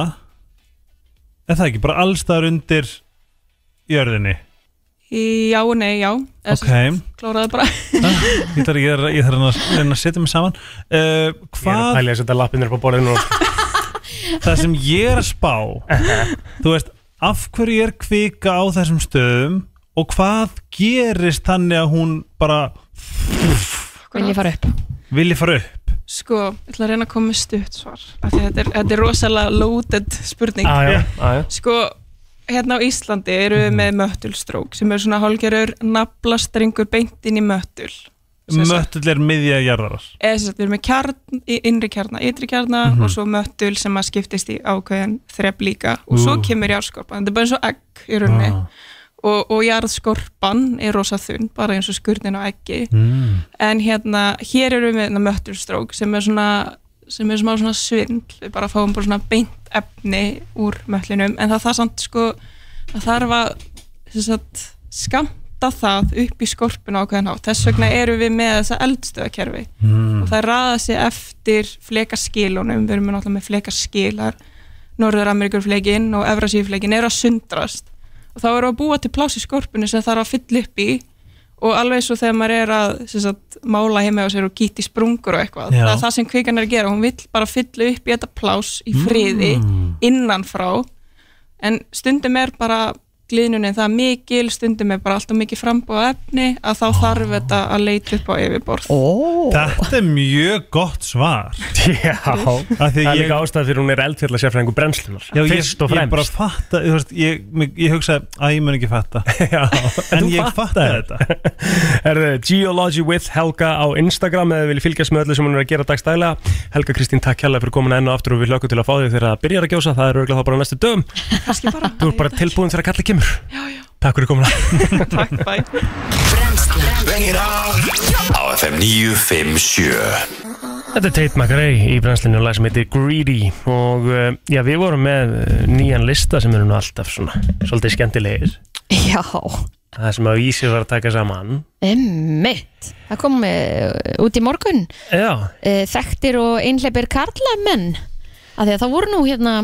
S4: er það ekki, bara allstaðar undir jörðinni
S8: Í já og nei, já Eða
S4: Ok,
S8: sem kláraði bara [LAUGHS]
S4: ég þarf, ég þarf, ég þarf að reyna að setja mig saman
S2: Ég
S4: uh,
S2: er að
S4: Hvað
S2: pæla í að setja lappinir upp á borðinu og
S4: það sem ég er að spá þú veist, af hverju er kvika á þessum stöðum og hvað gerist þannig að hún bara
S3: vil ég fara upp
S4: vilji fara upp
S8: sko, ég ætla að reyna að koma með stutt svar af því þetta er, þetta er rosalega loaded spurning
S2: Já, já, já, já.
S8: sko, hérna á Íslandi eru við með möttulstrók sem er svona hálgerur naflastrengur beint inn í möttul Sem sagt-
S4: möttull er miðja jarðarar
S8: eða sem sagt, við erum með kjarn, í- innri kjarna, ytri kjarna og svo möttul sem að skiptist í ákveðin þrepp líka og
S4: Ú.
S8: svo
S4: Ah.
S8: kemur jarðskorpan, þetta er bara eins og egg í rauninni og, og jarðskorpan er rosa þunn, bara eins og skurnin á eggi
S4: mm.
S8: en hérna, hér erum við með hérna, möttulstrók sem er svona sem er smá svona svindl, við bara fáum bara svona beint efni úr möttlinum en það þarf samt sko það þarf að sem sagt, skamta það upp í skorpuna ákveðin hátt, þess vegna erum við með þessa eldstöðakerfi
S2: mm.
S4: Mm.
S8: og það raða sig eftir flekaskilunum við erum náttúrulega með flekaskilar Norður-Ameríkurflekin og Evrasíflekin eru að sundrast og þá erum við að búa til pláss í skorpunni sem það er að fylla upp í og alveg svo þegar maður er að sem sagt, mála heima á sér og gíti sprungur og eitthvað,
S4: Já.
S8: það er það sem kvikan er að gera hún vill bara fylla upp í þetta plás í friði innanfrá en stundum er bara glíðnunin það mikil, stundum er bara alltaf mikið frambúða efni að þá þarf þetta að leita upp á yfirborð
S3: Ó,
S4: Þetta er mjög gott svar
S2: Já,
S4: Af því
S2: það er
S4: ég-
S2: líka ástæð fyrir hún er eldfjalla sérfræðingu brennslunar
S4: Já, ég,
S2: Fyrst og
S4: ég bara
S2: fremst
S4: fatta þú veist, ég, mig- ég hugsa að ég mun ekki fatta
S2: [LAUGHS] Já,
S4: en
S2: þú
S4: ég fatta
S2: fattar.
S4: þetta
S2: Herðu, Geology with Helga á Instagram eða vilja fylgjast með öllu sem hún er að gera dagstæðlega Helga Kristín, takk hérlega fyrir komin enn og aftur og við hlökkum til að fá þig þegar það byrjar að gjósa það er auðvitað þá bara á næstu dögum
S8: kannski bara,
S2: Þú er bara tilbúin þegar kallið kemur já, já. Takk fyrir [LAUGHS] komin
S8: takk, bæ
S5: Brennslan
S1: Bengir á Á FM 957
S2: Þetta er Tate McRae í brennslinu og lag sem heitir Greedy og uh, já, við vorum með uh, nýjan lista sem eru nú alltaf svona svolítið skemmtilegir
S3: já,
S2: það sem að Ísir var að taka saman
S3: emmitt Um Það kom uh, út í morgun
S2: Já,
S3: uh, Þekktir og einhleipir karlamenn að Því að það voru nú hérna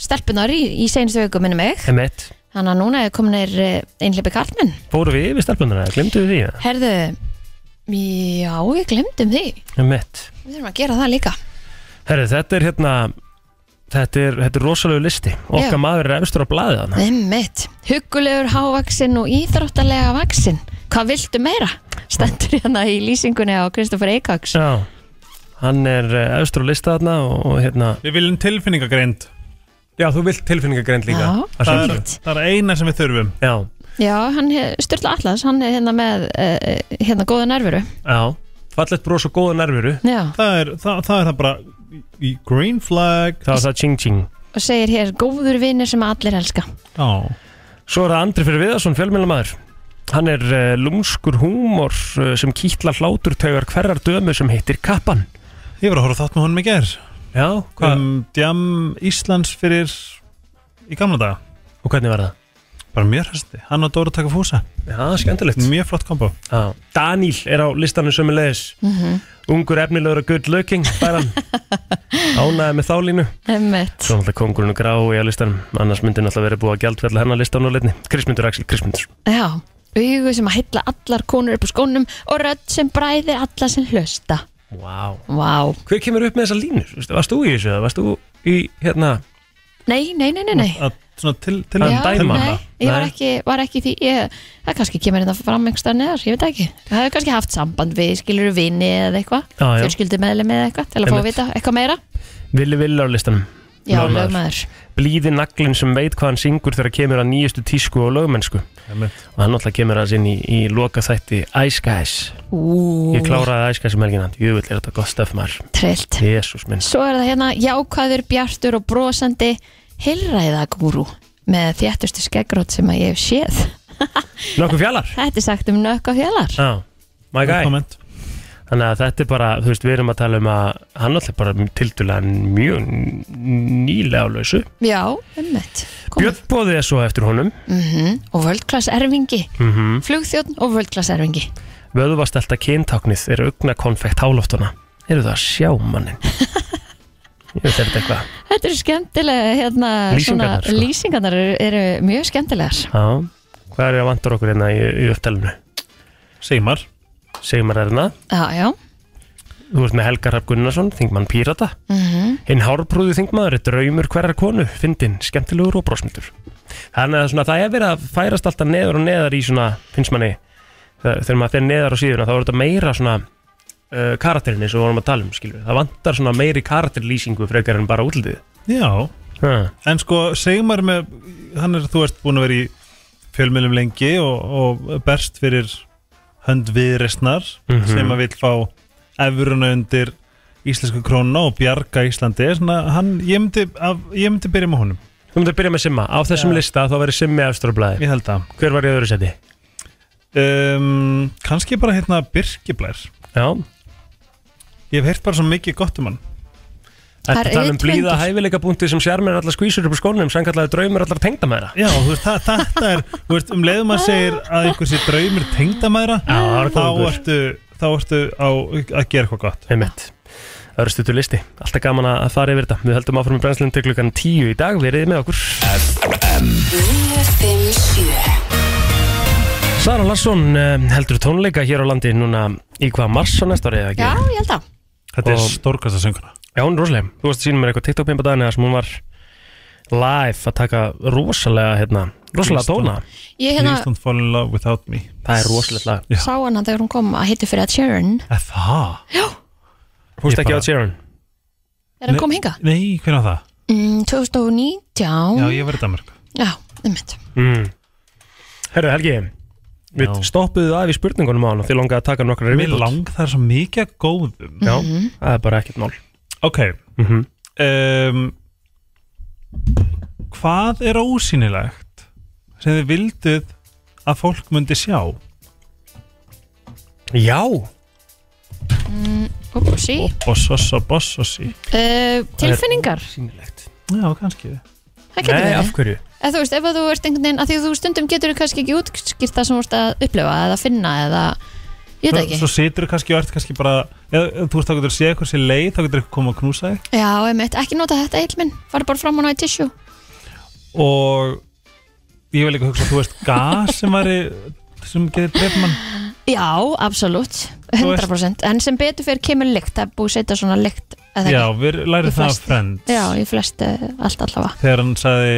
S3: stelpunar í, í seinustu vöku minni mig
S2: emitt
S3: Þannig að núna er komin er einhleipir karlmenn
S2: Fóru við yfir stelpununa, glemdu við því
S3: Herðu, já, við glemdum því
S2: Emitt
S3: Við þurfum að gera það líka
S2: Herri, þetta er hérna Þetta er, þetta er rosalegu listi Okkar
S3: Já.
S2: maður er efstur á blaðið hana
S3: Einmitt, huggulegur hávaksinn og íþróttalega vaksinn Hvað viltu meira? Stendur hérna í lýsingunni á Kristoffer Eikaks
S2: Já, hann er eh, efstur á lista hana og, og hérna
S4: Við viljum tilfinningagreind
S2: Já, þú vilt tilfinningagreind
S3: líka. Já. Að
S4: það er, það er eina sem við þurfum
S2: Já,
S3: Já, hann styrla allas, hann er hérna með uh, hérna góða nærveru
S2: já Fallegt bros og góða nervuru
S3: Já,
S4: það er það, það, er það bara í- í green flag
S2: Það var það ching ching
S3: og segir hér góður vinir sem allir elska
S4: Já,
S2: Svo er það Andri fyrir Viðarsson, fjölmjölamaður Hann er uh, lúmskur húmor uh, sem kýtla hláturtaugar hverjar dömu sem heitir Kappan
S4: ég var að horfa á þátt með honum í ger
S2: Já, hvað?
S4: um djam Íslands fyrir í gamla daga,
S2: og hvernig var það?
S4: bara mjög hresti hann og Dóra taka fúsa,
S2: Já, skemmtilegt
S4: mjög flott kombo
S2: Já. Daníl er á listanum sömulegis Ungur efnilegur og good looking Bæran Ánæði með þálínu
S3: Einmitt,
S2: Svo náttúrulega kongurinn og grái á listanum Annars myndi náttúrulega verið búið að gjaldfella hennar listan og litni Krismundur Axel, Krismundur
S3: já Augu sem að heilla allar konur upp úr skónum og rödd sem bræðir alla sem hlusta
S2: wow.
S3: Vá,
S2: Hver kemur upp með þessa línur? Veistu, Varst þú í þessu? eða Varst þú í hérna?
S3: nei, nei, nei, nei, nei
S4: að svona til, til
S2: Að
S3: Já,
S2: dæma
S3: nei,
S2: það? um
S3: ég var
S2: Nei.
S3: ekki, var ekki því ég, það kannski kemur hérna fram einhverstað neðar, ég veit það ekki það hefur kannski haft samband við skilur vini eða eitthvað,
S2: Já, já.
S3: fjölskyldi meðlega með eitthvað til að fá að
S2: Einmitt.
S3: vita eitthvað meira
S2: Villi Villi á listanum
S3: já,
S2: Lögmaður.
S3: lögmaður,
S2: blíði naglinn sem veit hvað hann syngur þegar kemur að nýjustu tísku og lögmennsku og hann náttúrulega kemur að sinni í, í loka þætti Ice Guys
S3: ú,
S2: ég kláraði Ice Guys um helgina jöfull er þetta gott stöf maður
S3: trillt
S2: Jésús minn
S3: svo er það hérna jákvæður, bjartur og brosandi heilræðagúru með þjættustu skeggrót sem að ég hef séð
S2: nokkuð fjallar
S3: þetta er sagt um nökka fjallar
S2: ah, my guy
S4: komment
S2: þannig að þetta er bara þú veist við erum að tala um að hann náttúrulega bara tildulega mjög nýlega á lausu
S3: já, ummitt
S2: Björn Bóði er svo eftir honum
S3: Mhm. og völdklass erfingi
S2: mm -hmm.
S3: flugþjóðn og völdklass erfingi
S2: vöðvastelta kyntáknið er augna konfekt háloftuna eru það að sjá mannin ég veit er þetta eitthvað
S3: Þetta eru skemmtilega hérna,
S2: Lýsingarnar,
S3: svona,
S2: sko.
S3: lýsingarnar eru, eru mjög skemmtilegar
S2: Já, hvað er að vantar okkur hérna í, í upptælunni?
S4: Seymar,
S2: Sigmar Erna,
S3: Já, já,
S2: þú ert með Helga Rapp Gunnarsson, þingmann Pírata
S3: Mhm.
S2: Hinn hárprúðu þingmaður er draumur hverjar konu, fyndinn, skemmtilegur og brosmyndur Þannig að svona, það er verið að færast alltaf neðar og neðar í svona, finnst manni þegar þegar maður fer neðar á síðuna, þá er þetta meira svona uh, karakterin eins og við vorum að tala um, skilur við. Það vantar svona meiri karakterlýsingu frekar en bara útlitið
S4: já
S2: ha.
S4: En sko, Seymar með, hann er, þú ert búin að vera í fjölmiðlum lengi og, og berst fyrir hönd viðresnar
S2: Mhm.
S4: sem að vil fá efuruna undir íslensku krónuna og bjarga Íslandi svona, hann, ég, myndi, af, ég myndi byrja með honum
S2: Þú myndir að byrja með Simma, á þessum
S4: Já.
S2: lista þá verið Simmi efsturblæði
S4: ég held að
S2: Hver var í öðru seti?
S4: um, kannski bara hérna Birkiblær
S2: Já,
S4: ég hef heyrt bara svo mikið gott um hann
S3: Það
S2: Þetta
S3: er
S2: tala um blíða
S3: auðvendur.
S2: hæfileika punkti sem sjarmir allar skvísur upp úr skónum sem kallaði draumur allar tengdamæðra
S4: já, þú veist, það, þetta er þú veist, um leiðum að segir að einhversi draumir tengdamæðra
S2: Já, það var
S4: þá
S2: góður.
S4: ertu, þá ertu á, að gera eitthvað gott
S2: Einmitt Það eru stuttur listi, alltaf gaman að fara yfir þetta Við höldum áfram í brennslinn til klukkan 10 í dag Verið með okkur
S5: 957
S2: Sara Larsson eh, heldur tónleika hér á landi núna í hvað mars á næsta ári eða ekki?
S3: Já, ég held að
S4: Þetta er
S2: Og-
S4: stórkasta sönguna
S2: Já, hún er rosaleg. Þú varst að sína mér eitthvað TikTok pimpa daginn eða sem hún var live að taka rosalega, hérna, rosalega tóna.
S3: Ég hérna
S4: Please don't fall in love without me
S2: Það er rosalega lag.
S4: Já.
S3: sá hana þegar hún kom að hitti fyrir að Sharon
S4: Er Það?
S2: Húst
S4: Ég
S2: ekki á
S4: bara-
S2: Sharon?
S3: þegar hann
S4: Nei.
S3: kom hinga
S4: Nei, hvernig var það?
S3: mm,
S4: Já,
S3: 2019
S4: ég verið Danmark
S3: Já, einmitt
S2: Mm. Herru, Helgi, við
S4: Já.
S2: stoppuðu af í spurningunum á hann og þið langaði að taka nokkra
S4: Mér lang það er svo mikið af góðum
S2: Já,
S3: Mhm.
S2: það er bara ekkert mál.
S4: Ok
S2: Mhm.
S4: um, Hvað er ósýnilegt sem þið vilduð að fólk myndi sjá?
S2: Já.
S3: Úpsi
S4: Bossossa, bossossi
S3: uh, Tilfinningar,
S2: Sýnilegt.
S4: Já, kannski
S3: það getur
S2: Eh, Nei,
S3: verið
S2: af hverju?
S3: Eða þú veist, ef að þú ert einhvern veginn að því að þú stundum getur kannski ekki útskýrt það sem þú ert að upplifa eða finna eða ég veit það ekki
S4: Svo situr kannski og ert kannski bara eða, eða þú veist þá getur að sé eitthvað sér leið þá getur eitthvað koma að knúsa þig
S3: Já, einmitt, ekki nota þetta eill minn farið bara fram á náði tissjú
S4: og ég vil líka hugsa þú veist gas sem væri sem getur dreif mann
S3: Já, absolutt,
S4: Þú veist-
S3: 100% en sem betur fyrir kemur lykt, það er búið að setja svona lykt eða
S4: Já,
S3: ekki
S4: við lærið
S3: Í
S4: það af
S3: flest.
S4: Friends
S3: Já, í flest uh, allt allavega
S4: þegar hann sagði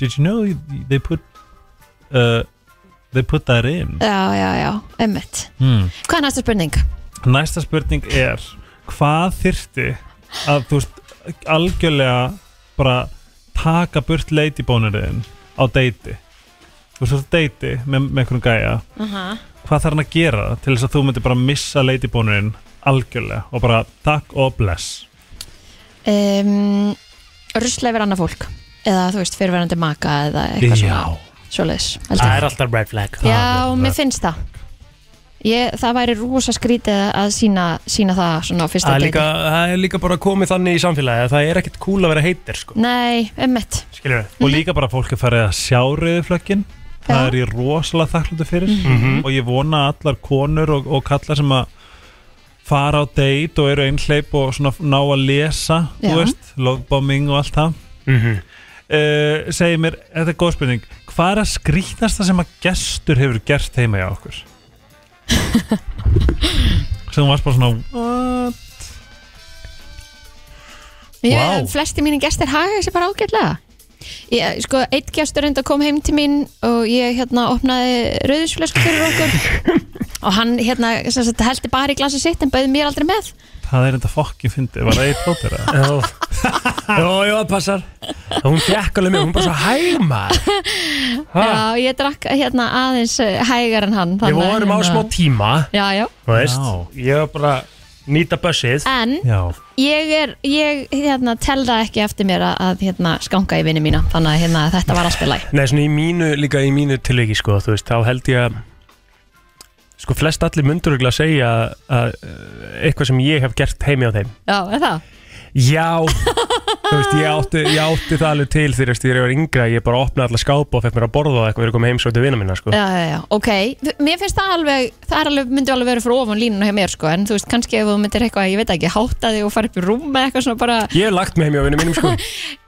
S4: Did you know they put uh, they put that in
S3: Já, já, já, einmitt
S4: hmm.
S3: Hvað er næsta spurning?
S4: Næsta spurning er hvað þyrfti að þú veist algjörlega bara taka burt leitibónurinn á deiti þú veist þú ert á deiti með, með einhvern gæja hvað þarf hann að gera til þess að þú myndir bara missa leitibónurinn algjörlega og bara takk og bless
S3: um, Rusla yfir annað fólk eða þú veist, fyrirverandi maka eða eitthvað svona svoleiðis held ég.
S2: Það hérna. er alltaf red flag.
S4: það
S3: Já,
S4: er-
S3: mér finnst það ég, Það væri rosa skrítið að sína, sína það svona á fyrsta
S2: Það er,
S3: deiti.
S2: líka, það er líka bara komið þannig í samfélagi að það er ekkert cool að vera heitir sko.
S3: Nei, einmitt
S2: Skilur
S4: og
S3: Mhm.
S4: líka bara fólk er farið að sjá rauðuflöggin það
S3: Já. Mhm.
S4: er ég rosalega þakklútu fyrir
S2: Mhm.
S4: og ég vona að allar konur og, og kallar sem að fara á date og eru einhleip og svona ná að lesa þú
S3: Já.
S4: veist, lovebombing og allt það
S2: Mhm.
S4: uh, segi mér, þetta er góð spurning hvað er að skrýtnasta sem að gestur hefur gert heima hjá okkur
S3: [LAUGHS]
S4: sem þú varst bara svona what?
S3: Ég
S4: Vá.
S3: veit að flesti mínir gestir haga þessi bara ágætlega ég, sko, Eitt gestur enda kom heim til mín og ég hérna opnaði rauðisflösku fyrir okkur og hann hérna sem sagt, heldi bara í glasi sitt en bauði mér aldrei með
S4: það er enda fokkin fyndið, var það eitt flóttir eða?
S3: [LAUGHS]
S2: Jó, jó, það passar Hún fjekk alveg mig, hún bara svo hæma ha,
S3: Já, ég drakk hérna aðeins eh, hægar en hann
S2: Við
S3: þannig að
S2: vorum á
S3: hérna-
S2: smá tíma
S3: Já, já,
S2: Þú veist,
S4: Já.
S2: ég var bara að nýta bussið
S3: en
S4: já,
S3: ég er, ég hérna telda ekki eftir mér að, að hérna skanga í vinni mína þannig að hérna þetta var alltaf læg
S2: Nei, svona í mínu, líka í mínu tilviki sko, þú veist, þá held ég að sko flest allir mynduruglega að segja að eh, eitthvað sem ég hef gert heimi á þeim
S3: Já, er það?
S2: Já Þú veist, ég átti, ég átti það alveg til þegar þegar ég var yngra, ég bara opnaði alla skápa og fekk mér að borða og eitthvað verið komið heimsóttu vina minna sko.
S3: Já, já, já, ok F- Mér finnst það alveg, það er alveg, myndi alveg verið fyrir ofan línuna hjá mér sko, en þú veist, kannski ef þú myndir eitthvað, ég veit ekki, hátta þig og fara upp í rúm eða eitthvað svona bara,
S2: Ég hef lagt mig heim hjá vina mínum sko.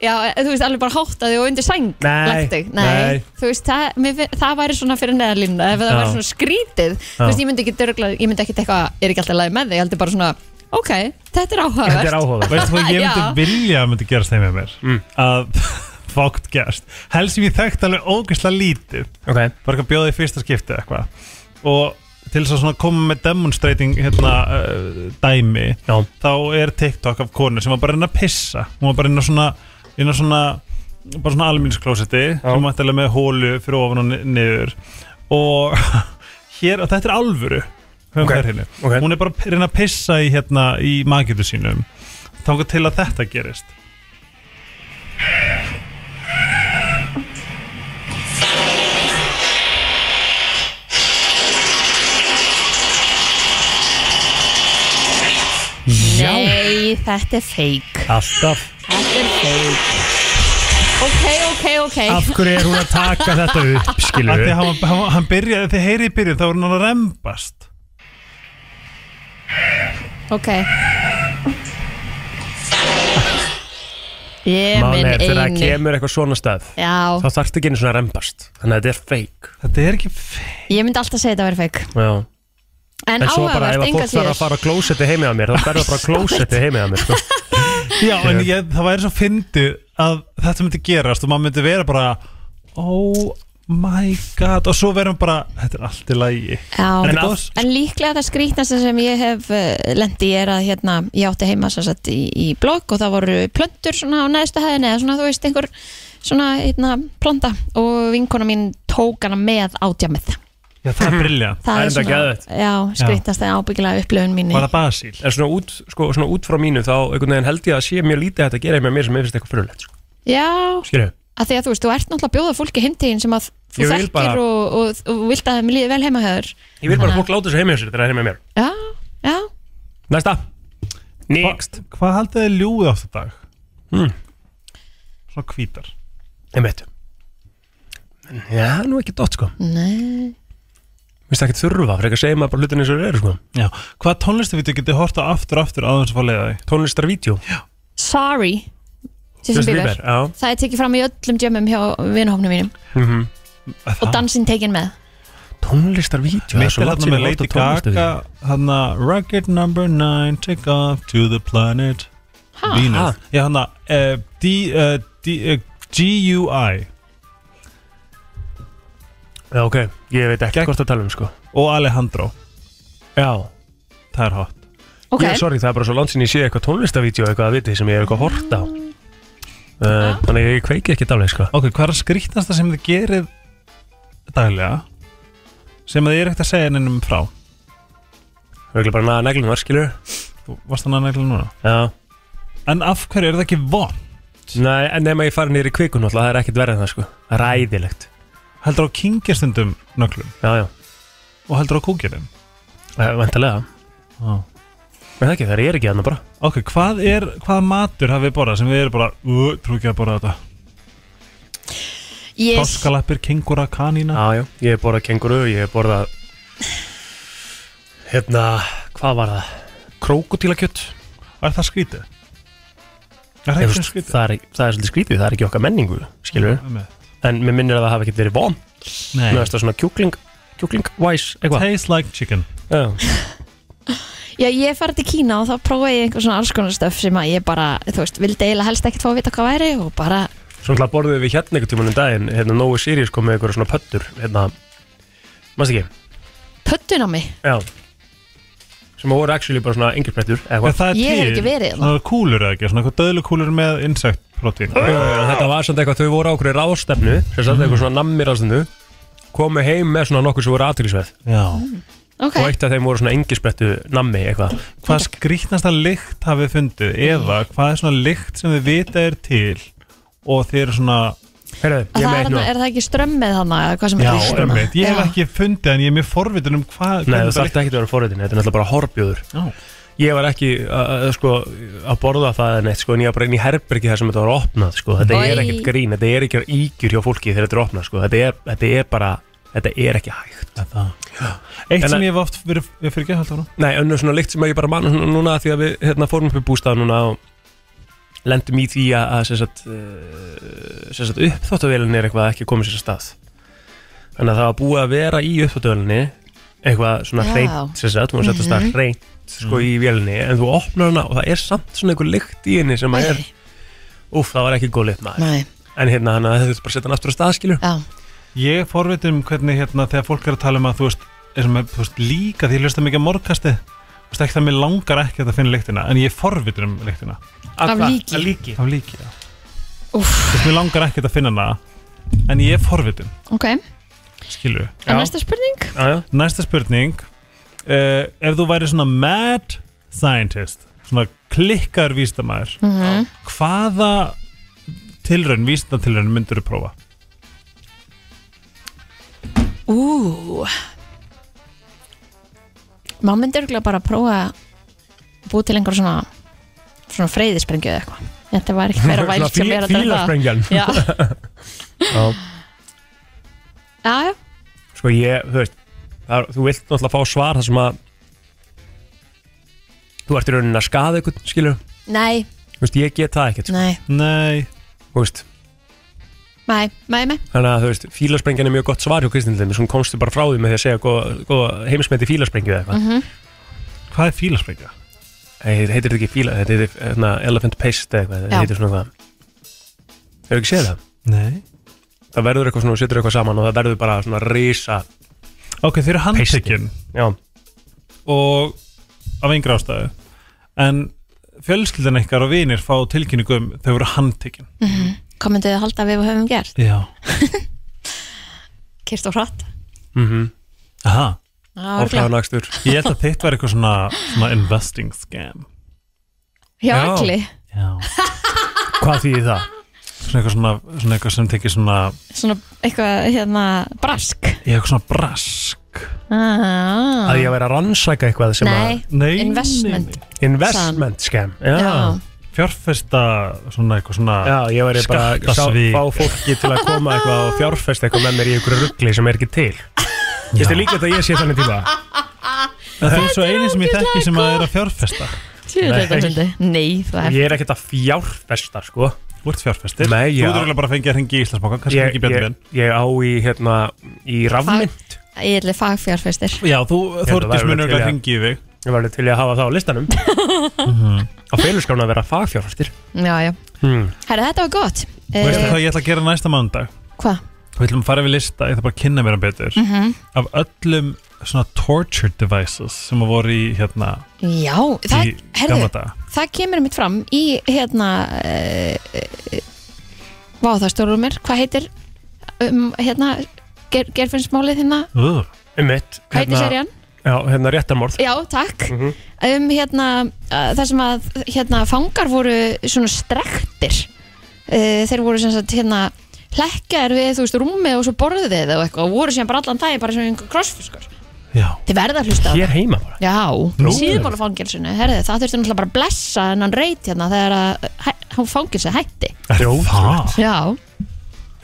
S3: já, e- þú veist, alveg bara hátta þig og undir sæng
S2: Nei,
S3: lagt þig. nei,
S2: nei.
S3: þú veist, það, mér, finn- það væri svona fyrir neðarlínuna, ef það
S2: Já.
S3: væri svona skrítið þú veist, ég myndi ekki dörgla, ég myndi ekki eitthvað, er ekki alltaf læg með þig, ég heldur bara svona ok, þetta er áhugavert
S2: Þetta er áhuga
S4: Veistu hvað ég
S3: Já.
S4: myndi vilja að myndi gerast þeim með mér
S2: Mm.
S4: að [LAUGHS] fókt gerst helst sem ég þekkt alveg ógeðslega lítið
S2: okay.
S4: bara eitthvað bjóði í fyrsta skipti eða eitthvað og til þess að svona koma með demonstrating hérna uh, dæmi
S2: Já.
S4: þá er TikTok af konu sem var bara inn að pissa hún var bara inn að svona, inn að svona bara svona alminnsklósetti sem var alltaf með hólu fyrir ofan og ni- niður og [LAUGHS] hér, og þetta er alvöru
S2: Ok,
S4: okay.
S2: ok.
S4: hún er bara að reyna að pissa í hérna í magiðu sínum þá til að þetta gerist
S3: Nei, þetta er fake
S2: Alltaf
S3: Þetta er fake Ok, ok, ok
S2: Af hverju er hún að taka þetta upp, skilur
S4: að því að hann, hann, hann byrjaði, þið heyrið í byrjun þá er hann að rembast
S3: Ok Ég
S2: Málið
S3: minn
S2: er þegar það
S3: eini
S2: kemur eitthvað svona stað
S3: Já,
S2: þá þarfst ekki einu svona að rembast þannig að þetta er fake
S4: Þetta er ekki feik
S3: ég myndi alltaf segja þetta að vera feik
S2: Já.
S3: En,
S2: en svo bara
S3: áhugavert,
S2: ef að
S3: enga
S2: fólk þarf að
S3: síður
S2: fara á klósetti heimi að mér þá verður það
S3: [LAUGHS]
S2: bara klósetti heimi að mér sko.
S4: Já, en ég, það væri svo fyndið að þetta myndi gerast og maður myndi vera bara Oh my god Og svo verum bara, þetta er allt í lægi
S3: Já,
S4: En
S3: en,
S4: að-
S3: líklega það skrítnasta sem ég hef uh, lendi er að hérna, ég átti heima sem sagt, í, í blokk og það voru plöntur svona á neðstu hæðinni eða svona þú veist einhver svona hérna, planta og vinkona mín tók hana með átjámið
S4: Já, það
S2: [CLEARS THROAT]
S4: er briljant
S2: Það er enda geðveikt.
S3: já, skrítnasta ábyggilega upplöfun mín í-
S4: Var það Basíl?
S2: en svona út, sko, svona út frá mínu þá einhvern veginn held ég að sé mjög lítið hægt að gera heimi að mér sem ég finnst eitthvað fyrirlegt sko.
S3: Já,
S2: Skilurðu?
S3: að því að þú veist, þú ert náttúrulega að bjóða fólki heimtíðin sem að þú
S2: Ég vil
S3: þekkir
S2: bara-
S3: og, og, og vilt að þeim líði vel heimahöður
S2: ég vil bara að fólk láta þessu heimi að sér þegar það er heimi að mér
S3: Já, já,
S2: næsta next
S4: Hvað haldið þið ljúið á þetta dag?
S2: Hmm.
S4: Svona hvítar
S2: einmitt já, nú ekki dott sko
S3: nei
S2: minnst það ekki þurfa frekar segja maður bara hlutin eins og þeir eru sko
S4: Já, hvaða tónlistavídeó getið horta aftur og aftur aðeins að fá að leiða þig?
S2: tónlistarvídeó
S3: Sorry Justin
S2: Justin
S3: Bieber.
S2: Bieber, já.
S3: Það er tekið fram í öllum djömmum hjá vinahófnum mínum
S2: Mhm. Ah.
S3: og dansinn tekinn með
S2: tónlistarvídeó
S4: Mitt er þarna með Lady Gaga Hanna Rocket number 9 Take off to the planet
S3: Ha?
S2: Ha?
S4: Venus Já hanna uh, D, uh, D, uh, GUI
S2: já, ok ég veit ekki
S4: Gegn-
S2: hvort að tala um sko
S4: og Alejandro
S2: já
S4: Það er hot
S3: Ok,
S2: Ég er sorry, það er bara svo langt sinni ég sé eitthvað tónlistavídeó eitthvað að viti sem ég er eitthvað hort á uh, Þannig að ég kveiki ekki dálega sko
S4: Ok, hvað er að skrýtnasta sem þið gerir daglega sem þið er ekkert að segja neinum frá
S2: Það er bara naða neglum var skilur
S4: Þú varst hann að negla núna
S2: Já,
S4: En af hverju er það ekki von?
S2: Nei, en nema ég fari nýri kvikun alltaf, það er ekkert verið en það sko Það er æðilegt
S4: Heldur á kingjastundum nöglum
S2: Já, já,
S4: og heldur á kúkjörðum
S2: vendalega
S4: Já.
S2: Men það ekki, það er ekki hann bara
S4: Ok, hvað er, hvað matur hafið þið borðað sem við erum bara, uh, trú ekki að borða þetta
S3: ég,
S4: Páskalappir, kengúra, kanína
S2: Já, já, ég er borðað kenguru, ég er borðað Hérna, hvað var það? Krókutílakjött
S4: Er það skrítið? Er það
S2: Ég
S4: ekki
S2: veist,
S4: skrítið?
S2: það, er, það er svolítið skrítið, það er ekki okkar menningu skilur
S4: Einmitt.
S2: En mér minnir að það hafi ekkert verið von Mér
S4: Nei
S2: veist það svona kjúkling, kjúkling-wise eitthvað
S4: Tastes like chicken
S2: Já,
S3: já, ég farið til Kína og þá prófaði ég einhver svona alls konar stöf sem að ég bara, þú veist, vildi eiginlega helst ekkert fá að vita hvað væri og bara,
S2: svona hlað borðið við hérna einhvern tímann um daginn hérna Nói Sirius kom með einhverja svona pöttur hérna, maður ekki
S3: pöttun á mig
S2: Já sem voru actually bara svona engjursprettur eða
S4: En
S2: hvað
S4: það er
S3: Ég hef
S4: til
S3: ekki verið hérna. þarna.
S4: Svona kúlur eða ekki, svona eitthvað döðlu kúlur með insect protein
S2: En Þetta var samt eitthvað, þau voru á okkur ráðstefnu sem satt eitthvað svona nammi ráðstefnu komu heim með svona nokkur sem voru aðtýrisveð
S4: Já
S3: Mm, Ok,
S2: og eitt af þeim voru svona engjursprettu nammi eitthvað
S4: Hvað skrítnasta lykt hafið þið fundið
S3: Mm.
S4: eða hvað er svona lykt sem þið vita er til og þið eru svona
S2: Heyrðu, ég
S3: að það
S2: með
S3: er,
S2: eitt nú
S3: er það ekki strömmið þannig eða hvað sem
S4: Já,
S3: er í strömmu?
S4: einmitt. Ég hef
S3: Já.
S4: ekki fundið en ég er mjög forvitin um hvað
S2: Nei,
S4: hvernig
S2: þú
S4: þetta
S2: þarft ekki að vera forritin, þetta er náttúrulega bara horbjóður
S4: Já.
S2: Ég var ekki að, að, sko, að borða það en eitt, sko, en ég var bara inn í herbergi þar sem þetta var opnað, sko, þetta er
S3: Oj.
S2: ekkert grín þetta er ekki ígjur hjá fólki þegar þetta er opnað, sko þetta er, þetta er bara, þetta er ekki hægt En
S4: Eitt sem
S2: að-
S4: ég hef oft verið, ég fyrir ekki að halda frá
S2: Nei, önnur svona lykt sem ég bara mann núna því að við, hérna, fórum upp í bústað núna og lendum í því að, að sem sagt, eh, sem sagt uppþóttavélun er eitthvað að ekki komið sér að stað þannig að það var búið að vera í uppþóttavélinni eitthvað svona
S3: Já. Mhm.
S2: hreint sem sagt, hún var sett að stað hreint sko í vélinni, en þú opnar hana og það er samt svona einhver lykt í henni sem að er úff, það var ekki góð lykt maður
S3: Nei,
S2: en hérna hann að þetta bara setja hann aftur á staðskilu
S3: já,
S4: Ég er forvitin um hvernig hérna þegar fólk er að tala um að þú veist, er með, þú veist líka því ég hlusta mikið að morgkasti þú veist ekki að mér langar ekki að finna lyktina en ég er forvitin um lyktina
S3: Af líki.
S2: af líki.
S4: af líki já.
S3: Úff.
S4: þú veist mér langar ekki að finna hana en ég er forvitin
S3: ok En
S4: skilu
S3: næsta spurning?
S2: Já, já.
S4: næsta spurning uh, ef þú væri svona mad scientist svona klikkar vístamæður
S3: Mhm.
S4: -hmm. hvaða tilraun, vístamtilraun myndur þú prófa?
S3: Ú Má myndi örgulega bara að prófa að búi til einhver svona svona freyðisprengju eða eitthvað Þetta var ekki
S2: [LAUGHS]
S3: meira vælt sem ég er að
S2: Fíla-
S3: dæla
S2: fílasprengjan.
S3: Já,
S2: Já.
S3: já, já,
S2: sko ég, þú veist það, er- þú vilt náttúrulega fá svar þar sem að þú ert í rauninni að skaða ykkur, skilur
S3: nei
S2: Þú veist, ég get það ekkert, sko.
S3: Nei,
S4: Nei,
S2: Þú veist,
S3: nei, nei, nei
S2: þannig að þú veist, fílarsprengjan er mjög gott svar hjá Kristindlum, svona komstu bara frá því með því að segja góða, góða heimsmyndi fílarsprengju eða
S3: Mhm.
S2: eitthvað.
S4: hvað er fílasprengja?
S2: Þetta heitir þetta ekki fíla, þetta heitir hérna, elephant paste eða eitthvað,
S3: Já.
S2: þetta heitir svona það. Hefur ekki séð það?
S4: Nei
S2: Það verður eitthvað svona, þú setur eitthvað saman og það verður bara svona risa,
S4: Ok, þeir eru handtekinn
S2: já,
S4: og af einhver ástæðu en fjölskyldan ykkar og vinir fá tilkynningu um þau voru handtekinn
S3: Hvað myndið þið halda að við höfum gert?
S4: Já
S3: Kyrst og hratt
S2: mhm,
S4: Aha.
S3: Já, örugglega.
S2: orðlaðan akstur.
S4: Ég held að þitt var eitthvað svona, svona investing scam
S3: Já,
S2: Já.
S3: allir
S4: Já
S2: Hvað þýðir það?
S4: Svona eitthvað, svona, svona eitthvað sem tekið svona
S3: Svona eitthvað, hérna, brask
S4: í eitthvað svona brask
S3: ah.
S2: Að ég væri að rannsaka eitthvað sem
S3: Nei,
S4: Nei,
S3: Investment.
S4: nei,
S2: að investment scam. Já.
S3: já,
S4: nei. Fjárfesta svona eitthvað svona
S2: Já, ég væri bara að sá-
S4: Skattasvik.
S2: fá fólki til að koma eitthvað og fjárfest eitthvað með mér í ykkur ruggli sem er ekki til. Þetta er líklegt að ég sé þannig tíma.
S4: En það er svo eini sem ég þekki sem að er að fjárfesta
S3: tjóður þetta svolítið Nei, það er
S2: Ég er ekkert að fjárfesta, sko.
S4: Þú ert fjárfestir
S2: Nei, já.
S4: Þú þurfir eiginlega bara að fengja að hringi í Íslandsbankan kannski
S2: Ég,
S4: ekki bjöndu
S2: ég,
S4: vinn
S2: ég á í, hérna, í rafmynd.
S3: Ég er fagfjárfestir
S4: Já, þú
S2: það
S4: Þórdís
S2: er
S4: munur
S2: til í
S4: að
S2: að-
S4: hringi Hérna í þig
S2: Ég var alveg til í að hafa það á listanum.
S4: Mhm.
S2: Á feilurskrána að vera fagfjárfestir.
S3: Já, já
S2: Hmm.
S3: Herra, þetta var gott
S4: Þú veist
S3: Eh,
S4: hvað ég ætla að gera næsta mándag
S3: Hvað? Mhm.
S4: Við ætlum að fara við lista, ég ætla bara að kynna mér hann betur Af öllum svona torture devices sem að voru í hérna
S3: Já, það,
S4: í gamla
S3: herðu,
S4: daga
S3: það kemur mitt fram í hérna uh, Vá, það stóru mér, hvað heitir um, hérna ger, gerfinnsmálið hérna,
S4: uh,
S2: Um mitt.
S3: hvað heitir serían?
S2: Já, hérna réttamorð.
S3: Já, takk um, hérna, uh, Það sem að hérna, fangar voru svona strektir uh, Þeir voru sem sagt hérna hlekkar við, þú veist, rúmið og svo borðið og eitthvað, og voru síðan bara allan daginn bara sem einhver krossfiskur.
S4: Já,
S3: Þið verða að hlusta á það.
S2: Hér heima bara.
S3: Já, síðbóla fangilsinu, herðu, það þurfti náttúrulega bara að blessa hennan reyt hérna þegar að hæ, hann fangilsi hætti.
S4: er
S2: Jó,
S4: það?
S3: Já.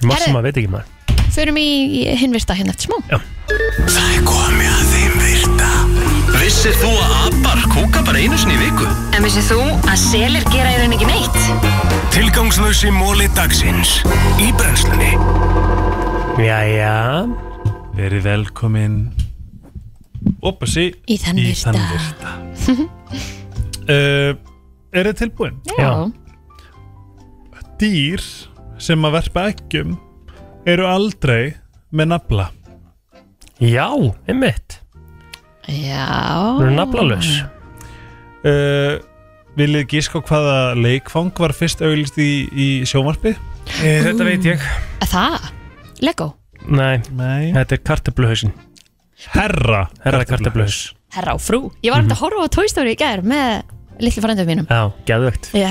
S2: Massum
S3: Herri.
S2: maður veit ekki maður.
S3: Förum í í hinn virta hérna eftir smá.
S1: Það er komið að þeim virta Vissir þú að abar kúka bara einu sinni í viku?
S5: En vissið þú að selir gera í raun ekki neitt?
S1: Tilgangslösi móli dagsins Í brennslunni
S2: Jæja.
S4: Verið velkomin Ópassi
S3: Í þann virta.
S4: virta [LAUGHS] uh, Er þið tilbúin?
S2: Já.
S4: Dýr sem að verpa eggjum eru aldrei með nafla
S2: Já, um mitt.
S3: Já.
S2: Þú eru naflalös.
S4: uh, Viljið gíska á hvaða leikfang var fyrst auglist í, í sjónvarpi?
S2: Eh, Þetta veit ég.
S3: Það? Lego?
S2: Nei,
S4: Nei
S2: þetta er kartabluhausin.
S4: Herra
S2: Herra kartabluhaus.
S3: Herra og frú. Ég var
S2: Mhm.
S3: mm að horfa á Toy Story í gær með litli frændum mínum.
S2: Já, geðvögt.
S3: Já,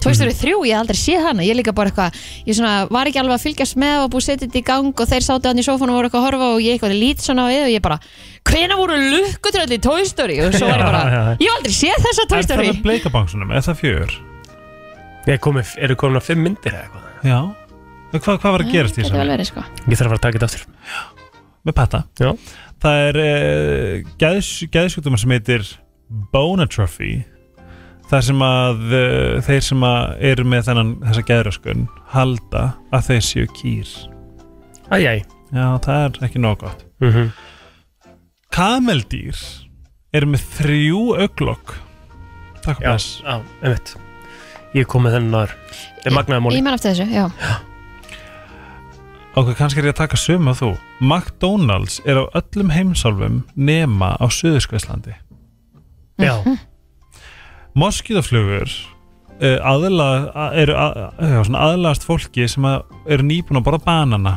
S3: Toy
S2: Mhm.
S3: Story 3, ég hef aldrei séð hana Ég er líka bara eitthvað, ég svona var ekki alveg að fylgjast með og búið setið þetta í gang og þeir sátu hann í sófanum og voru eitthvað að horfa og ég eitthvað lít svona á við og ég bara, hvena voru lukkutröll í Toy Story og svo var ég bara,
S2: Já, já, já.
S3: ég hef aldrei séð þessa Toy
S4: Er það
S3: Story
S4: með bleikabangsunum? Er það fjör?
S2: Ég komi, eru komin á fimm myndir eða eitthvað
S4: Já Eh, Hvað hva hvað var að gerast í
S3: Þetta er vel
S4: þessu?
S3: verið sko
S2: Ég þarf að fara að taka þetta aftur
S4: Með patta
S2: Já.
S4: Það er uh, geðs, geðsjúkdómar sem heitir Bonatrophy Þar sem að uh, þeir sem að eru með þennan þessa geðröskun halda að þeir séu kýr
S2: Æjæ
S4: Já, það er ekki nóg gott
S2: mm -hmm.
S4: Kameldýr eru með þrjú auglokk Takk og
S2: Já,
S4: bless
S2: já, einmitt Ég kom með þennan aður Þetta er magnaði móli
S3: Ég menn eftir þessu, já
S4: Ok, kannski er ég að taka sömu að þú McDonalds er á öllum heimsálfum nema á Suðurskvæslandi
S2: Já,
S3: Mhm.
S4: Moskíðaflugur uh, aðla, að, eru að, já, svona aðlaðast fólki sem að eru nýbúin að borða banana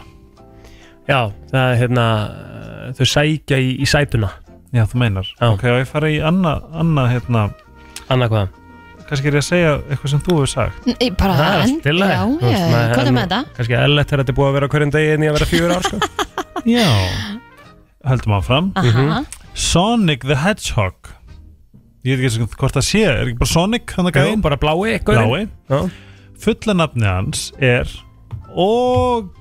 S2: já, það er hérna eh, Þau sækja í, í sætuna
S4: Já, þú meinar
S2: Já.
S4: Ok, og ég fara í annað, anna, hérna
S2: Annað hvað
S4: kannski er ég að segja eitthvað sem þú hefur
S3: [LAUGHS]
S4: sagt
S3: N- Ég bara,
S2: Það er allt í lagi.
S3: já,
S2: Þú veist,
S3: já,
S2: maður-
S3: hvað er með
S2: nú-
S3: þetta?
S2: Kannski ellett er þetta búið að vera á hverjum degi en ég að vera fjör ár sko [LAUGHS]
S4: Já Höldum áfram
S2: Mhm.
S3: Aha,
S4: Sonic the Hedgehog Ég veit ekki hvort það sé Er ekki bara Sonic hann að
S2: Jú,
S4: gæðin?
S2: bara blái gaurinn.
S4: Blái
S2: Já.
S4: fulla nafni hans er og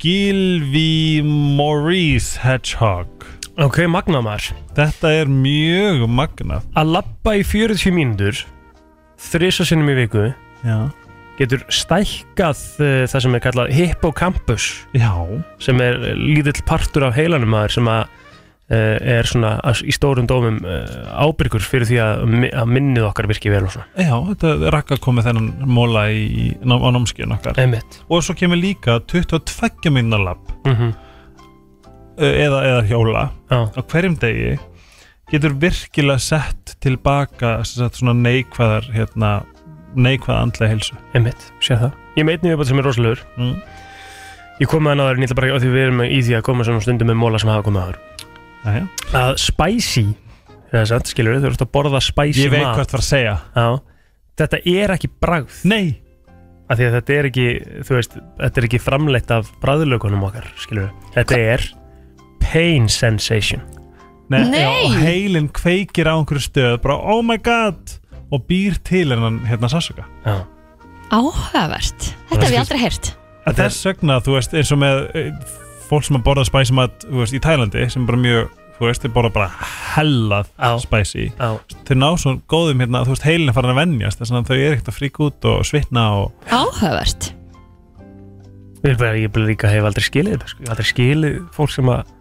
S4: Gilvi Maurice Hedgehog
S2: Ok, magnaði maður
S4: þetta er mjög magnað
S2: Að labba í 40 mínútur þrisa sinnum í viku
S4: Já,
S2: getur stækkað uh, það sem er kallað hippocampus
S4: já,
S2: sem er eh, lítill partur af heilanum maður sem að uh, er svona að- í stórum dómum uh, ábyrgur fyrir því að, mi- að minnið okkar virki vel og svona
S4: já þetta rakka komið þennan móla í, í, á námskeiðin okkar
S2: einmitt
S4: Og svo kemur líka 22 minna lapp eh,
S2: mm
S4: eða, eða hjóla
S2: Já,
S4: á hverjum degi getur virkilega sett tilbaka sett svona neikvæðar hérna, neikvæða andlega heilsu
S2: einmitt, sé það Ég meit nýjum sem er rosalegur
S4: mm.
S2: Ég kom með hann aðeins, ég ætla bara að því við erum í því að koma svona stundum með móla sem hafa komið aður
S4: Jæja.
S2: að spicy eða satt, skilur við, þú ert að borða spicy
S4: ég veit
S2: mat
S4: hvert var að segja
S2: Já, þetta er ekki bragð
S4: nei,
S2: af því að þetta er ekki, þú veist, þetta er ekki framleitt af bræðlökunum okkar, skilur við þetta er pain sensation
S4: nei,
S3: Nei.
S4: Já, heilin kveikir á einhverju stöð bara oh my god og býr til hennan hérna sásöka
S2: Já,
S3: Áhugavert Þetta hef ég aldrei heyrt
S4: En
S2: Þetta er-
S4: þess vegna, þú veist, eins og með eh, fólk sem að borða spicy mat þú veist, í Tælandi, sem er bara mjög, þú veist, þeir borða bara hellað
S2: Á.
S4: spicy
S2: á,
S4: þeir ná svo góðum hérna, þú veist, heilin er farin að venjast þess að þau er ekkert að fríka út og svitna og
S3: Áhugavert
S2: ég er bara, ég bara líka hef aldrei skilið þetta, sko, Ég hef aldrei skilið fólk sem að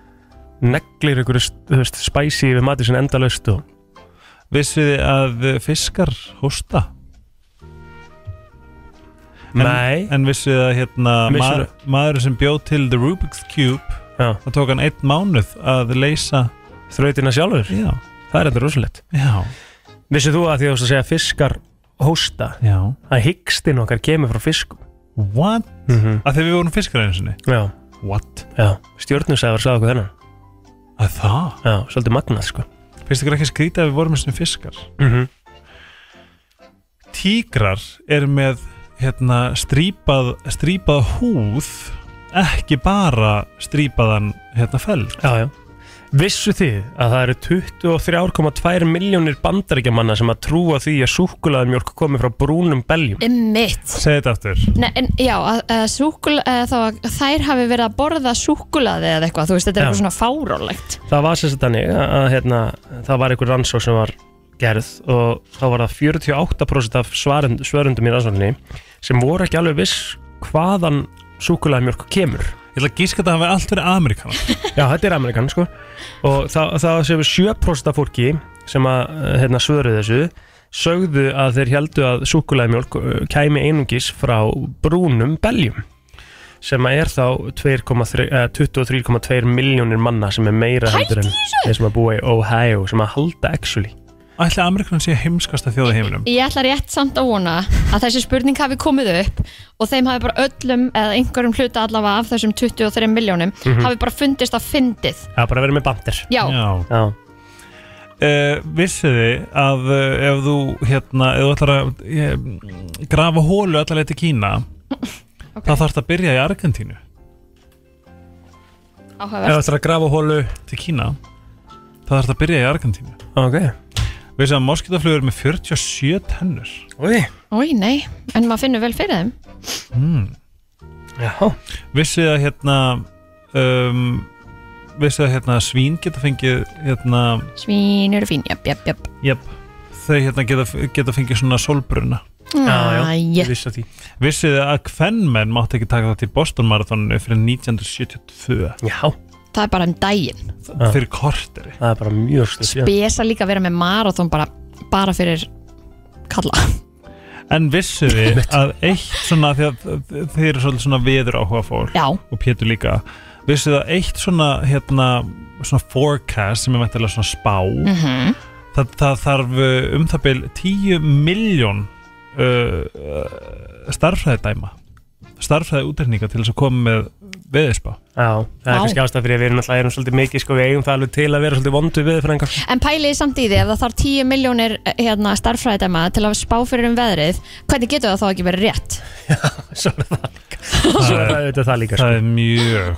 S2: neglir einhverju, þú veist, spicy við matið sinna endalaust og
S4: vissið þið að fiskar hósta En-
S2: Nei,
S4: en vissið þið að hérna,
S2: Vissirðu?
S4: maður, maður sem bjóð til The Rubik's Cube
S2: Já.
S4: það tók hann einn mánuð að leysa
S2: þrautina sjálfur,
S4: já,
S2: það er enda rosalegt
S4: já,
S2: Vissið þú að því að þú veist að segja fiskar hósta,
S4: já
S2: að hyggstinn okkar kemur frá fiskum
S4: what?
S2: mm
S4: að þegar við vorum fiskar einu sinni
S2: Já,
S4: what?
S2: já, stjórnusæðar sagði okkur þennan
S4: að það?
S2: Já, svolítið magnað, sko
S4: finnst ykkur ekki skrítið að við vorum einu sinni fiskar?
S2: mm -hmm.
S4: tígrar er með hérna, strípað, strípað húð ekki bara strípaðan hérna, fell
S2: Já, já. Vissu þið að það eru 23,2 miljónir bandaríkjamanna sem að trúa því að súkkulaðmjólk komi frá brúnum beljum?
S3: Mitt
S4: segi þetta aftur
S3: Nei, en, já, að, að súkul, að þá, að þær hafi verið að borða súkulaði eða eitthvað, þú veist, þetta er
S2: Já.
S3: eitthvað svona fárólegt
S2: Það var sem sagt þannig að, að hérna, það var einhver rannsók sem var gerð og þá var það 48% af svarund, svörundum í rannsókninni sem voru ekki alveg viss hvaðan súkkulaðmjólk kemur.
S4: ég ætla að gíska að það hafi allt verið amerikanar
S2: Já, þetta er amerikan, sko og það, það sem 7% af fólki sem að eh, hérna, svöruðu þessu sögðu að þeir heldu að súkulæðmjólk kæmi einungis frá brúnum beljum sem að er þá 2,3 eh, 23,2 miljónir manna sem er meira heldur en þeir sem að búa í Ohio sem að halda actually
S4: ætla amerikanar sé heimskasta þjóða heiminum
S3: Ég ætla rétt samt að vona að þessi spurning hafi komið upp og þeim hafi bara öllum eða einhverjum hluta allavega af þessum 23 miljónum hafi bara fundist að fyndið
S2: Það er bara að vera með bandir
S3: Já,
S4: Já.
S2: Mhm. Já,
S4: Uh, vissið þið að uh, ef þú hérna, ef þú ætlar að uh, grafa hólu allar leiti Kína
S3: [LAUGHS] Ok.
S4: þá þarf það að byrja í Argentínu
S2: ef
S3: áhugavert
S2: það er að grafa hólu
S4: til Kína þá þarf það að byrja í Argentínu
S2: Ok,
S4: vissið að moskitaflugur með 47 tennur
S2: Úi.
S3: Új, nei, en maður finnur vel fyrir þeim
S2: Já,
S4: Hmm. Vissið að hérna um, Vissið að hérna svín geta fengið hérna,
S3: Svín eru fín, jöp, jöp, jöp
S4: jöp, Þau hérna geta, geta fengið svona solbruna
S2: já,
S3: Æ,
S2: ég vissi að því
S4: Vissið þið að kvennmenn mátt ekki taka það til Boston Marathoninu fyrir 1972
S2: Já,
S3: Það er bara um daginn
S4: ah. fyrir korteri
S2: það er bara mjög stutt síðan.
S3: Besa líka að vera með marathon bara, bara fyrir kalla
S4: En vissið þið að eitt svona því að þið eru svolítið svona viður áhuga fólk
S3: Já,
S4: og Pétur líka Vissið þið að eitt svona hérna svona forecast sem er mættilega svona spá
S3: mhm,
S4: það, það þarf uh, um það byl 10 miljón uh, starfræðidæma starfræði útreikninga til þess að koma með veðispa
S2: Já, það er
S3: Vá.
S2: kannski ástæð fyrir að við erum náttúrulega erum svolítið mikið sko við eigum það alveg til að vera svolítið vondu við fyrir einhver
S3: En pæliði samt í því ef það þarf 10 miljónir hérna, starffræðdæma til að spá fyrir um veðrið hvernig getur það þá ekki verið rétt?
S2: Svo er það
S3: [LAUGHS]
S2: líka Svo er það auðvitað það líka sko.
S4: það er mjög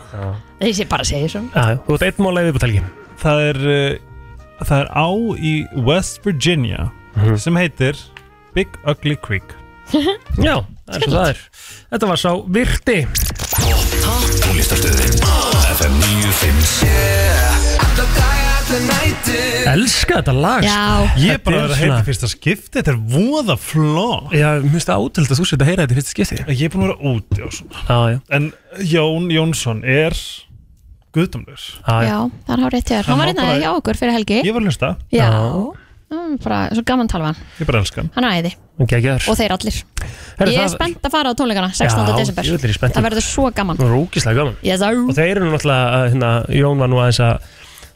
S3: Þessi bara segir svo
S2: Já, þú ert einn mála í viðbúrtalgi
S4: það er, uh, það er á í West Virginia
S2: Mhm.
S4: sem heitir Big Ugly Creek
S2: Já, það er svo það er Þetta var sá virti
S1: Tónlistarstöðin FM 957
S2: Elska þetta lag sko.
S3: Já.
S4: Ég er bara
S2: Þetta er
S4: að vera að heita
S2: svona-
S4: fyrsta skipti Þetta er voða flott
S2: Já, mér finnst það átöld að þú setja að heyra þetta í fyrsta skipti
S4: Ég er búin að vera úti og svona
S2: Já, já,
S4: En Jón Jónsson er guðdómlegur
S2: já, já.
S3: Já, það er hár rétt hjá þér.
S4: Hann
S3: Hann var
S4: var
S3: hérna
S4: bara-
S3: hjá okkur fyrir helgi.
S4: Ég var að hlusta,
S3: Já.
S2: Já.
S3: Mm, Bara, svo gaman að tala við hann.
S4: ég bara elska hann
S3: Hann er æði.
S2: Gekkjaður.
S3: Og þeir allir. Ég er spennt að fara á tónleikana 16.
S2: Já,
S3: desember.
S2: ég er spennt.
S3: Það verður svo gaman.
S2: Rúkislega gaman
S3: Yes, sir.
S2: Og þeir eru nú náttúrulega, að, hérna, Jón var nú aðeins að,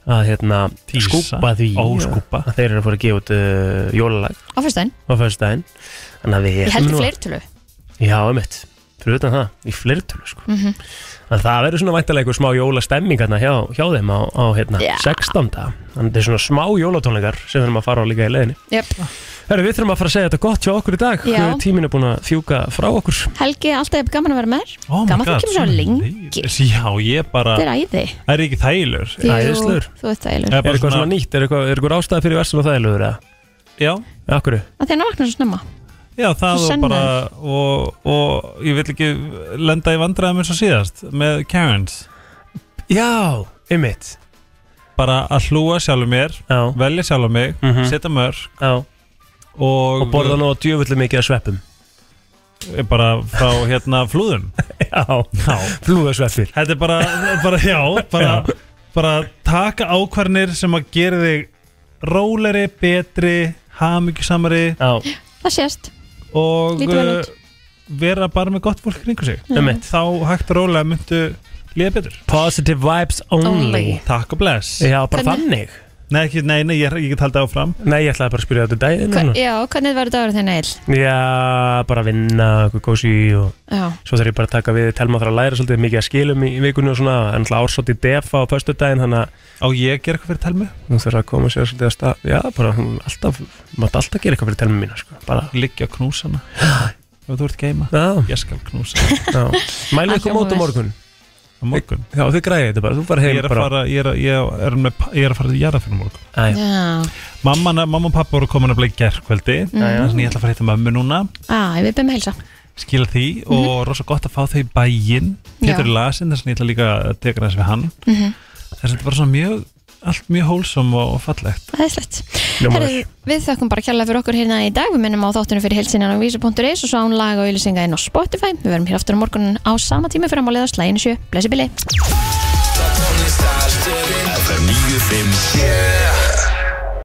S2: að hérna,
S4: Tísa.
S2: skúpa því
S4: Ó, skúbba.
S2: að Þeir eru að fóra að gefa út uh, jólalag
S3: Á fyrstæðin.
S2: á föðustæðin Þannig að við
S3: Ég
S2: ætlum
S3: heldur
S2: nú að-
S3: fleirtölu.
S2: Já, einmitt Fyrir utan það, í fleirtölu sko. mm
S3: Mhm.
S2: Það verður svona væntalega einhver smá jólastemming hérna hjá, hjá þeim á, á hérna,
S3: Já.
S2: 16. Þannig að þetta er svona smá jólatónleikar sem þurfum að fara á líka í leiðinni
S3: Jöp.
S2: Herru, við þurfum að fara að segja þetta gott hjá okkur í dag
S3: Já.
S2: Tímin er búin að fjúka frá okkur
S3: Helgi, alltaf er gaman að vera með þér.
S4: Oh my
S3: gaman að
S4: God,
S3: þú kemur svo lengi.
S4: leiðis. Já, ég bara,
S3: Þetta er æði.
S4: það er ekki þægilegur
S3: Jú,
S2: Æðislegur.
S3: Þú ert æðislur.
S4: Það
S2: Er
S4: bara
S2: eitthvað svona nýtt, er eitthvað, er eitthvað ástæða fyrir verslun og þægilegur eða?
S4: Já,
S2: Akkur?
S3: Það er nákvæmlega svo snemma.
S4: já það
S3: Svo
S4: og bara og, og ég vil ekki lenda í vandræðum eins og síðast með Karens
S2: Já, einmitt
S4: bara að hlúa sjálfur mér
S2: Já,
S4: velja sjálfur mig,
S2: Mhm.
S4: setja mörg
S2: já
S4: og,
S2: Og borða nú djöfullu mikið að sveppum
S4: bara frá hérna flúðum
S2: Já,
S4: Já.
S2: flúðasveppir
S4: Þetta er bara, bara já, bara, bara taka ákvarnir sem að gera þig róleri, betri hamingjusamari
S2: Já,
S3: Það sést.
S4: og
S3: Lítur vel
S4: uh,
S3: út.
S4: vera bara með gott fólk kringu sig
S2: einmitt
S4: þá hægt og rólega myndu líða betur
S2: Positive vibes only
S3: Only.
S4: Takk og bless
S2: Já, bara
S3: Hvernig-
S2: þannig
S4: Nei, ekki, nei, nei, ég, ég get haldið áfram
S2: Nei, ég ætlaði bara að spyrja þetta um daginn
S3: Hva-
S2: núna.
S3: Já, hvernig verður dagur þinn eil?
S2: Já, bara að vinna, eitthvað kósi og
S3: Já.
S2: svo þarf ég bara að taka við telma þar að læra svolítið mikið að skilum í, í vikunni og svona en alltaf ársótt í defa á föstudaginn þannig að
S4: Á ég að gera eitthvað fyrir telmu
S2: hún þarf að koma sér svolítið að stað Já, bara hún alltaf, maður alltaf gera eitthvað fyrir telma mína sko. bara,
S4: Liggja og knúsa hana Ef þú ert geima
S2: já,
S4: Ég skal knúsa hana
S2: já Mælu
S3: Allt
S2: ykkur mót á
S3: vel.
S2: morgun
S4: á morgun
S2: Já, þið græði þetta bara, þú bara
S4: Ég
S2: heim
S4: er að
S2: bara
S4: fara, ég er að, ég er með, pa- ég er að fara til jarða fyrir morgun
S2: Æ,
S3: Já.
S4: Mamma, mamma og pappa voru komin að bleið gerkveldi
S2: já.
S4: Þannig ég ætla að fara að hitta mömmu núna
S3: Æ, við byrjum að helsa.
S4: Skila því og rosa gott að fá þau í bæinn
S3: Já.
S4: Pétur í lasin, þess að ég ætla líka að teka þess við hann mm
S3: Mhm.
S4: Þess að þetta var svona mjög, allt mjög hólsom og, og fallegt
S3: Æðislegt.
S2: Hljómar
S3: Herri, við þökkum bara kjærlega fyrir okkur hérna í dag. Við minnum á þáttunum fyrir heilsinjan á vísa.is og svo án laga og ylisinga inn á Spotify. Við verum hér aftur á morgunin á sama tími fyrir að máliða slæginu sjö. Blessi bili.
S1: FM 957